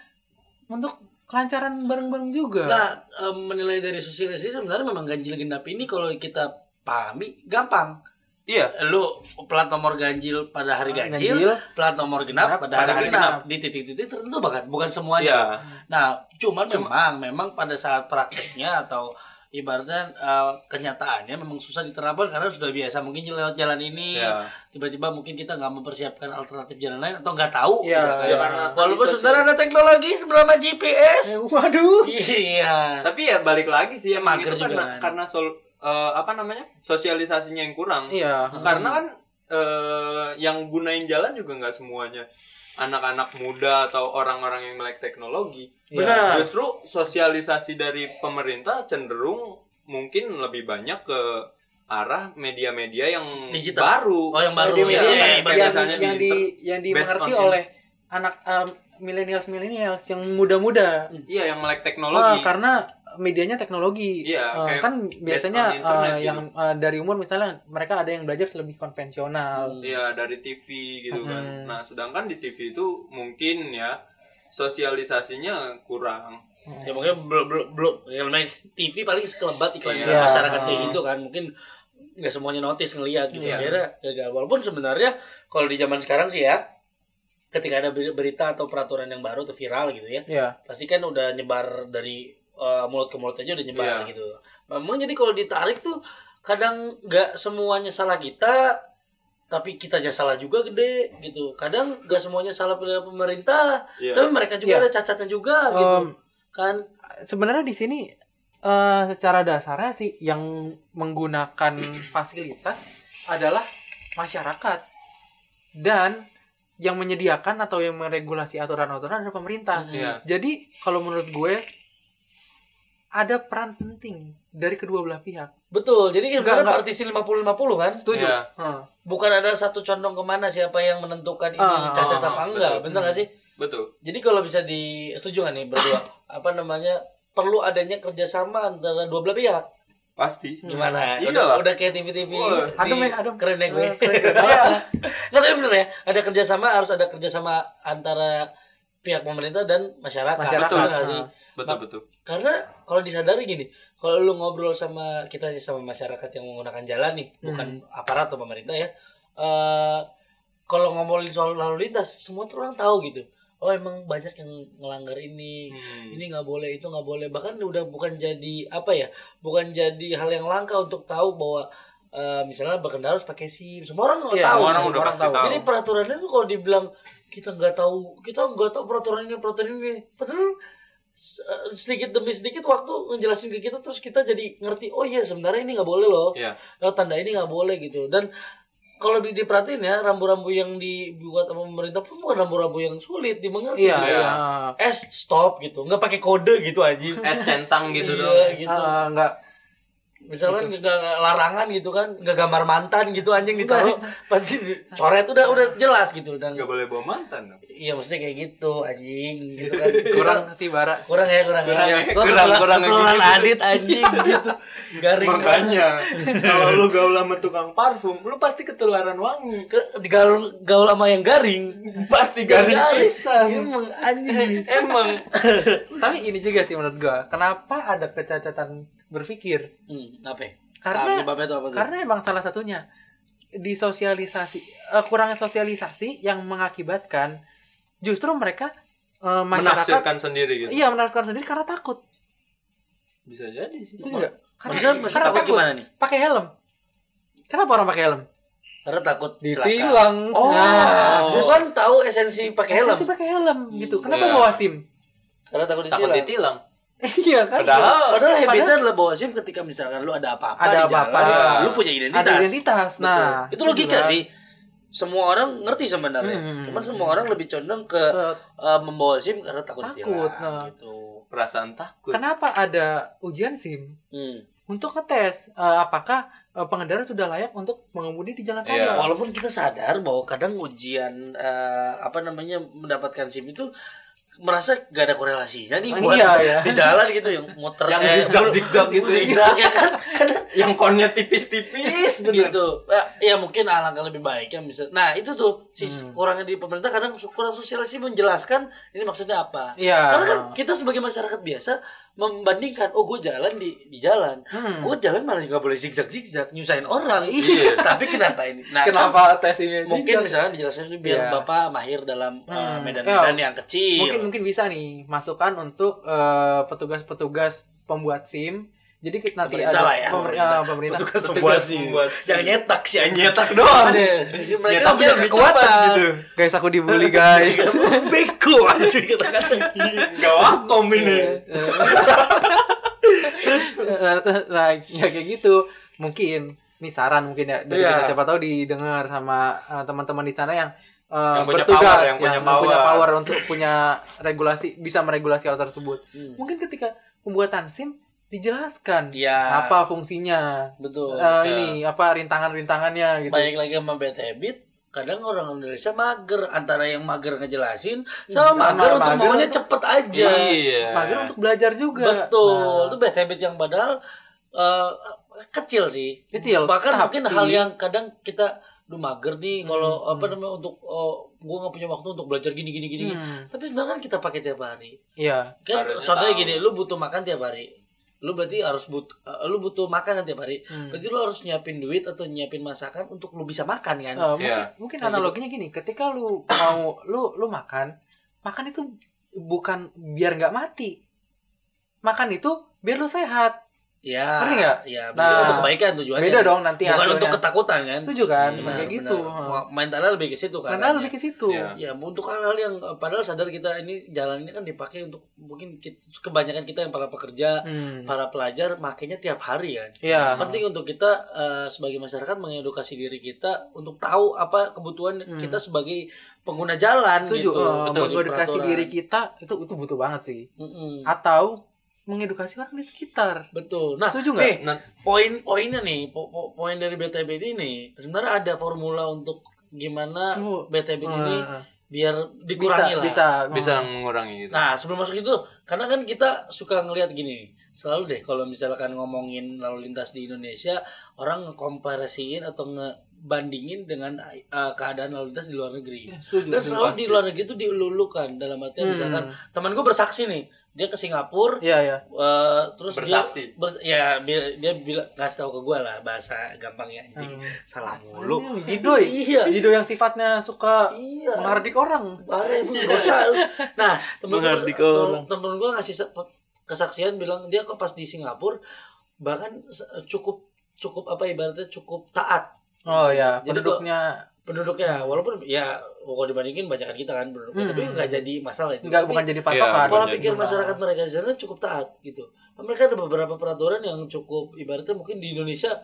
Speaker 1: untuk kelancaran bareng-bareng juga
Speaker 2: Nah, em, menilai dari sosialisasi sebenarnya memang ganjil genap ini kalau kita pahami gampang.
Speaker 3: Iya.
Speaker 2: Lu plat nomor ganjil pada hari ganjil, plat nomor genap
Speaker 1: Ah, Genap
Speaker 2: pada
Speaker 1: pada
Speaker 2: hari
Speaker 3: hari
Speaker 2: genap di titik-titik tertentu bahkan bukan
Speaker 3: Iya.
Speaker 2: semuanya. Nah, cuman memang memang pada saat prakteknya atau ibaratnya eh, kenyataannya memang susah diterapkan karena sudah biasa mungkin lewat jalan ini
Speaker 3: Iya.
Speaker 2: tiba-tiba mungkin kita nggak mempersiapkan alternatif jalan lain atau nggak tahu
Speaker 1: Iya,
Speaker 2: misalkan.
Speaker 1: iya.
Speaker 2: walaupun sebenarnya ada teknologi sebelum
Speaker 1: Eh,
Speaker 2: GPS
Speaker 1: waduh
Speaker 2: iya
Speaker 3: Tapi ya balik lagi sih emang
Speaker 2: Mager
Speaker 3: itu
Speaker 2: juga
Speaker 3: karena
Speaker 2: kan.
Speaker 3: karena sol- eh, apa namanya? sosialisasinya yang kurang.
Speaker 1: iya
Speaker 3: Karena kan eh, yang gunain jalan juga nggak semuanya anak-anak muda atau orang-orang yang melek teknologi.
Speaker 2: Iya. Benar.
Speaker 3: Justru sosialisasi dari pemerintah cenderung mungkin lebih banyak ke arah media-media yang
Speaker 2: Digital.
Speaker 3: baru.
Speaker 2: oh yang baru
Speaker 1: Media-
Speaker 2: ya,
Speaker 1: media-
Speaker 2: iya,
Speaker 3: ibarat
Speaker 1: yang,
Speaker 3: misalnya
Speaker 1: yang
Speaker 3: di-
Speaker 1: di yang dimengerti
Speaker 3: based on-
Speaker 1: oleh anak milenial milenial yang muda-muda
Speaker 3: Iya, yang melek
Speaker 1: Ah,
Speaker 3: teknologi.
Speaker 2: kan.
Speaker 1: karena medianya teknologi.
Speaker 3: Iya,
Speaker 1: Eh,
Speaker 3: kayak
Speaker 1: kan biasanya
Speaker 3: on internet
Speaker 1: eh,
Speaker 3: gitu.
Speaker 1: yang eh, dari umur misalnya mereka ada yang belajar lebih konvensional.
Speaker 3: Iya, dari TV gitu kan.
Speaker 1: Mm-mm.
Speaker 3: Nah, sedangkan di TV itu mungkin ya sosialisasinya kurang.
Speaker 2: ya mungkin belum belum belum Ya, yang namanya TV paling sekelebat iklan
Speaker 3: Iya.
Speaker 2: iklan masyarakat kayak gitu kan mungkin nggak semuanya notice ngelihat gitu
Speaker 3: Iya.
Speaker 2: akhirnya gagal walaupun sebenarnya kalau di zaman sekarang sih ya ketika ada ber- berita atau peraturan yang baru atau viral gitu ya
Speaker 1: Iya.
Speaker 2: pasti kan udah nyebar dari uh, mulut ke mulut aja udah nyebar
Speaker 3: Iya.
Speaker 2: gitu memang jadi kalau ditarik tuh kadang nggak semuanya salah kita tapi kita aja salah juga gede gitu kadang nggak semuanya salah pilihan pemerintah
Speaker 3: Iya.
Speaker 2: tapi mereka juga
Speaker 1: Iya.
Speaker 2: ada cacatnya juga gitu
Speaker 1: Em,
Speaker 2: kan
Speaker 1: sebenarnya di sini eh, secara dasarnya sih yang menggunakan fasilitas adalah masyarakat dan yang menyediakan atau yang meregulasi aturan-aturan adalah pemerintah.
Speaker 2: Mm.
Speaker 3: Iya.
Speaker 1: Jadi kalau menurut gue ada peran penting dari kedua belah pihak.
Speaker 2: Betul, jadi sebenarnya
Speaker 1: Enggak, enggak.
Speaker 2: partisi 50-50 kan?
Speaker 1: Setuju?
Speaker 3: Iya.
Speaker 1: Heeh.
Speaker 2: Bukan ada satu condong kemana siapa yang menentukan ini
Speaker 1: Ah,
Speaker 2: cacat
Speaker 3: ah,
Speaker 2: apa
Speaker 3: ah,
Speaker 2: enggak,
Speaker 3: betul.
Speaker 2: bener nggak sih?
Speaker 3: Betul.
Speaker 2: Jadi kalau bisa di setuju nggak nih berdua, apa namanya, perlu adanya kerjasama antara dua belah pihak.
Speaker 3: Pasti.
Speaker 2: Gimana?
Speaker 3: Iya
Speaker 2: udah,
Speaker 3: lah.
Speaker 2: udah kayak TV-TV.
Speaker 3: Wah,
Speaker 2: di-
Speaker 1: Adem ya, adem.
Speaker 2: Keren deh gue.
Speaker 1: Eh,
Speaker 2: *laughs*
Speaker 1: keren. Iya.
Speaker 2: Nggak, tapi bener ya. Ada kerjasama, harus ada kerjasama antara pihak pemerintah dan masyarakat.
Speaker 1: Masyarakat,
Speaker 2: Betul nggak
Speaker 1: nah.
Speaker 2: sih?
Speaker 3: Betul betul.
Speaker 2: Karena kalau disadari gini, kalau lu ngobrol sama kita sih sama masyarakat yang menggunakan jalan nih,
Speaker 1: Hmm.
Speaker 2: bukan aparat atau pemerintah ya. Eh kalau ngomongin soal lalu lintas, semua tuh orang tahu gitu. Oh emang banyak yang ngelanggar ini,
Speaker 1: Hmm.
Speaker 3: Hmm.
Speaker 2: ini nggak boleh itu nggak boleh bahkan udah bukan jadi apa ya bukan jadi hal yang langka untuk tahu bahwa eh, misalnya berkendara harus pakai sim semua orang nggak
Speaker 1: Iya,
Speaker 2: tahu
Speaker 3: semua orang
Speaker 2: gitu.
Speaker 3: udah pasti tahu.
Speaker 2: jadi peraturannya tuh kalau dibilang kita nggak tahu kita nggak tahu peraturan ini peraturan ini padahal se- eh, sedikit demi sedikit waktu ngejelasin ke kita terus kita jadi ngerti oh iya sebenarnya ini nggak boleh loh
Speaker 3: Iya.
Speaker 2: oh, tanda ini nggak boleh gitu dan kalau di- diperhatiin ya rambu-rambu yang dibuat sama pemerintah pun bukan rambu-rambu yang sulit dimengerti
Speaker 1: Iya,
Speaker 3: Iya.
Speaker 1: iya.
Speaker 2: S stop gitu nggak pakai kode gitu anjing
Speaker 3: Es centang gitu
Speaker 2: Iya,
Speaker 3: dong.
Speaker 2: gitu.
Speaker 1: Ah, enggak.
Speaker 2: misalkan nggak nggak larangan gitu kan nggak gambar mantan gitu anjing ditaruh pasti coret udah udah jelas gitu dan
Speaker 3: Gak boleh bawa mantan. dong.
Speaker 2: iya maksudnya kayak gitu anjing gitu kan
Speaker 1: Kurang sih bara.
Speaker 2: kurang ya kurang ya Gua
Speaker 3: kurang,
Speaker 2: ketulan-
Speaker 3: kurang kayak
Speaker 2: ketulan
Speaker 3: gitu.
Speaker 2: adit anjing gitu garing
Speaker 3: Makanya kalau lu gaul sama tukang parfum, lu pasti ketularan wangi.
Speaker 2: Ke- gaul gaul sama yang garing
Speaker 3: Pasti garing pisan.
Speaker 2: emang anjing
Speaker 3: Emang.
Speaker 1: Tapi ini juga sih menurut gua, kenapa ada kecacatan berpikir?
Speaker 2: *laughs* hmm, apa ya?
Speaker 1: Karena-
Speaker 2: Ah, penyebabnya tuh apa tuh?
Speaker 1: Karena emang salah satunya disosialisasi eh, kurang sosialisasi yang mengakibatkan justru mereka eh, masyarakat
Speaker 3: *laughs* Menafsirkan sendiri gitu.
Speaker 1: iya menafsirkan sendiri karena takut.
Speaker 3: Bisa jadi sih.
Speaker 1: Itu juga. Karena,
Speaker 2: maksudnya, maksudnya
Speaker 1: karena
Speaker 2: takut
Speaker 1: takut.
Speaker 2: gimana nih
Speaker 1: Pakai helm. Kenapa orang pakai helm?
Speaker 2: karena takut celaka.
Speaker 1: Ditilang.
Speaker 2: oh
Speaker 1: Nah,
Speaker 2: bukan tahu esensi pakai helm
Speaker 1: Pasti pakai helm gitu. Kenapa
Speaker 3: iya.
Speaker 1: bawa SIM? *laughs*
Speaker 2: karena takut
Speaker 3: Takut
Speaker 2: ditilang
Speaker 3: ditilang. Oh,
Speaker 1: iya kan?
Speaker 3: Padahal
Speaker 2: Padahal habitnya
Speaker 1: Padahal-
Speaker 2: adalah bawa SIM ketika misalkan lu ada apa-apa
Speaker 1: Ada
Speaker 2: di jalan, ya.
Speaker 1: apa-apa.
Speaker 3: Iya.
Speaker 2: lu punya identitas.
Speaker 1: Ada identitas.
Speaker 2: Betul.
Speaker 1: Nah,
Speaker 2: itu logika
Speaker 1: juga.
Speaker 2: sih. Semua orang ngerti sebenarnya.
Speaker 1: Hmm.
Speaker 2: Cuman semua orang lebih condong ke
Speaker 1: Eh,
Speaker 2: eh, membawa SIM karena takut,
Speaker 1: Takut,
Speaker 2: ditilang
Speaker 1: nah.
Speaker 2: gitu.
Speaker 3: perasaan takut.
Speaker 1: Kenapa ada ujian SIM?
Speaker 2: Hmm.
Speaker 1: untuk ngetes eh, apakah eh, pengendara sudah layak untuk mengemudi di jalan
Speaker 3: Iya.
Speaker 1: raya.
Speaker 2: Nah, Walaupun kita sadar bahwa kadang ujian eh, apa namanya mendapatkan SIM itu merasa gak ada korelasinya nih
Speaker 1: Oh,
Speaker 2: buat
Speaker 1: iya, ya.
Speaker 2: di jalan gitu yang muter
Speaker 3: Yang
Speaker 2: eh,
Speaker 3: zigzag zigzag gitu.
Speaker 2: zigzag, ya kan Kadang-
Speaker 3: Yang konnya tipis-tipis bener.
Speaker 2: gitu Eh, ya mungkin alangkah lebih baik ya bisa nah itu tuh si
Speaker 1: Hmm.
Speaker 2: kurangnya di pemerintah kadang su- kurang sosialisasi menjelaskan ini maksudnya apa
Speaker 1: Iya.
Speaker 2: karena kan kita sebagai masyarakat biasa membandingkan oh gue jalan di di jalan
Speaker 1: Hmm.
Speaker 2: gue jalan malah nggak boleh zigzag zigzag nyusahin orang
Speaker 3: Iya.
Speaker 2: *laughs* tapi kenapa ini nah
Speaker 1: Kenapa tes ini?
Speaker 2: kan mungkin misalnya dijelasin biar
Speaker 1: Iya.
Speaker 2: bapak mahir dalam eh,
Speaker 1: Hmm.
Speaker 2: medan-medan
Speaker 1: Iya.
Speaker 2: yang kecil
Speaker 1: mungkin mungkin bisa nih masukan untuk eh, petugas-petugas pembuat SIM. Jadi kita nanti
Speaker 2: Pemerintah
Speaker 1: ada
Speaker 2: lah ya,
Speaker 1: pemer-
Speaker 2: pemerintah.
Speaker 1: eh, pemerintah.
Speaker 2: petugas
Speaker 3: Petugas
Speaker 2: pembuat sih
Speaker 3: pembuat sih.
Speaker 1: *laughs*
Speaker 2: yang nyetak sih yang nyetak
Speaker 3: doang.
Speaker 1: Iya.
Speaker 2: mereka
Speaker 3: Nyetaknya
Speaker 2: punya
Speaker 3: lebih
Speaker 2: kekuatan
Speaker 3: cepat gitu.
Speaker 1: Guys, aku dibully, guys.
Speaker 2: *laughs* beko anjing kata-kata
Speaker 1: Iya.
Speaker 3: Gak wakom
Speaker 2: Iya.
Speaker 3: ini.
Speaker 1: nah, terus, nah, ya kayak gitu. Mungkin ini saran mungkin ya dari
Speaker 2: Iya.
Speaker 1: kita siapa tahu didengar sama eh, teman-teman di sana yang eh,
Speaker 3: Yang punya
Speaker 1: bertugas
Speaker 3: power, yang punya power.
Speaker 1: power untuk punya regulasi bisa meregulasi hal tersebut.
Speaker 2: Hmm.
Speaker 1: Mungkin ketika pembuatan SIM dijelaskan
Speaker 2: Iya.
Speaker 1: apa fungsinya.
Speaker 2: Betul. Iya.
Speaker 1: eh, ini apa rintangan-rintangannya gitu.
Speaker 2: Baik lagi sama bad habit, kadang orang Indonesia mager antara yang mager ngejelasin sama mager
Speaker 1: Sama
Speaker 2: untuk
Speaker 1: mager
Speaker 2: maunya
Speaker 1: untuk-
Speaker 2: cepet aja.
Speaker 3: Iya.
Speaker 1: Mager Nah, untuk belajar juga.
Speaker 2: Betul.
Speaker 1: Nah,
Speaker 2: Itu bad habit yang padahal eh, kecil sih.
Speaker 1: Kecil,
Speaker 2: Bahkan
Speaker 1: tapi-
Speaker 2: mungkin hal yang kadang kita lu mager nih kalau apa namanya untuk eh, gua nggak punya waktu untuk belajar gini gini gini.
Speaker 1: Hmm.
Speaker 2: Tapi sebenarnya kan kita pakai tiap hari.
Speaker 1: iya.
Speaker 2: Kan
Speaker 3: Harusnya
Speaker 2: contohnya
Speaker 3: tahu.
Speaker 2: gini, lu butuh makan tiap hari. Lu berarti harus butuh lu butuh makanan tiap hari.
Speaker 1: Hmm.
Speaker 2: Berarti kan, lu harus nyiapin duit atau nyiapin masakan untuk lu bisa makan kan?
Speaker 1: Eh, mungkin,
Speaker 3: Iya.
Speaker 1: mungkin
Speaker 2: Kayak gitu.
Speaker 1: analoginya gini, ketika lu mau lu lu makan, makan itu bukan biar nggak mati. Makan itu biar lu sehat.
Speaker 2: Iya.
Speaker 1: Ngerti nggak?
Speaker 2: Iya,
Speaker 1: Nah,
Speaker 2: betul. untuk kebaikan tujuannya.
Speaker 1: Beda dong nanti
Speaker 2: Bukan
Speaker 1: hasilnya.
Speaker 2: untuk ketakutan kan?
Speaker 1: Setuju kan?
Speaker 2: Benar,
Speaker 1: kayak
Speaker 2: benar.
Speaker 1: gitu.
Speaker 2: Wah, Mentalnya lebih ke situ kan.
Speaker 1: Karena lebih ke situ.
Speaker 3: Iya.
Speaker 2: Ya, untuk hal-hal yang eh, padahal sadar kita ini jalan ini kan dipakai untuk mungkin kit- kebanyakan kita yang para pekerja,
Speaker 1: Hmm.
Speaker 2: para pelajar makainya tiap hari kan.
Speaker 1: Iya.
Speaker 2: Penting untuk kita eh, sebagai masyarakat mengedukasi diri kita untuk tahu apa kebutuhan kita sebagai pengguna jalan
Speaker 1: Hmm. Setuju.
Speaker 2: gitu.
Speaker 1: Eh,
Speaker 2: Betul,
Speaker 1: mengedukasi
Speaker 2: peraturan. Hmm.
Speaker 1: diri kita itu itu butuh banget sih.
Speaker 2: Mm-mm.
Speaker 1: Atau mengedukasi orang di sekitar.
Speaker 2: Betul. Nah,
Speaker 1: Setuju nggak?
Speaker 2: nih, poin-poinnya nih, po- po- poin dari BTB ini sebenarnya ada formula untuk gimana
Speaker 1: Oh.
Speaker 2: BTB ini
Speaker 1: Eh,
Speaker 2: biar dikurangi
Speaker 1: bisa,
Speaker 2: lah.
Speaker 3: Bisa
Speaker 1: bisa
Speaker 3: mengurangi gitu.
Speaker 2: Nah, sebelum masuk itu, karena kan kita suka ngelihat gini, selalu deh kalau misalkan ngomongin lalu lintas di Indonesia orang ngekomparasiin atau ngebandingin dengan eh, keadaan lalu lintas di luar negeri.
Speaker 1: Iya, Setuju.
Speaker 2: Dan selalu di luar negeri itu dilulukan dalam artian
Speaker 1: Hmm.
Speaker 2: misalkan teman gue bersaksi nih dia ke Singapura
Speaker 1: Iya, iya.
Speaker 2: eh, terus dia
Speaker 3: Bersaksi.
Speaker 2: bers- ya dia, dia bilang kasih tahu ke gue lah bahasa gampangnya anjing
Speaker 1: Hmm.
Speaker 2: salah mulu
Speaker 1: Hmm, Jidoy.
Speaker 2: *laughs* iya
Speaker 1: Jidoy yang sifatnya suka
Speaker 2: iya
Speaker 1: menghardik orang.
Speaker 2: Bare,
Speaker 4: *laughs*
Speaker 2: bu, dosa lu. Nah, temen
Speaker 4: Menghardik
Speaker 2: gue
Speaker 4: orang.
Speaker 2: temen gue ngasih se- pe- kesaksian bilang dia kok pas di Singapura bahkan se- cukup cukup apa ibaratnya cukup taat
Speaker 1: Oh iya,
Speaker 2: Jadi
Speaker 1: penduduknya
Speaker 2: penduduknya walaupun ya kalau dibandingin banyakan kita kan penduduknya
Speaker 1: Hmm.
Speaker 2: tapi nggak jadi masalah itu.
Speaker 1: enggak
Speaker 2: Tapi
Speaker 1: bukan jadi
Speaker 3: Iya,
Speaker 1: patokan.
Speaker 2: pola
Speaker 3: jadi
Speaker 2: pikir
Speaker 1: masalah.
Speaker 2: masyarakat mereka di sana cukup taat gitu. Mereka ada beberapa peraturan yang cukup ibaratnya mungkin di Indonesia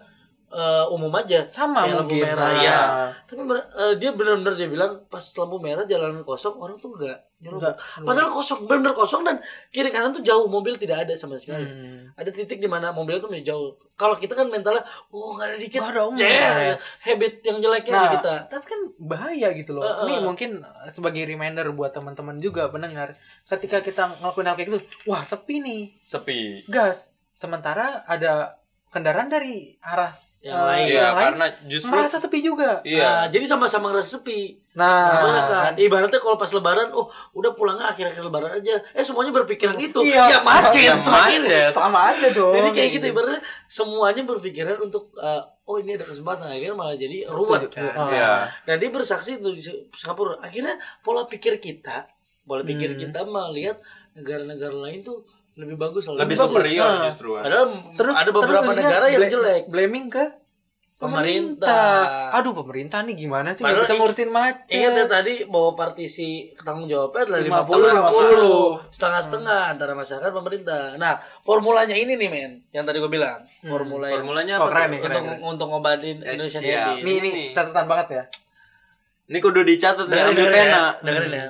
Speaker 2: eh, umum aja
Speaker 1: sama
Speaker 2: Kayak lampu
Speaker 1: mungkin.
Speaker 2: merah,
Speaker 1: Nah,
Speaker 2: iya. tapi mer- eh, dia benar-benar dia bilang pas lampu merah jalanan kosong orang tuh nggak nyerobot
Speaker 1: Enggak.
Speaker 2: Padahal kosong, benar-benar kosong dan kiri kanan tuh jauh, mobil tidak ada sama sekali.
Speaker 1: Hmm.
Speaker 2: Ada titik di mana mobil tuh masih jauh. Kalau kita kan mentalnya, oh nggak ada dikit,
Speaker 1: Nggak ada, om.
Speaker 2: yeah, habit yang jeleknya aja
Speaker 1: Nah,
Speaker 2: kita.
Speaker 1: tapi kan bahaya gitu
Speaker 2: Eh,
Speaker 1: loh.
Speaker 2: eh.
Speaker 1: Ini mungkin uh, sebagai reminder buat teman-teman juga pendengar. Ketika kita ngelakuin hal kayak gitu, wah sepi nih,
Speaker 3: sepi
Speaker 1: gas. Sementara ada kendaraan dari arah
Speaker 2: Yang
Speaker 1: uh,
Speaker 2: lain.
Speaker 3: Iya,
Speaker 1: yang lain
Speaker 3: karena justru
Speaker 1: merasa sepi juga.
Speaker 2: Nah,
Speaker 3: iya
Speaker 2: jadi sama-sama ngerasa sepi.
Speaker 1: Nah,
Speaker 2: Gimana kan? Ibaratnya kalau pas lebaran, oh udah pulangnya akhir-akhir lebaran aja. Eh semuanya berpikiran itu.
Speaker 1: Iya. Oh,
Speaker 2: Ya macet.
Speaker 3: Ya,
Speaker 2: terakhir.
Speaker 3: macet.
Speaker 1: sama aja dong.
Speaker 2: Jadi kayak gitu ibaratnya semuanya berpikiran untuk eh, oh ini ada kesempatan akhirnya malah jadi ruwet
Speaker 1: Setuju.
Speaker 2: kan.
Speaker 1: Ah.
Speaker 3: Iya.
Speaker 2: Nah dia bersaksi itu di Singapura. Akhirnya pola pikir kita, pola pikir
Speaker 1: Hmm.
Speaker 2: kita melihat negara-negara lain tuh lebih bagus lah.
Speaker 3: lebih
Speaker 1: Bagus,
Speaker 3: superior
Speaker 1: nah.
Speaker 3: justru kan.
Speaker 2: Padahal
Speaker 1: Terus
Speaker 2: ada beberapa
Speaker 1: terus
Speaker 2: negara
Speaker 1: jadinya
Speaker 2: yang
Speaker 1: bla-
Speaker 2: jelek.
Speaker 1: Blaming ke
Speaker 2: Pemerintah.
Speaker 1: Aduh pemerintah nih gimana sih
Speaker 2: Padahal
Speaker 1: nggak bisa
Speaker 2: ingat-
Speaker 1: ngurusin macet.
Speaker 2: Ingat ya tadi bahwa partisi tanggung jawabnya adalah
Speaker 1: 50,
Speaker 2: 50, setengah-setengah antara masyarakat pemerintah. Nah, formulanya ini nih men, yang tadi gue bilang,
Speaker 1: Hmm,
Speaker 2: formula yang
Speaker 3: Formulanya
Speaker 1: Oh,
Speaker 3: apa? tuh?
Speaker 1: keren nih,
Speaker 2: untuk
Speaker 1: keren. keren.
Speaker 2: untuk ngobatin
Speaker 3: Eh,
Speaker 2: Indonesia
Speaker 3: siap.
Speaker 2: Derby.
Speaker 1: Nih nih
Speaker 3: Ini.
Speaker 1: catatan banget ya.
Speaker 4: Ini kudu dicatat dan
Speaker 2: dengerin
Speaker 4: ambil
Speaker 2: dengerin ya,
Speaker 4: pena.
Speaker 2: dengerin ya.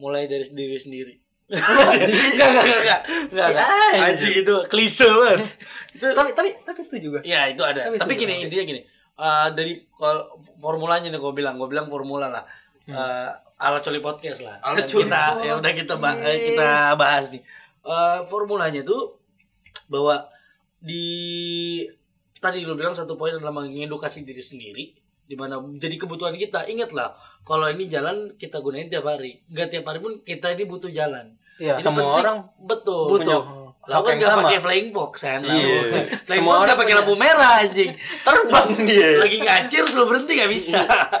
Speaker 2: Mulai dari diri sendiri. Enggak enggak enggak enggak. Enggak enggak. Anjing itu klise banget. itu
Speaker 1: Tapi tapi tapi setuju gue.
Speaker 2: ya itu ada.
Speaker 1: Tapi
Speaker 2: Tapi
Speaker 1: setuju,
Speaker 2: gini
Speaker 1: oke.
Speaker 2: intinya gini. Eh, dari kalau formulanya nih gue bilang, gue bilang formula lah.
Speaker 1: Hmm.
Speaker 2: Eh, ala coli podcast lah.
Speaker 3: Ala
Speaker 2: Yang
Speaker 3: Coli
Speaker 2: kita yang udah kita bah- eh, kita bahas nih. Eh, formulanya tuh bahwa di tadi lu bilang satu poin adalah mengedukasi diri sendiri di mana jadi kebutuhan kita ingatlah kalau ini jalan kita gunain tiap hari nggak tiap hari pun kita ini butuh jalan
Speaker 1: Iya.
Speaker 2: Jadi
Speaker 4: Semua
Speaker 2: penting-
Speaker 4: orang
Speaker 2: betul
Speaker 1: Butuh.
Speaker 2: Lalu kan
Speaker 4: Yang
Speaker 2: nggak
Speaker 4: sama.
Speaker 2: pakai flying box kan lalu.
Speaker 3: Iya.
Speaker 2: *laughs*
Speaker 4: Semua
Speaker 2: flying box nggak
Speaker 4: orang Iya.
Speaker 2: pakai lampu merah anjing
Speaker 4: Terbang *laughs* dia.
Speaker 2: lagi ngacir selalu berhenti nggak bisa
Speaker 4: Iya.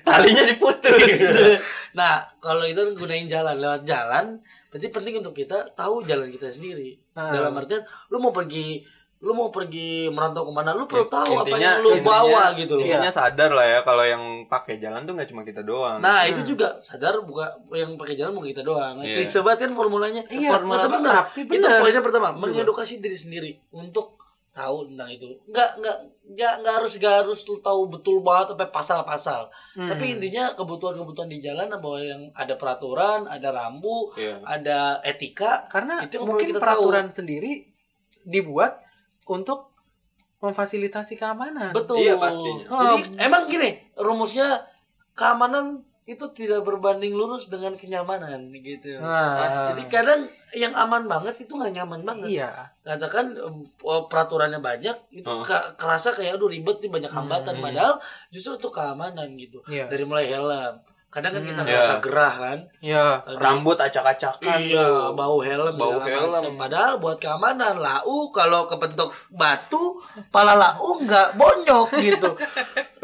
Speaker 4: Talinya diputus.
Speaker 2: *laughs* nah kalau itu kan gunain jalan lewat jalan berarti penting untuk kita tahu jalan kita sendiri
Speaker 1: Ah.
Speaker 2: dalam artian lu mau pergi lu mau pergi merantau kemana lu
Speaker 4: Iya.
Speaker 2: perlu tahu apa
Speaker 3: Intinya-
Speaker 2: yang lu
Speaker 3: intinya-
Speaker 2: bawa gitu loh
Speaker 3: Intinya sadar lah ya kalau yang pakai jalan tuh nggak cuma kita doang.
Speaker 2: Nah itu juga sadar buka yang pakai jalan bukan kita doang.
Speaker 3: Iya.
Speaker 2: Klise banget kan formulanya.
Speaker 1: Iya,
Speaker 2: Formula
Speaker 1: tapi
Speaker 2: tapi
Speaker 1: benar.
Speaker 2: benar. Itu
Speaker 1: Benar.
Speaker 2: poinnya pertama, mengedukasi diri sendiri untuk tahu tentang itu. Enggak enggak enggak enggak harus enggak harus lu tahu betul banget sampai pasal-pasal.
Speaker 1: Hmm.
Speaker 2: Tapi intinya kebutuhan-kebutuhan di jalan bahwa yang ada peraturan, ada rambu,
Speaker 3: Iya.
Speaker 2: ada etika.
Speaker 1: karena
Speaker 2: Itu yang
Speaker 1: mungkin
Speaker 2: perlu kita
Speaker 1: peraturan sendiri dibuat untuk memfasilitasi keamanan.
Speaker 2: Betul.
Speaker 3: Iya, pastinya.
Speaker 2: Jadi
Speaker 1: Oh.
Speaker 2: emang gini, rumusnya keamanan itu tidak berbanding lurus dengan kenyamanan gitu.
Speaker 1: Nah,
Speaker 2: Jadi kadang yang aman banget itu nggak nyaman banget.
Speaker 1: iya.
Speaker 2: Katakan em, eh, peraturannya banyak, itu
Speaker 3: Oh.
Speaker 2: ke- kerasa kayak aduh ribet nih banyak hambatan.
Speaker 3: Hmm.
Speaker 2: Padahal justru itu keamanan gitu.
Speaker 1: Iya.
Speaker 2: Dari mulai helm, kadang kan kita
Speaker 1: Hmm.
Speaker 2: nggak
Speaker 3: Iya.
Speaker 2: usah gerah kan.
Speaker 1: Iya.
Speaker 2: Aduh,
Speaker 4: Rambut acak-acakan.
Speaker 2: Iya, bau helm
Speaker 3: Bau
Speaker 2: segala
Speaker 3: helm.
Speaker 2: macam. Padahal buat keamanan lau kalau kepentok batu, pala lau nggak bonyok gitu.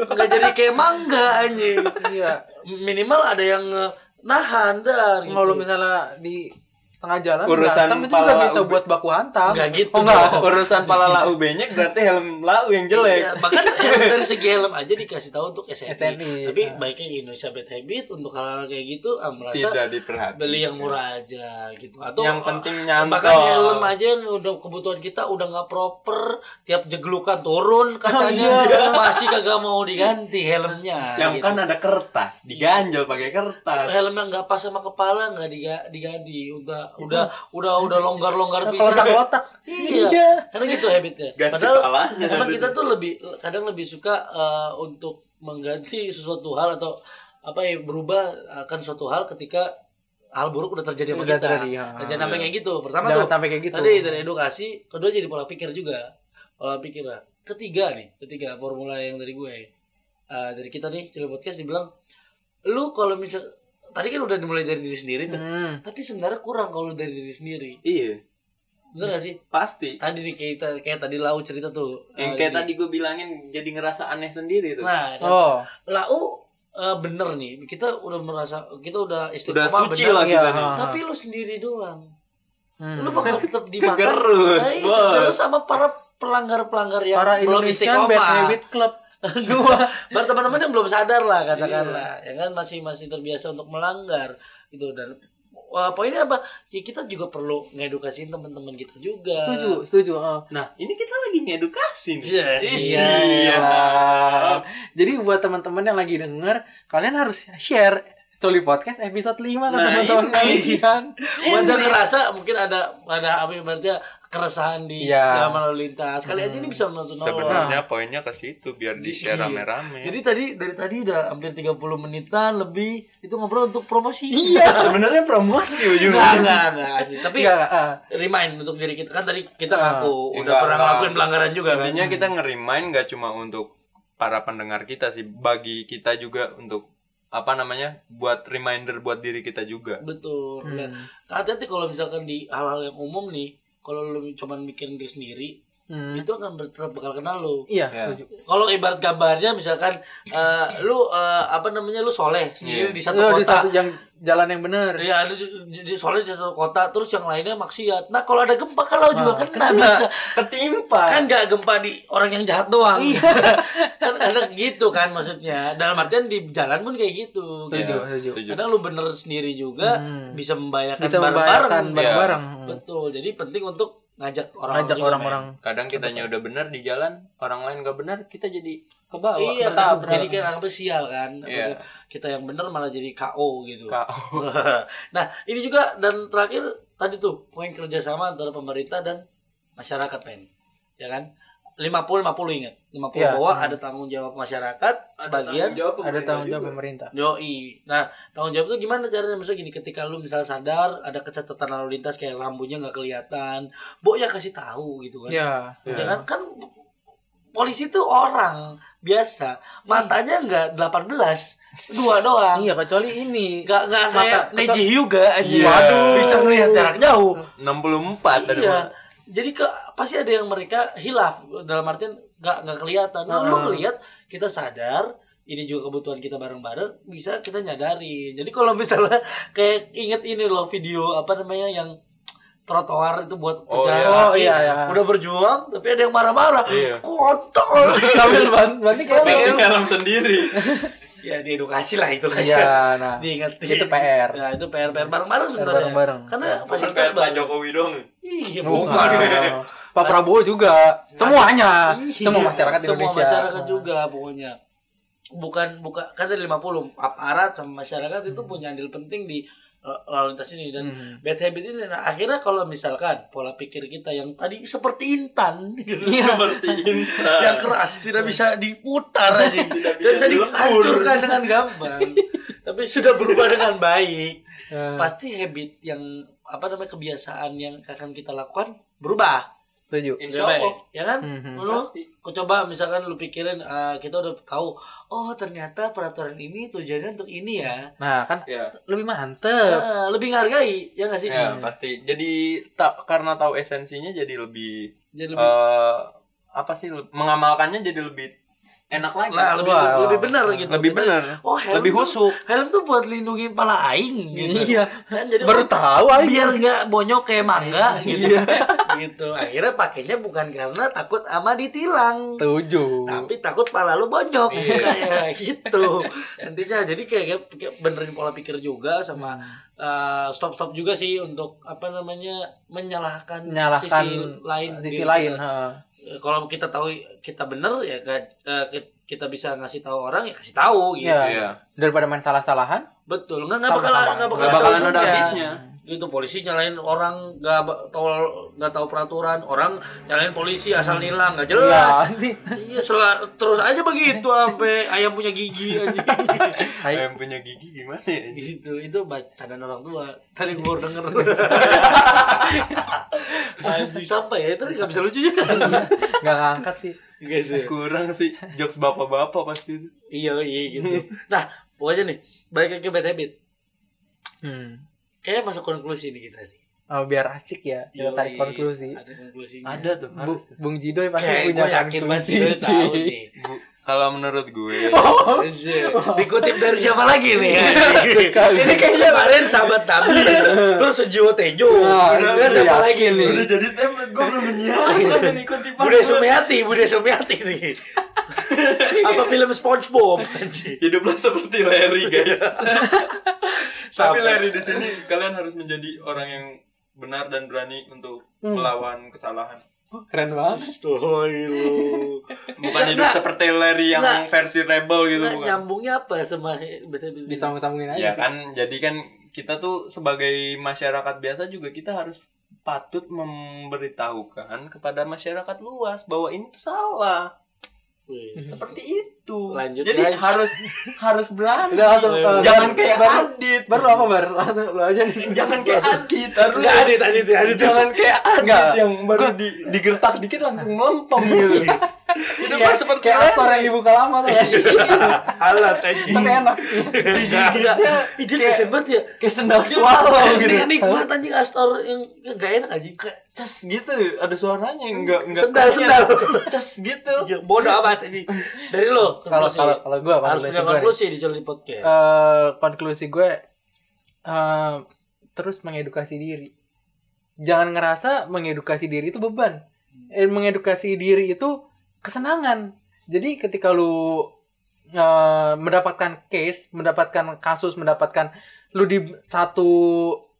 Speaker 2: Nggak jadi kayak mangga anjing. *laughs*
Speaker 1: Iya.
Speaker 2: Minimal ada yang eh, nahan dar gitu.
Speaker 1: Kalau misalnya di tengah jalan
Speaker 3: Urusan
Speaker 1: berantem itu juga
Speaker 3: pala
Speaker 1: bisa
Speaker 3: ubi.
Speaker 1: buat baku hantam.
Speaker 2: Nggak gitu.
Speaker 1: Oh, enggak.
Speaker 2: dong.
Speaker 3: Urusan pala lau benyek berarti helm lau yang jelek.
Speaker 2: Iya, bahkan yang dari segi helm aja dikasih tahu untuk SNI.
Speaker 1: SNI,
Speaker 2: Tapi
Speaker 3: ah.
Speaker 1: nah.
Speaker 2: baiknya di Indonesia bad habit untuk hal-hal kayak gitu ah, merasa
Speaker 3: Tidak diperhatikan.
Speaker 2: beli yang murah aja gitu atau
Speaker 3: Yang
Speaker 2: ah,
Speaker 3: penting
Speaker 2: bahkan
Speaker 3: nyantol.
Speaker 2: helm aja yang udah kebutuhan kita udah nggak proper tiap jeglukan turun
Speaker 1: Oh,
Speaker 2: kacanya masih kagak mau diganti helmnya
Speaker 3: iya. Yang
Speaker 2: gitu.
Speaker 3: kan ada kertas, diganjel pakai kertas.
Speaker 2: helm yang nggak pas sama kepala nggak diga- diganti udah
Speaker 3: Iya.
Speaker 2: udah udah udah longgar longgar
Speaker 1: Kalau
Speaker 2: bisa
Speaker 1: kotak-kotak.
Speaker 2: Iya. karena gitu habitnya.
Speaker 3: Ganti
Speaker 2: Padahal
Speaker 3: palanya
Speaker 2: emang
Speaker 3: harus.
Speaker 2: kita tuh lebih kadang lebih suka eh, untuk mengganti sesuatu hal atau apa ya berubah akan suatu hal ketika hal buruk udah terjadi sama
Speaker 1: Udah
Speaker 2: kita.
Speaker 1: terjadi, ya.
Speaker 2: Nah, jangan sampai
Speaker 3: Iya.
Speaker 2: kayak gitu. Pertama
Speaker 1: Jangan
Speaker 2: tuh
Speaker 1: sampai kayak gitu.
Speaker 2: tadi dari edukasi, kedua jadi pola pikir juga. Pola pikir lah. Ketiga nih, ketiga formula yang dari gue. Eh, dari kita nih, Cile Podcast dibilang, lu kalau misal, tadi kan udah dimulai dari diri sendiri tuh.
Speaker 1: Hmm.
Speaker 2: Tapi sebenarnya kurang kalau dari diri sendiri.
Speaker 3: Iya,
Speaker 2: Bener gak sih?
Speaker 3: pasti.
Speaker 2: Tadi nih kayak, kayak tadi Lau cerita tuh.
Speaker 3: Yang
Speaker 2: eh,
Speaker 3: kayak
Speaker 2: di-
Speaker 3: tadi gue bilangin jadi ngerasa aneh sendiri tuh.
Speaker 2: Nah, kan.
Speaker 1: Oh,
Speaker 2: Lau eh, bener nih. Kita udah merasa, kita udah
Speaker 3: Udah
Speaker 2: istiqomah
Speaker 3: suci
Speaker 2: bener. gitu kan.
Speaker 3: lah
Speaker 1: Iya,
Speaker 3: kita nih.
Speaker 1: ha.
Speaker 2: Tapi lu sendiri doang.
Speaker 1: hmm.
Speaker 2: lu bakal
Speaker 3: *laughs*
Speaker 2: tetap dimakan
Speaker 3: Kegerus,
Speaker 2: Nah, iya,
Speaker 3: bos.
Speaker 2: kegerus sama para pelanggar-pelanggar yang
Speaker 1: para
Speaker 2: belum
Speaker 1: Indonesian Bad
Speaker 2: *laughs* istiqomah
Speaker 1: Habit Club dua
Speaker 2: para teman-teman yang belum sadar lah katakanlah ya
Speaker 3: Iya.
Speaker 2: kan masih masih terbiasa untuk melanggar itu dan wah, poinnya apa ya kita juga perlu ngedukasiin teman-teman kita juga
Speaker 1: setuju setuju oh.
Speaker 3: Nah, ini kita lagi ngedukasi nih.
Speaker 2: Ya,
Speaker 3: Isi,
Speaker 2: iya.
Speaker 3: ya.
Speaker 1: jadi buat teman-teman yang lagi denger kalian harus share Coli Podcast episode 5 ke
Speaker 3: Nah,
Speaker 1: teman-teman
Speaker 3: ini.
Speaker 1: kalian
Speaker 2: Wanda kerasa mungkin ada ada apa ibaratnya keresahan di
Speaker 1: Iya.
Speaker 2: jalan lalu lintas kali aja ini bisa menonton orang
Speaker 3: Hmm. Sebenarnya poinnya ke situ biar di-share
Speaker 2: Iya.
Speaker 3: rame-rame.
Speaker 2: jadi tadi dari tadi udah hampir 30 menitan lebih itu ngobrol untuk promosi
Speaker 3: Iya.
Speaker 1: sebenarnya promosi
Speaker 2: enggak enggak enggak sih tapi
Speaker 1: Iya, ah.
Speaker 2: remind untuk diri kita kan tadi kita
Speaker 1: Ah.
Speaker 2: ngaku udah
Speaker 3: Iya, Enggak,
Speaker 2: pernah
Speaker 3: enggak.
Speaker 2: ngelakuin pelanggaran juga kan
Speaker 3: Intinya kita ngerimain gak cuma untuk para pendengar kita sih, bagi kita juga untuk apa namanya buat reminder buat diri kita juga.
Speaker 2: betul
Speaker 1: Hmm.
Speaker 2: Nah, hati-hati kalau misalkan di hal-hal yang umum nih kalau lu cuman mikirin diri sendiri
Speaker 1: Hmm.
Speaker 2: itu akan ber- tetap bakal kena lu
Speaker 1: Iya,
Speaker 3: Iya.
Speaker 1: setuju.
Speaker 2: kalau ibarat gambarnya misalkan eh, lu eh, apa namanya lu soleh sendiri
Speaker 3: Iya.
Speaker 2: di satu
Speaker 1: Lo Oh, di
Speaker 2: kota
Speaker 1: satu yang jalan yang benar.
Speaker 2: Iya, lu ju- ju- ju- soleh di satu kota terus yang lainnya maksiat. Nah, kalau ada gempa kalau juga kena,
Speaker 1: Nah, kena.
Speaker 2: bisa.
Speaker 1: Ketimpa.
Speaker 2: kan nggak gempa di orang yang jahat doang
Speaker 1: Iya.
Speaker 2: *laughs* kan ada gitu kan maksudnya dalam artian di jalan pun kayak gitu
Speaker 1: Setuju,
Speaker 3: Ya,
Speaker 1: setuju.
Speaker 2: kadang lu bener sendiri juga
Speaker 1: Hmm.
Speaker 2: bisa membahayakan
Speaker 1: bisa
Speaker 2: Kan bareng-bareng
Speaker 1: membayarkan bareng-bareng.
Speaker 2: betul Iya. jadi penting untuk ngajak orang
Speaker 1: Ngajak
Speaker 2: juga,
Speaker 1: orang-orang.
Speaker 3: Kadang kitanya udah benar di jalan, orang lain gak benar, kita jadi ke
Speaker 2: men.
Speaker 3: bawah.
Speaker 2: iya
Speaker 1: Betul,
Speaker 2: kak
Speaker 1: betul.
Speaker 2: jadi kayak anggapnya sial kan
Speaker 3: Iya.
Speaker 2: kita yang bener malah jadi KO gitu
Speaker 3: Kau.
Speaker 2: *laughs* nah ini juga dan terakhir tadi tuh poin kerjasama antara pemerintah dan masyarakat men ya kan 50 50 ingat 50
Speaker 1: Iya,
Speaker 2: bahwa
Speaker 1: hmm.
Speaker 2: ada tanggung jawab masyarakat sebagian
Speaker 3: jawab
Speaker 1: Ada tanggung jawab pemerintah.
Speaker 2: Yoi. Nah, tanggung jawab itu gimana caranya? Maksudnya gini, ketika lu misalnya sadar ada kecatatan lalu lintas kayak lampunya nggak kelihatan, Bo ya kasih tahu gitu kan.
Speaker 1: Ya.
Speaker 2: Ya kan? Kan polisi itu orang biasa. Matanya nggak 18, dua doang.
Speaker 1: Hmm. Iya, kecuali ini.
Speaker 2: Nggak nggak
Speaker 1: Mata-
Speaker 2: kayak
Speaker 1: kecuali-
Speaker 2: Neji Hyuga aja.
Speaker 3: Iya.
Speaker 2: Bisa ngelihat jarak jauh.
Speaker 3: 64 dari
Speaker 2: Iya. Jadi ke pasti ada yang mereka hilaf dalam artian nggak nggak kelihatan. Lu, lu
Speaker 1: Heeh.
Speaker 2: ngelihat kita sadar ini juga kebutuhan kita bareng-bareng bisa kita nyadari. Jadi kalau misalnya *laughs* kayak inget ini loh video apa namanya yang trotoar itu buat
Speaker 3: Oh,
Speaker 2: pejalan
Speaker 3: iya.
Speaker 1: Oh,
Speaker 2: kaki.
Speaker 1: iya, iya.
Speaker 2: udah berjuang tapi ada yang marah-marah.
Speaker 3: Iya.
Speaker 2: Kontol.
Speaker 1: *laughs* Sambil banting
Speaker 2: Iya.
Speaker 3: Bikin helm
Speaker 2: *laughs*
Speaker 3: sendiri.
Speaker 2: ya diedukasi lah itu kan.
Speaker 1: Iya, nah.
Speaker 2: *laughs* Diingetin.
Speaker 1: Itu PR.
Speaker 2: Ya itu PR PR bareng-bareng sebenarnya.
Speaker 1: bareng-bareng. Iya.
Speaker 2: Karena
Speaker 3: Bukan
Speaker 2: fasilitas
Speaker 3: kayak Pak
Speaker 2: bareng.
Speaker 3: Jokowi dong.
Speaker 2: Iya,
Speaker 1: Bukan.
Speaker 2: bukan.
Speaker 1: Oh, Pak Prabowo juga. Semuanya.
Speaker 2: Iya,
Speaker 1: Semua masyarakat
Speaker 2: semua
Speaker 1: Indonesia.
Speaker 2: masyarakat juga pokoknya bukan bukan kan tadi 50 aparat sama masyarakat itu punya andil penting di uh, lalu lintas ini dan
Speaker 1: Hmm.
Speaker 2: bad habit ini nah, akhirnya kalau misalkan pola pikir kita yang tadi seperti intan gitu,
Speaker 1: Iya.
Speaker 3: Seperti Intan.
Speaker 2: *laughs* yang keras tidak bisa diputar
Speaker 3: *laughs*
Speaker 2: aja tidak
Speaker 3: bisa
Speaker 2: bisa
Speaker 3: dilebur.
Speaker 2: dihancurkan dengan
Speaker 1: *laughs*
Speaker 2: gampang tapi sudah berubah dengan baik
Speaker 1: Eh,
Speaker 2: pasti habit yang apa namanya kebiasaan yang akan kita lakukan berubah
Speaker 1: Nah, Setuju.
Speaker 2: Lebih
Speaker 3: Insya Allah.
Speaker 2: baik, ya kan
Speaker 1: Mhm.
Speaker 2: Lu- Kau coba misalkan lu pikirin eh, kita udah tahu oh ternyata peraturan ini tujuannya untuk ini ya.
Speaker 1: Nah, kan
Speaker 3: Ya,
Speaker 1: lebih mantep.
Speaker 2: Eh, lebih menghargai ya nggak sih?
Speaker 3: ya pasti. Jadi tak karena tahu esensinya jadi lebih,
Speaker 2: Jadi
Speaker 3: eh
Speaker 2: lebih
Speaker 3: apa sih le- mengamalkannya jadi lebih enak lagi.
Speaker 2: nah, lebih
Speaker 1: Wah,
Speaker 2: lebih
Speaker 1: wah.
Speaker 2: benar gitu.
Speaker 3: lebih
Speaker 2: Kita-
Speaker 3: benar.
Speaker 2: Oh, helm
Speaker 3: lebih
Speaker 2: tuh-
Speaker 3: husuk.
Speaker 2: helm tuh buat lindungin pala aing gitu.
Speaker 1: Iya.
Speaker 2: Kan jadi
Speaker 1: Baru tahu aja.
Speaker 2: biar nggak bonyok kayak mangga gitu. gitu. Akhirnya pakainya bukan karena takut ama ditilang.
Speaker 1: Setuju.
Speaker 2: tapi takut pala lu bonyok
Speaker 3: Iya.
Speaker 2: kayak gitu intinya jadi kayak, kayak benerin pola pikir juga sama
Speaker 1: Hmm.
Speaker 2: eh, stop stop juga sih untuk apa namanya menyalahkan
Speaker 1: Menyalahkan
Speaker 2: sisi lain
Speaker 1: sisi
Speaker 2: Gitu.
Speaker 1: lain. heeh.
Speaker 2: Eh, kalau kita tahu kita bener ya ke- eh, ki- kita bisa ngasih tahu orang ya kasih tahu gitu
Speaker 1: Iya.
Speaker 3: Iya.
Speaker 1: Daripada main salah-salahan.
Speaker 2: betul nggak nggak bakal
Speaker 1: Sama-sama.
Speaker 2: nggak bakal
Speaker 3: Gak bakalan ada
Speaker 2: ujungnya.
Speaker 3: habisnya.
Speaker 2: gitu polisi nyalain orang nggak ba- tol nggak tahu peraturan orang nyalain polisi asal nilang nggak jelas
Speaker 1: Hmm. Iya, nih.
Speaker 2: iya sela- terus aja begitu sampai ayam punya gigi anjing
Speaker 1: Hai.
Speaker 3: Ayam punya gigi gimana ya?
Speaker 2: gitu itu bacaan orang tua tadi gue baru denger anjing sampah ya itu nggak bisa lucu juga
Speaker 1: nggak ngangkat sih
Speaker 2: Guys, ya.
Speaker 3: Kurang sih jokes bapak-bapak pasti itu.
Speaker 2: iya iya gitu nah pokoknya nih balik lagi ke bad habit
Speaker 1: hmm.
Speaker 2: kayaknya masuk konklusi nih kita nih
Speaker 1: Oh, biar asik ya kita tarik
Speaker 2: Yoi,
Speaker 1: konklusi
Speaker 2: ada konklusinya
Speaker 3: Ada tuh
Speaker 1: Bu,
Speaker 3: harus. tuh.
Speaker 1: Bung Jidoy pasti
Speaker 2: kayak
Speaker 1: punya
Speaker 2: gue yakin banget
Speaker 1: konklusi
Speaker 2: sih lu
Speaker 1: sih.
Speaker 2: tahu nih
Speaker 3: Bu, kalau menurut gue
Speaker 1: *laughs*
Speaker 2: Anjir. Dikutip dari siapa lagi nih?
Speaker 1: kali.
Speaker 2: Ini kayaknya kemarin sahabat Tami, terus Sujiwo Tejo.
Speaker 1: Nah,
Speaker 2: Udah,
Speaker 1: itu
Speaker 2: siapa
Speaker 1: yakin
Speaker 2: lagi nih?
Speaker 1: nih.
Speaker 3: udah jadi template gue belum menyiapkan ini kutipan.
Speaker 2: Bude
Speaker 3: gue.
Speaker 2: Sumiati, Bude Sumiati nih. Apa film SpongeBob? anjing.
Speaker 3: Hiduplah seperti Larry guys. Tapi
Speaker 2: Sampai-
Speaker 3: Larry di sini kalian harus menjadi orang yang benar dan berani untuk melawan kesalahan.
Speaker 1: *laughs* Keren banget.
Speaker 2: Astaghfirullah.
Speaker 3: Bukan hidup seperti Larry yang
Speaker 2: Nggak.
Speaker 3: versi rebel gitu
Speaker 2: Nah,
Speaker 3: bukan.
Speaker 2: nyambungnya apa sama betul
Speaker 1: Disambung-sambungin aja
Speaker 3: Ya
Speaker 1: sih.
Speaker 3: kan jadi kan kita tuh sebagai masyarakat biasa juga kita harus patut memberitahukan kepada masyarakat luas bahwa ini tuh salah. Seperti itu.
Speaker 2: Lanjut,
Speaker 3: jadi
Speaker 2: guys.
Speaker 3: harus harus berani.
Speaker 1: Udah langsung eh,
Speaker 3: Iya. Jangan
Speaker 1: baru-
Speaker 3: kayak
Speaker 1: baru,
Speaker 3: Adit.
Speaker 1: baru apa bar? Langsung lu aja nih.
Speaker 3: Jangan kayak Adit. Harus
Speaker 2: Enggak ada tadi tadi
Speaker 3: jangan kayak Adit
Speaker 1: Nggak.
Speaker 3: yang baru di, digertak dikit langsung melempem gitu. Itu kan seperti
Speaker 1: Kayak
Speaker 3: Larry.
Speaker 1: aktor yang dibuka lama tuh ya.
Speaker 2: alat anjing.
Speaker 1: Tapi enak.
Speaker 2: Enggak. Ini kesen banget ya.
Speaker 1: Kayak sendal swallow gitu.
Speaker 2: Nik- Nikmat anjing Astor yang enggak enak anjing.
Speaker 3: Ces gitu, ada suaranya enggak enggak
Speaker 2: Sendal, sendal.
Speaker 3: Ces gitu.
Speaker 2: Ya, bodoh amat anjing. Dari lo
Speaker 1: Kalau
Speaker 2: konklusi.
Speaker 1: kalau kalau gua apa
Speaker 2: harus
Speaker 1: konklusi
Speaker 2: punya
Speaker 1: gua nih?
Speaker 2: konklusi di Jolly Podcast.
Speaker 1: eh konklusi gue eh, terus mengedukasi diri. Jangan ngerasa mengedukasi diri itu beban. Eh, mengedukasi diri itu kesenangan. Jadi ketika lu eh, mendapatkan case, mendapatkan kasus, mendapatkan lu di satu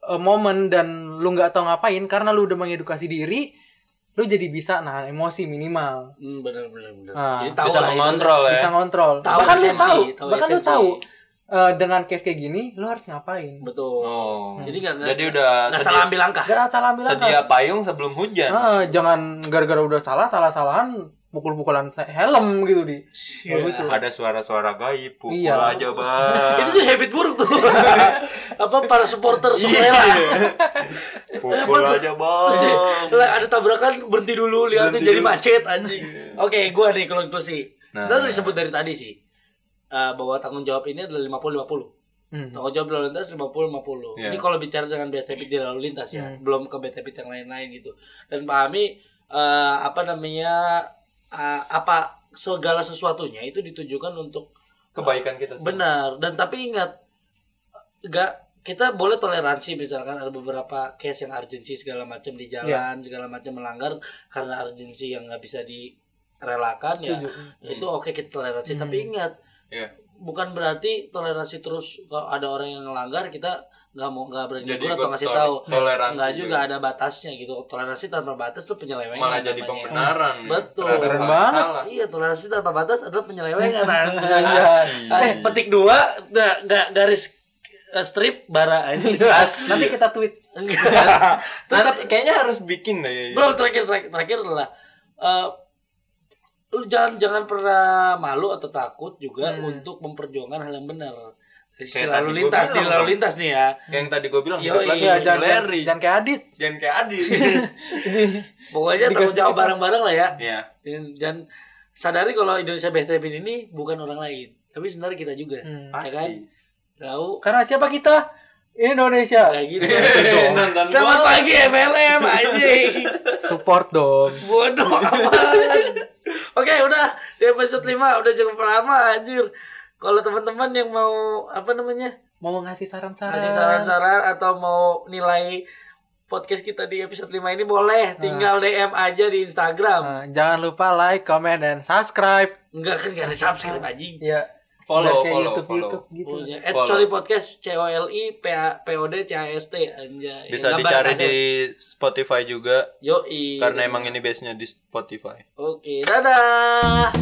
Speaker 1: eh, momen dan lu nggak tahu ngapain karena lu udah mengedukasi diri, lu jadi bisa nahan emosi minimal.
Speaker 2: Hmm, benar benar benar.
Speaker 1: Ah,
Speaker 2: Jadi tahu
Speaker 3: Bisa
Speaker 2: lah, iya.
Speaker 3: mengontrol ya.
Speaker 1: Bisa ngontrol.
Speaker 2: Tahu
Speaker 1: bahkan lu
Speaker 2: esensi,
Speaker 1: tahu,
Speaker 2: tahu
Speaker 1: bahkan lu
Speaker 2: esensi.
Speaker 1: tahu eh, dengan case kayak gini lu harus
Speaker 2: itu.
Speaker 1: ngapain.
Speaker 2: Betul.
Speaker 3: Oh.
Speaker 2: Jadi enggak
Speaker 3: Jadi udah
Speaker 2: enggak
Speaker 3: sedia-
Speaker 2: salah ambil langkah.
Speaker 1: Gak salah ambil
Speaker 3: Ah, sedia
Speaker 1: langkah.
Speaker 3: payung sebelum hujan.
Speaker 1: Ah, jangan gara-gara udah salah, salah-salahan pukul-pukulan se- helm gitu di.
Speaker 2: Iya.
Speaker 3: Ada suara-suara gaib, pukul
Speaker 1: Iya.
Speaker 3: aja, Bang.
Speaker 2: *laughs* Itu juga habit buruk tuh. apa para supporter ya sukarela.
Speaker 3: pukul
Speaker 2: Apa tuh?
Speaker 3: aja,
Speaker 2: Terus deh,
Speaker 3: Bang.
Speaker 2: lah ada tabrakan berhenti dulu lihatin
Speaker 3: Berhenti
Speaker 2: jadi
Speaker 3: dulu.
Speaker 2: macet anjing. Oke, gua nih konklusi.
Speaker 3: Nah.
Speaker 2: Sebenarnya disebut dari tadi sih. Eh, bahwa tanggung jawab ini adalah 50 50.
Speaker 1: Hmm.
Speaker 2: Tanggung jawab lalu lintas 50-50
Speaker 3: Iya.
Speaker 2: Ini kalau bicara dengan bad habit di lalu lintas ya Belum ke bad habit yang lain-lain gitu Dan pahami eh, Apa namanya eh, Apa segala sesuatunya itu ditujukan untuk
Speaker 3: Kebaikan kita. semua.
Speaker 2: benar Dan tapi ingat Gak kita boleh toleransi misalkan ada beberapa case yang urgensi segala macam di jalan segala macam melanggar karena urgensi yang nggak bisa direlakan ya
Speaker 1: Setuju.
Speaker 2: itu oke kita toleransi tapi ingat
Speaker 3: Iya.
Speaker 2: bukan berarti toleransi terus kalau ada orang yang ngelanggar kita nggak mau nggak berani
Speaker 3: Jadi
Speaker 2: negur atau
Speaker 3: ikut
Speaker 2: ngasih
Speaker 3: tole-
Speaker 2: tahu
Speaker 3: toleransi
Speaker 2: nggak juga
Speaker 3: juga.
Speaker 2: ada batasnya gitu toleransi tanpa batas tuh penyelewengan
Speaker 3: malah jadi
Speaker 2: namanya.
Speaker 3: pembenaran. ya,
Speaker 2: Betul.
Speaker 3: terhadap hal
Speaker 1: Keren
Speaker 3: yang
Speaker 1: banget.
Speaker 3: salah.
Speaker 2: iya toleransi tanpa batas adalah
Speaker 3: *laughs*
Speaker 2: penyelewengan anjay.
Speaker 3: Iya. Asik.
Speaker 2: eh petik dua nggak nggak garis eh, strip bara
Speaker 3: *laughs*
Speaker 2: ini
Speaker 1: Nanti kita tweet.
Speaker 2: enggak
Speaker 3: Tetap kayaknya harus bikin deh.
Speaker 2: Bro, terakhir terakhir, terakhir adalah eh, lu jangan jangan pernah malu atau takut juga untuk memperjuangkan hal yang benar. Sisi
Speaker 3: Hmm. Kayak tadi
Speaker 2: lalu
Speaker 3: gua
Speaker 2: lintas di
Speaker 3: bilang,
Speaker 2: lalu
Speaker 3: Bang.
Speaker 2: lintas nih ya.
Speaker 3: Yang tadi gue bilang,
Speaker 2: Yo,
Speaker 3: hidup lagi
Speaker 2: iya,
Speaker 1: Iya,
Speaker 3: jadi
Speaker 1: jangan, jangan,
Speaker 3: Larry.
Speaker 1: jangan kayak
Speaker 2: *laughs*
Speaker 1: Adit.
Speaker 3: Jangan kayak Iya. Adit.
Speaker 2: Pokoknya tanggung jawab bareng-bareng lah ya.
Speaker 3: Iya.
Speaker 2: Dan, dan sadari kalau Indonesia Behtebin ini bukan orang lain, tapi sebenarnya kita juga.
Speaker 1: Hmm.
Speaker 2: Ya kan?
Speaker 3: Pasti.
Speaker 2: Tahu
Speaker 1: Karena siapa kita? Indonesia.
Speaker 2: kayak gitu.
Speaker 3: *laughs* Nonton
Speaker 2: Selamat
Speaker 3: bola.
Speaker 2: pagi MLM anjing.
Speaker 1: Support dong.
Speaker 2: Bodoh amat. Oke, udah di episode 5 udah cukup lama anjir. Kalau teman-teman yang mau apa namanya?
Speaker 1: Mau ngasih saran-saran.
Speaker 2: kasih saran-saran atau mau nilai podcast kita di episode 5 ini boleh tinggal DM aja di Instagram.
Speaker 1: Eh, jangan lupa like, comment, dan subscribe.
Speaker 2: Enggak kan enggak ada subscribe anjing.
Speaker 1: Ya.
Speaker 3: Follow,
Speaker 1: biar kayak
Speaker 3: follow,
Speaker 1: YouTube,
Speaker 3: follow.
Speaker 1: YouTube gitu.
Speaker 2: Punya at
Speaker 3: Follow.
Speaker 2: Coli Podcast C O L I P A P O D C A S T anjay.
Speaker 3: Bisa
Speaker 2: Gambar
Speaker 3: dicari
Speaker 2: aja.
Speaker 3: di Spotify juga
Speaker 2: Yoi. Iya.
Speaker 3: karena emang ini biasanya di Spotify.
Speaker 2: Oke, dadah.